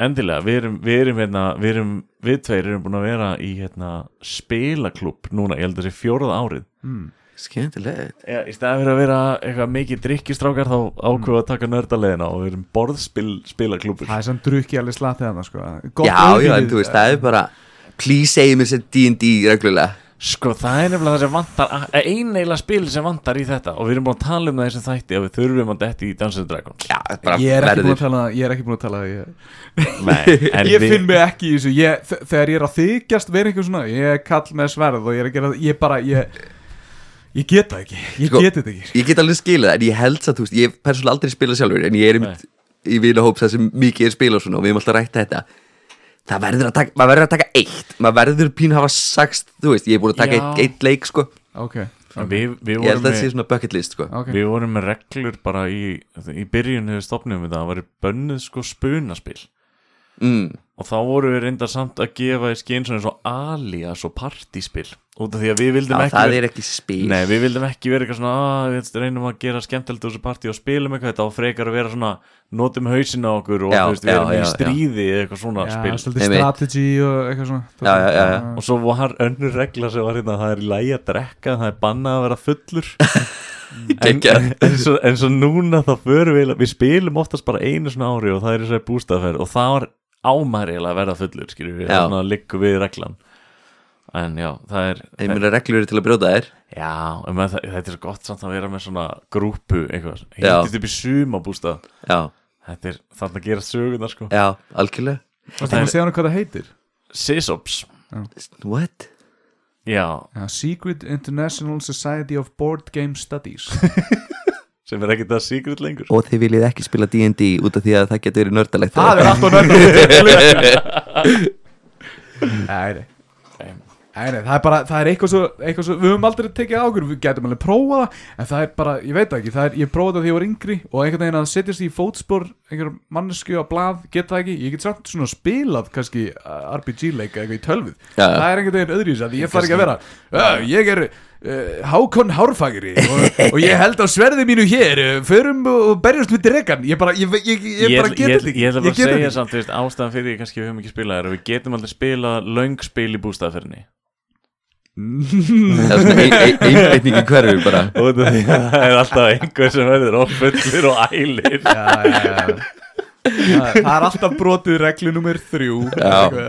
B: Endilega, við erum, við erum hérna, við erum, við tveir erum búin að vera í hérna spilaklúpp núna Ég held að þessi fjórað árið
C: skemmtilegt
B: Já, í staðan fyrir að vera eitthvað mikið drikkistrákar þá ákveða að taka nördaleðina og við erum borðspil spilaklúppur
A: Það er samt drukki alveg slatið hann sko. Gott
C: já, já,
A: auðvitað.
C: en þú veist, það er bara please segi mér sem D&D reglulega
B: Sko það er nefnilega það sem vantar einneila spil sem vantar í þetta og við erum búin að tala um það í þessum þætti að við þurfum að detti í Dungeons and Dragons
C: Já, bara
A: Ég er ekki búin
C: verður
A: að tala Ég er ekki búin að tala Ég,
B: Nei, en
A: ég
B: við-
A: finn mig ekki í þessu ég, þ- Þegar ég er að þykjast vera einhver svona Ég er kall með sverð og ég er að gera Ég bara, ég Ég get það ekki Ég
C: Sko-
A: get þetta ekki
C: Ég get alveg skilað það, en ég held að þú veist Ég hef persónulega aldrei spilað sjálfur En ég er einmitt í vinahóps það sem mikið er spilað og svona Og við hefum alltaf rætt þetta Það verður að taka, maður verður að taka eitt Maður verður pín að hafa sagst, þú veist Ég er búin að taka
B: Já.
C: eitt, eitt leik, sko
A: Ok,
B: En við, við,
C: Ég held
B: vorum
C: að það sé
B: með,
C: svona bucket list, sko
A: ok
B: við vorum með reglur bara í, í byrjun hefur stopnum þetta að væri bönnuð sko spunaspil
C: mm,
B: og þá voru við reyndar samt að gefa í skinn svona eins og alias og partíspil út af því að við
C: Já,
B: vildum ekki
C: það
B: vera-
C: er ekki spil
B: Nei, við vildum ekki vera eitthvað svona að við reynum að gera skemmtilegt úr þessu partí og spilum eitthvað þetta og frekar að vera svona notum hausin á okkur og
C: Já,
B: þú veist, við
C: já,
B: erum í
C: já, já.
B: stríði eða eitthvað svona
A: Já,
B: spil
A: svolítið
C: Einmitt.
A: strategy og eitthvað svona
C: Já, já, já, já.
B: og svo var önnur regla sem var hérna það er í lægi að drekka, það er bannað að vera fullur en,
C: Geggjað.
B: en, svo, en svo núna þá förum við við spilum oftast bara einu svona ári og það er þess að bústaðferð og það var ámæriðilega að verða fullur skilur við,
C: Já.
B: þannig að liggu við reglan en já, það er
C: Ég meina reglur eru til að brjóta þær
B: Já, en með, það- þetta er svo gott samt að vera með svona grúpu eitthvað,
C: Já.
B: hittist upp í sumabústað
C: Já,
B: Þetta er þannig að gera söguna sko
C: já, algjörlega
A: Það er að segja hann hvað það heitir
B: Sisops
C: What?
B: Já,
A: ja, Secret International Society of Board Game Studies
B: sem er ekkert að secret lengur
C: Og þið viljið ekki spila D&D út af því að það getur verið nördalegt
A: Það er allt og nörgum Nei, nei
B: Nei.
A: Nei, nei, það er bara, það er eitthvað svo, eitthvað svo við höfum aldrei tekið ákvörðum, við getum alveg prófað það en það er bara, ég veit það ekki, það er, ég prófaði það því ég var yngri og einhvern veginn að setjast í fótspor einhver mannesku á blað, get það ekki ég get samt svona spilað kannski uh, RPG-leika eitthvað í tölvið,
C: Já.
A: það er einhvern veginn öðru í þess að ég fari ekki að vera "Já, ég er uh, Hákon Hárfagri og, og ég held á sverði mínu hér uh, förum og berjast við dregan ég bara, ég, ég, ég, ég,
B: Ég
A: bara
B: ætla-
A: get
B: ég
A: þetta
B: ætla
A: ekki get þetta
B: ég ætla bara að segja
A: ekki.
B: samt þú veist, ástæðan fyrir því kannski við höfum ekki spilað er að við getum aldrei spilað löng spil í bústaðferðinni
C: Það er svona ein- ein- einbeiting í hverju bara
B: og það er alltaf einhver sem verður ofullir og ælir
A: já, já, já. Það, það er alltaf brotið reglu nummer þrjú
C: Já.
A: Eitthvað.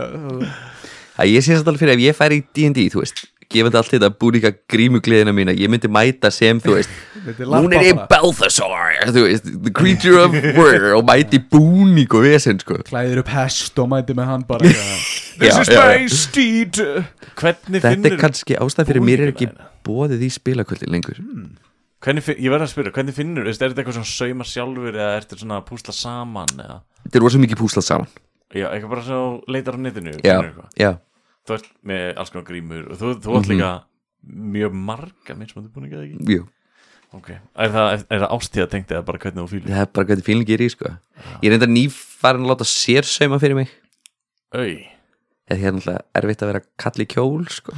C: að Ég sé þetta alveg fyrir ef ég færi í D&D, þú veist Gefandi allt þetta búninga grímugliðina mína Ég myndi mæta sem, þú veist
A: Þetta er
C: Hún er í
A: lappa bara.
C: Balthasar, þú veist The creature of war Og mæti búning og vesen, sko
A: Klæðir upp hest og mæti með hann bara eitthvað. This
C: Já,
A: is
C: já,
A: my steed
B: Hvernig
C: Þetta er
B: finnur
C: kannski ástæð fyrir mér er ekki
B: búningana
C: bóðið í spilakvöldin lengur
B: hvernig, finn- Ég verður að spyrja, hvernig finnur veist, Er þetta eitthvað svona sauma sjálfur eða ertu svona að púsla saman eða
C: Þetta er rosa mikið púslað saman
B: Já, eitthvað bara sem þú leitar á netinu
C: Já,
B: finnur eitthvað.
C: já,
B: Þú ert með alls konar grímur og þú, þú átt líka
A: Mhm.
B: mjög marga mismöndu búninga eða ekki
C: jú
B: okay. Er það, er það ástíða tengt eða bara hvernig þú fýlir
C: Það er bara hvernig fílingi er í, sko Ég er enda nýfarin að láta sér sauma fyrir mig
B: Au,
C: Eða ég er náttúrulega erfitt að vera kall í kjól, sko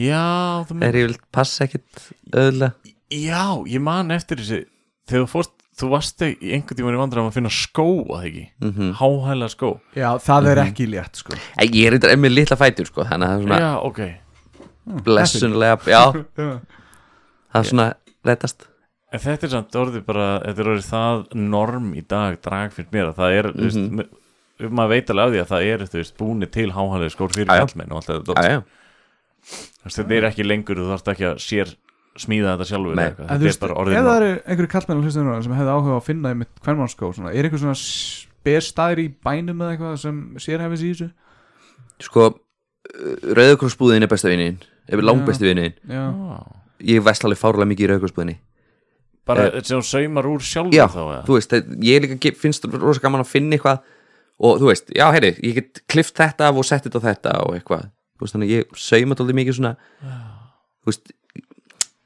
B: já, þú
C: Þegar
B: meinar
C: ég vil passa ekkit öðla
B: Já, ég man eftir þessi Þegar þú fórst, þú varst í einhvern tímann í vandræðum að finna skó að ekki mm
C: Mhm.
B: -hmm. Háhæla skó
A: Já, það
B: Mhm.
A: er ekki létt sko
C: En ég er enda með litla fætur, sko Þannig að það er svona
B: Já, ok
C: blessunlega Já,
A: Já,
C: það er svona rettast
B: En þetta er samt orðið bara, þetta er orðið það norm í dag, drag fyrir mér að það er, þú
C: Mhm.
B: veist, me- maður veit alveg af því að það er, þú veist, búni til háhælega skór fyrir
C: Já, já.
B: allmenn og allt þetta dót.
C: Já, já,
B: Þú veist, Þetta er ekki lengur, þú þarfst ekki að sér smíða þetta sjálfur
C: Nei.
B: eða eitthvað.
A: En þú
B: Þetta er
A: veist,
B: bara
A: ef
B: orðið
A: það
B: norm.
A: eru einhverju kallmenn á hlustunum sem hefði áhuga á að finna einmitt kvernmannskó svona, er einhver svona spesstæðir í bænum eða eitthvað sem sér hefis í þessu
C: sko Rauðakrossbúðin er besta vinnin Ef langbesta vinnin
A: Já,
B: Já.
C: Ég vest alveg fárlega mikið í rauðakrossbúðinni
B: Bara þetta sem þú saumar úr sjálfur
C: Eh, Já,
B: þá, eða?
C: þú veist, það- ég líka ge- finnst rosa gaman að finna eitthvað og þú veist, já, heyri, ég get klift þetta af og sett þetta á þetta og eitthvað þú veist, þannig að ég sauma tóldið mikið svona þú veist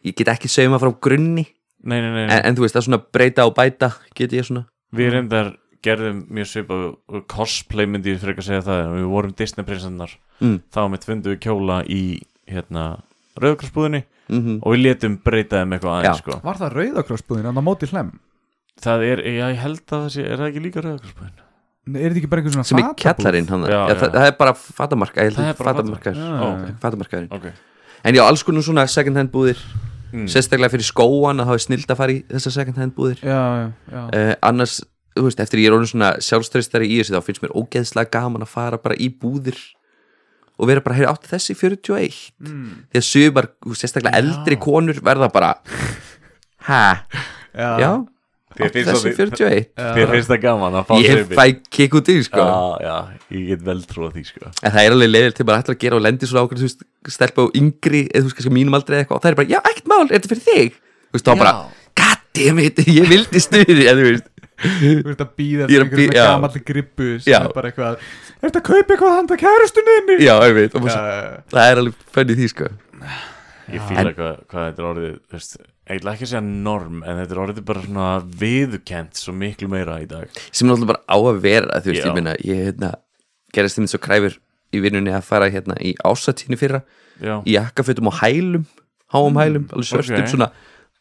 C: ég get ekki sauma frá grunni
B: Nei, nei, nei,
C: en, en þú veist, það er svona breyta og bæta get ég svona,
B: við reyndar gerðum mjög svipað og cosplay myndi ég frekar segja það, en við vorum Disney prinsennar,
C: Mm.
B: þá mitt fundum við kjóla í, hérna, rauðkarsbúðinni
C: mm
B: og við letum breyta þeim eitthvað aðeins,
C: Já.
B: sko.
A: var það rauðakrossbúðin en það móti hlem
B: Það er, já, ég held að það sé, er það ekki líka rauðakarsbúðin?
A: Er þetta ekki bara einhver svona
C: sem er
A: fatabúð?
C: kjallarinn hann,
B: Já,
C: já,
B: já.
C: Það, það er bara fatamarka ég held
B: Það
C: að
B: er bara
C: fatamarkar,
B: fatamarkaður.
C: fatamarkaðurinn. fatamarkaðurinn
B: Ok.
C: en já, alls konar svona second hand búðir
B: Mm.
C: sérstaklega fyrir skóan að það er snild að fara í þessar second hand búðir
A: Já, já, já
B: Eh.
C: uh, annars, þú veist, eftir ég er orðin svona sjálfströystari í þessu þá finnst mér ógeðslega gaman að fara bara í búðir og vera bara, heyrðu, átti þessi 41 mm. því að sumar, þú veist, sérstaklega eldri konur verða bara hæ, já
B: Þér
C: átti
B: finnst
C: þessi
B: það-
C: 41
B: Þér finnst það gaman að fá
C: ég
B: uppi.
C: fæ kikk út í, því, sko
B: Já, já, ég get vel trúa því, sko
C: en það er alveg leiðilegt til bara ætla að gera og lendi svona ákveð, þú veist, stelpa og yngri eða þú veist, kannski mínum aldrei eða eitthvað og það er bara, já, ekkert mál, er þetta fyrir þig þú veist, þá bara, goddammit, ég vildi stuði en þú veist,
A: Þú ert að býða
C: Ég
A: eftir
C: er að
A: einhverjum
C: bíða- já.
A: gamall grippu sem
C: Já.
A: er bara eitthvað Er þetta að kaupa eitthvað handa kærustuninni?
C: já, ég veit, og bara,
A: Já,
C: það er alveg fönn í því, sko
B: Ég fíla hvað, hvað þetta er orðið þú veist, Ég ætla ekki að segja norm En þetta er orðið bara svona viðkent Svo miklu meira í dag
C: sem náttúrulega bara á að vera þú veist,
B: Já.
C: ég meina, ég hérna gerðist þeim eins og kræfur í vinnunni að fara hérna í ásatínu fyrra,
B: Já,
C: í jakkafötum og hælum háum hælum, alveg svörstum
B: Mm, ok.
C: svona,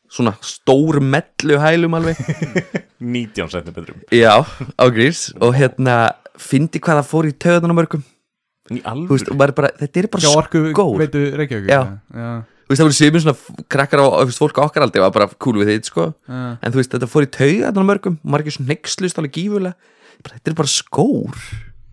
C: svona stór mellu hælum alveg,
B: 19 setni betrum
C: já, á grís og hérna, fyndi hvað það fór í töðunum mörgum,
B: Í
C: þú veist,
B: alvöru
C: og maður bara þetta er
A: hjá
C: bara
A: orku
C: skór
A: veitu Reykjavík
C: Já.
A: já,
C: þú veist, það voru sémur svona f- krakkar á, þú veist, fólk á okkar aldrei var bara cool við þitt, sko
A: já.
C: en þú veist, þetta fór í töðunum mörgum, og maður ekki svona neykslust alveg gífulega, bara, þetta er bara skór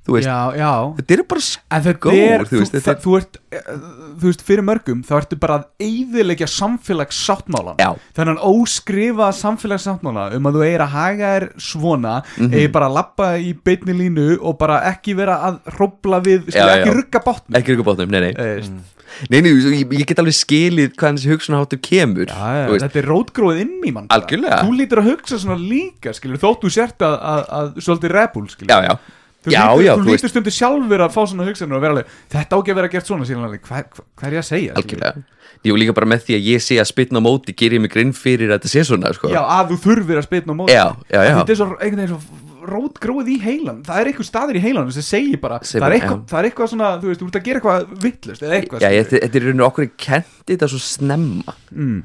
C: þú veist,
A: já, já
C: þetta eru bara sk-
A: en þetta
C: Góð,
A: er,
C: þú veist, þetta er-
A: þú, þú ert eh, þú veist, fyrir mörgum þá ertu bara að eyðilegja samfélagssáttmálan
C: Já.
A: þannig að óskrifa samfélagssáttmála um að þú eigir að haga þér svona mm
C: Mhm.
A: eigir bara að lappa í beinni línu og bara ekki vera að hrópla við, skilja,
C: Já, já.
A: ekki rugga bátnum
C: ekki ykkur bátnum, nei, nei
A: mm.
C: Nei, nei, þú- ég, ég get alveg skilið hvað hans hugsunaháttur kemur
A: Já, já,
C: þú veist,
A: þetta er rótgróið inn í mann bara.
C: Algjörlega.
A: Þú lítur að hugsa svona líka, skilur Þótt þú sért að, að, að svolítið rebel, skilur
C: já, já,
A: Þú,
C: já,
A: lítur,
C: já,
A: þú
C: þú veist,
A: lítur stundir sjálfur að fá svona hugsanir og vera alveg Þetta á ekki að vera gert svona, síðan alveg Hvað hva, hva er ég að segja? skilurðu?
C: algjörlega Ég líka bara með því að ég sé að spytna á móti ger ég mig grinn fyrir að þetta sé svona, sko
A: Já, að þú þurfir að spytna á móti
C: Já, já, já.
A: Þetta er svo, einhvern veginn svo rótgróið í heilan Það er eitthvað staðir í heilan sem segir bara
C: Segir
A: það, er
C: bara,
A: eitthvað,
C: já.
A: það er eitthvað svona, þú veist, þú ert að gera eitthvað vittlust eða eitthvað
C: Já,
A: skilurðu.
C: ég, þetta þetta er í rauninu okkur kendi þetta svo snemma mm.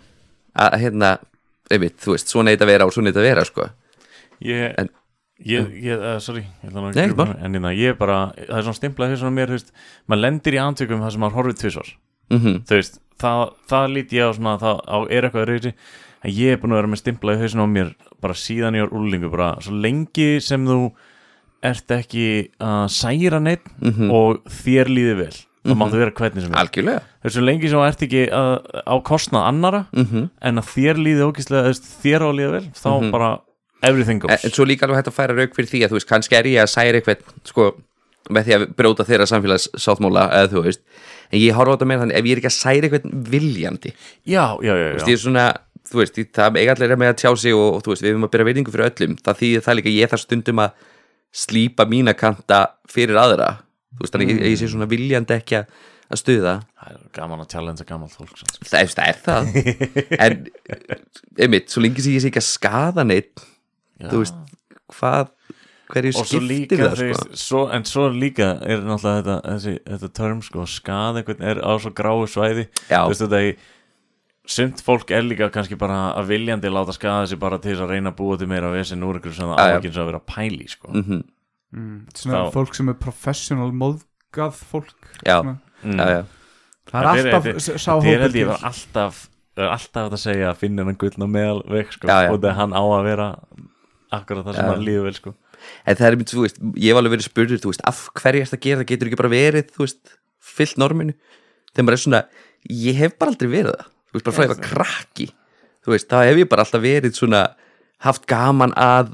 C: að að, hérna, einmitt, þú veist, svona eitt að vera og svona eitt að vera, sko
B: Ég,
C: En-
B: ég, ég uh, sorry ég ætla nú ekki að
C: Nei, ekkert
B: grípa hana, En hérna, ég, ég bara, það er svona stimplað fyrir svona mér, þú veist Maður lendir í antökum það sem maður horfið tvisvar
C: mm -hmm.
B: Þú veist, það, það lít ég á svona Það á, er eitthvað reyðri En ég er búin að vera með stimplað í hausinu á mér Bara síðan ég var úrlingu, bara svo lengi sem þú Ert ekki að særa neitt
C: Mhm.
B: Og þér líði vel Það mm máttu vera hvernig sem er
C: Algjörlega
B: Þessu lengi sem þú ert ekki að, á kostnað annara
C: Mhm.
B: En að þér líði ókýslega Þess þér á að líða vel Þá bara everything
C: en,
B: goes
C: en svo líka alveg hægt að færa rauk fyrir því að þú veist, kannski er ég að særa eitthvað sko, með því að bróta þeirra samfélagssáttmála eða þú veist, en ég horfa á þetta meira þannig ef ég er ekki að særa eitthvað viljandi þú
B: Já, já, já,
C: veist,
B: já.
C: ég er svona, þú veist, ég- það eiga allir með að tjá sig og, og þú veist, við erum að byrja veitingu fyrir öllum það þýðir það líka, að ég þarf stundum að slípa mína kanta fyrir aðra þú veist, þannig mm. ég, ég sé svona viljandi ekki að, að stuða
B: Það er gaman að challengea gammal fólk sko. sanns.
C: það er, það er það en, einmitt, svo lengi sem ég sé ekki að skaða neitt
B: Já.
C: þú veist, hvað hverju
B: Og svo
C: skiptir
B: líka
C: það
B: þeir,
C: sko?
B: svo, En svo líka er náttúrulega þetta, þessi, þetta term sko, skað einhvern er á svo gráu svæði
C: Já.
B: Þú veist þetta í Sumt fólk er líka kannski bara að viljandi láta skaða sig bara til þess að reyna að búa til meira vesinn úr einhverju sem það
C: Já, já.
B: áhengins að vera að pæli sko.
C: mm -hmm.
A: Svona
B: Þá-
A: fólk sem er professional móðgað fólk
C: Já.
A: svona.
B: mm.
C: já, já.
A: Það
B: Þetta
A: er
B: er-
A: alltaf sá
B: þetta- Þetta er
A: hópur
B: held ég
A: til.
B: var alltaf alltaf hægt að segja að finna hennan gullna meðal vekk sko,
C: Já, já.
B: og það hann á að vera akkurat það sem
C: Já.
B: hann líður vel sko.
C: en það er mitt, þú veist, ég hef alveg verið spurður þú veist, af hverju ertu að gera það, getur ekki bara verið þú veist, fyllt norminu þegar maður er svona, ég hef bara aldrei verið það þú veist, bara frá ég var krakki þú veist, þá hef ég bara alltaf verið svona haft gaman að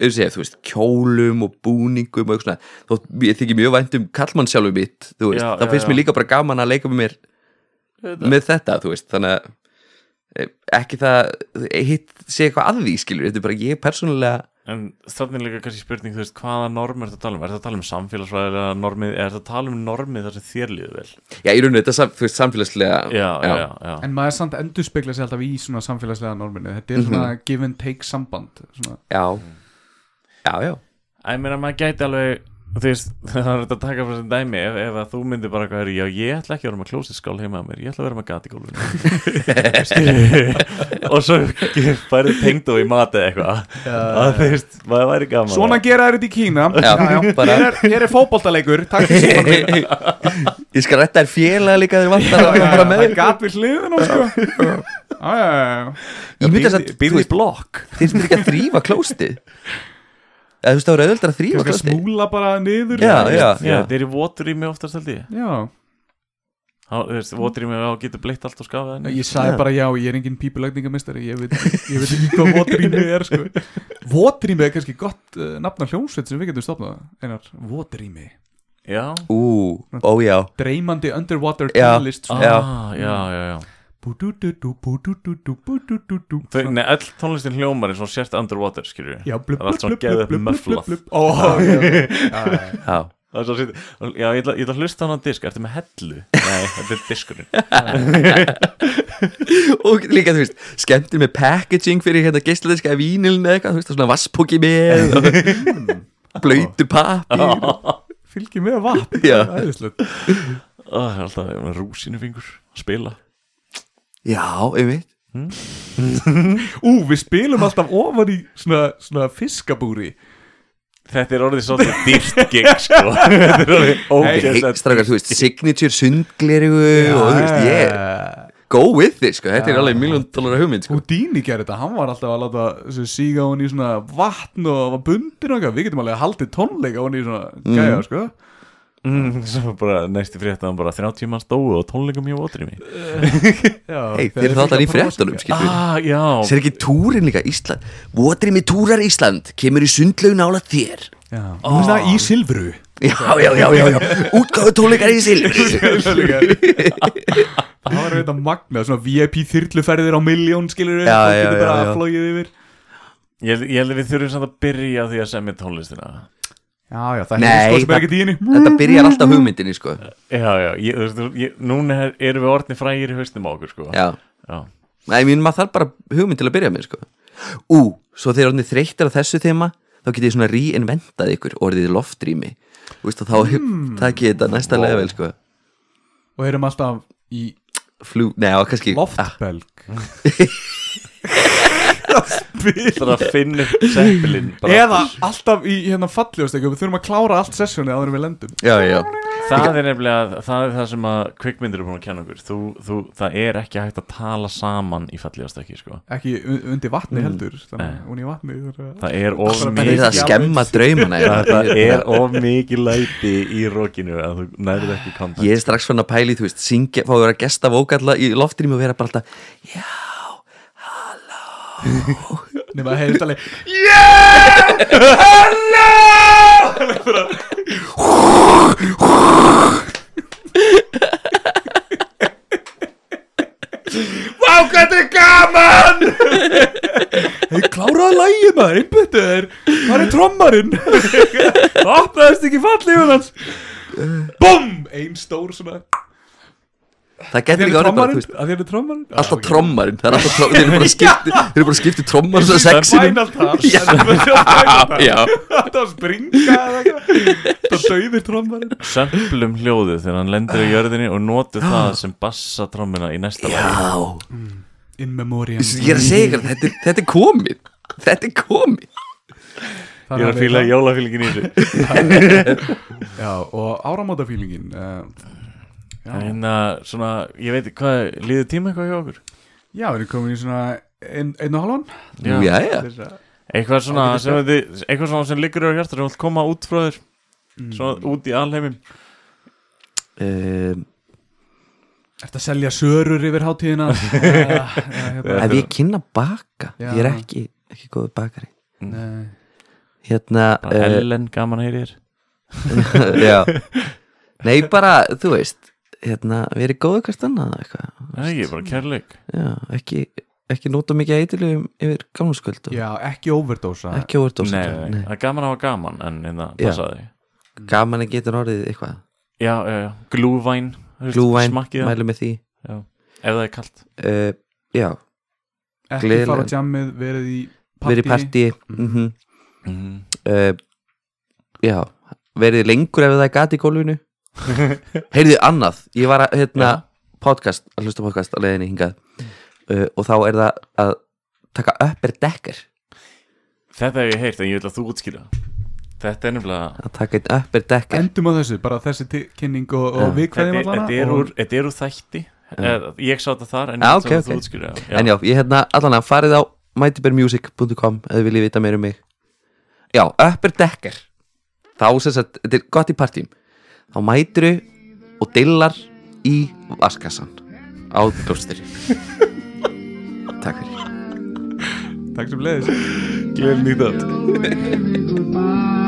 C: eh, segja, þú veist, kjólum og búningum og eitthvað svona, þó ég þykir mjög vænt um kallmann sjálfur mitt, þú veist,
B: Já,
C: þá
B: já,
C: finnst
B: já.
C: mér líka bara gaman að leika með mér með þetta, þú veist, þannig að eh, ekki það hitt sé eitthvað að því, skilur, þetta er bara ég persónulega,
B: En þannig líka kannski spurning, þú veist, hvaða norm er þetta að tala um? Er þetta að tala um samfélagsfræðilega normið, er þetta að tala um normið þar sem þér líður vel?
C: já, í rauninu, þetta sam, þú veist, samfélagslega
B: Já, já, já. já.
A: En maður samt endur spekla sér alltaf í svona samfélagslega norminu Þetta er svona give and take samband svona.
C: já, já, já.
B: Æ, mér að maður gæti alveg, þú veist, það er þetta að taka frá sem dæmi ef, ef að þú myndir bara hvað er, já, ég ætla ekki að vera með klósitskál heima að mér, ég ætla að vera með gat í gólfinu. og svo færið tengd og í mat eða eitthvað. Það, þú veist, maður væri gaman.
A: Svona gera þeir þetta í Kína
C: Já, bara-
A: Hér er, hér er fótboltaleikur Takk fyrir síðan
C: ég skal rætta þér félag líka þegar vantar að
A: Já,
C: fara
A: það
C: með
A: er gat við hliðin og sko Já, já, já,
C: ég myndi að
B: býrði, býrði í blokk.
C: þeir sem ekki að þrýfa klóstið eða þú veist, það voru auðvöldar að
A: já
C: þrýfa
A: Kanski
C: klóstið
A: smúla bara niður
C: Já,
A: þú veist.
C: já.
B: Já, þetta er í voturými oftast held ég.
A: já
B: Þá, Þú veist, voturými á getur bleitt allt og skafið henni.
A: Ég sagði bara já, ég er engin pípulagningamistar Ég veit ég veit ekki hvað votrými er sko Votrými er kannski gott uh, nafn á hljómsveit sem við getum stofnað Einar, votrými
B: Já,
C: ú, ó já,
A: Dreymandi underwater sko.
C: Já.
A: tónlist
B: ah,
A: svona.
B: já,
C: Já.
B: já, já, já.
A: Bú-dú-dú-dú, bú-dú-dú-dú, bú-dú-dú-dú.
B: Þau, nei, öll tónlistin hljómar eins og sért underwater, skilur við
A: Já, blub,
B: Það er allt svona geðveikt mufflað.
A: Ó, já, já, já.
C: já
B: Það er svo sýtt Já, ég ætla, ég ætla að hlusta á hann á disk, ertu með hellu? Nei, þetta er diskurinn
C: og líka, þú veist, skemmtir með packaging fyrir hérna geisladiska vínilin eða eitthvað, þú veist, það er svona vasspóki með og blöytu pappi
A: Fylgi með vatn
C: Já.
A: Æðislegt.
B: Ó, Það er alltaf með rúsinufingur að spila
C: já, einmitt
A: Ú, við spilum alltaf ofan í svona, svona fiskabúri
B: Þetta er orðið svolítið dýrt gig, sko Þetta er orðið
C: Hey,
B: ógeðslega
C: strákar, þú veist, signature sundgleru og þú veist, ég
A: yeah.
C: go with this sko. þetta er alveg miljón dólar hugmynd sko.
A: Houdini gerði þetta, hann var alltaf að láta þessu síga hún í svona vatn og var bundin og eitthvað, við getum alveg haldið tónleika hún í svona gæja, sko
B: mm, Svo bara næsti frétt að hann bara 30 manns dóu og tónleikum hjá Ótrimi
A: Já, þeir
C: hey, þeir eru
A: eru
C: þáttan í
A: líka bara
C: fréttunum skilur við.
B: Ah, já
C: Sér ekki túrin líka Ísland Votrimi túrar Ísland Kemur í sundlaug nála þér
A: Já, hún er svona í silfru
C: Já, já, já, já, já Útgáðu tónleikar í silfri
A: Það var auðvitað magna, svona VIP þyrluferðir á miljón, skilur við
C: Já,
A: fólk
C: já,
A: getur bara
C: já, já.
A: flogið yfir
B: Ég held- ég held að við þurfum samt að byrja á því að semja tónlistina
A: Já, já, það
C: Nei,
A: er sko sem
C: það-
A: er ekki dýni
C: Þetta byrjar alltaf hugmyndinni sko
B: Já, já, ég, þú veist, þú- ég, núna er- erum við orðni frægir í haustum á okkur sko
C: Já
B: já.
C: Ég minn maður þarf bara hugmynd til að byrja með sko Ú, svo þegar orðinni þreyttir á þessu þema Þá getið þið svona reinventað ykkur Orðið loftrými Þú veist að þá mm. takið þetta næsta wow. level sko
A: Og erum alltaf í
C: Flú, neða, kannski Ah,
A: loftbelg Það spil
B: Það er að finna upp seppilinn
A: Eða alltaf í hérna falljóstekum Við þurfum að klára allt sessjóni áður en við lendum
C: Já, já
B: Það er nefnilega, það er það sem að kvikmyndir er búin að kenna okkur þú, þú, Það er ekki hægt að tala saman í fallegast ekki sko.
A: Ekki un- undir vatni
C: Mm.
A: heldur Þannig
B: Nei.
A: að hún í vatni þegar-
B: Það er
A: Það er
B: of
C: Það er
B: mikið
C: það að skemma draumana
B: Það er of mikið læti í rokinu að þú nærið ekki kontakt
C: Ég er strax fann að pæli, þú veist, syngja, fá að vera gesta vókalla í loftrými og vera bara alltaf
A: Nei, maður heyrði alveg Yeah! Hello! Vá, hvað þetta er gaman! Þau kláraði lægi maður, einbættu þér Hvað er trommarinn? Opnaðist ekki fallið um hans Bum! Ein stór svona
C: Það getur
A: Þér
C: líka
A: er
C: orðið bara, þú
A: trommarinn?
C: veist,
A: Þér er trommarinn?
C: alltaf trommarinn Það er alltaf trommarinn, þeir eru bara að skipta Þeir eru bara að skipta trommar svo sexinum
A: Final touch Já,
C: Já,
A: Þetta að springa eða eitthvað Það döðir trommarinn
B: Sömplum hljóðu þegar hann lendur í jörðinni og notu það sem bassa trommina í næsta
C: já
B: lagi
A: In memoriam
C: Ég er að segja ykkur, þetta, er- þetta er komið Þetta er komið
A: Það
B: Ég er að
A: alveg-
B: fíla jólafílgin í þessu
A: Já, og áramótafílingin uh,
B: En að svona, ég veit, hvað, líður tíma eitthvað hjá okkur?
A: Já, við erum komin í svona ein, einn og halvan
C: Já, já, já.
A: Þessa-
B: Eitthvað svona
A: Ágætis
B: sem, þið, eitthvað svona sem liggur á hjarta sem vilt koma út frá þér Svona út í alheimim
C: Um,
A: Ertu að selja sörur yfir hátíðina uh, hérna,
C: Ef ég kynna baka
A: Já.
C: Ég er ekki, ekki góður bakari
A: Nei.
C: Hérna
B: Bara Ellen, gaman að heyri þér
C: eh, Já Nei, bara, þú veist Hérna, við erum góðu hvert annað eitthvað
B: Nei, ég er bara kærleik
C: Já, ekki, ekki nota mikið eitilugum yfir gamlskvöld og
A: Já, ekki overdósa
C: ekki óverdósa
B: Nei, nei, það er gaman að hafa gaman en hérna,
C: Já.
B: passa þig
C: Gaman að geta orðið eitthvað
B: Já, já, já, glúvæn þú veist,
C: Glúvæn,
B: Smakkið það,
C: mælu með því
B: ef það er kalt
C: uh, Já,
A: Ekki
C: gleðilega.
A: fara á jammið, verið í partí
C: verið í partí mm
B: mm.
C: uh, Já, verið lengur ef það er gat í gólfinu Heyrðu, annað Ég var að, hérna,
B: Já.
C: podcast að hlusta á podcast á leiðinni hingað uh, og þá er það að taka upp er dekker
B: Þetta hef ég heyrt en ég vil að þú útskýra Þetta er nefnilega
C: að taka einn upp er dekker
A: Endum á þessu, bara þessi ti- kynning og, og
C: Já.
A: við
B: Þetta
A: kveðjum
B: er- þetta er
A: og-
B: úr- þetta er úr þætti Eða, Ég sá þetta þar en
C: Já,
B: ég vil
C: ok,
B: að þú
C: ok.
B: útskýra það.
C: En já, ég hérna, allan að farið á mightybearmusic.com eða viljið vita meir um mig Já, upper decker þá sem sagt, þetta er gott í partím þá mæturu og dillar í vaskassan á bjóstur Takk fyrir
A: Takk sem leiðis
B: Gleðin í þátt
E: goodbye.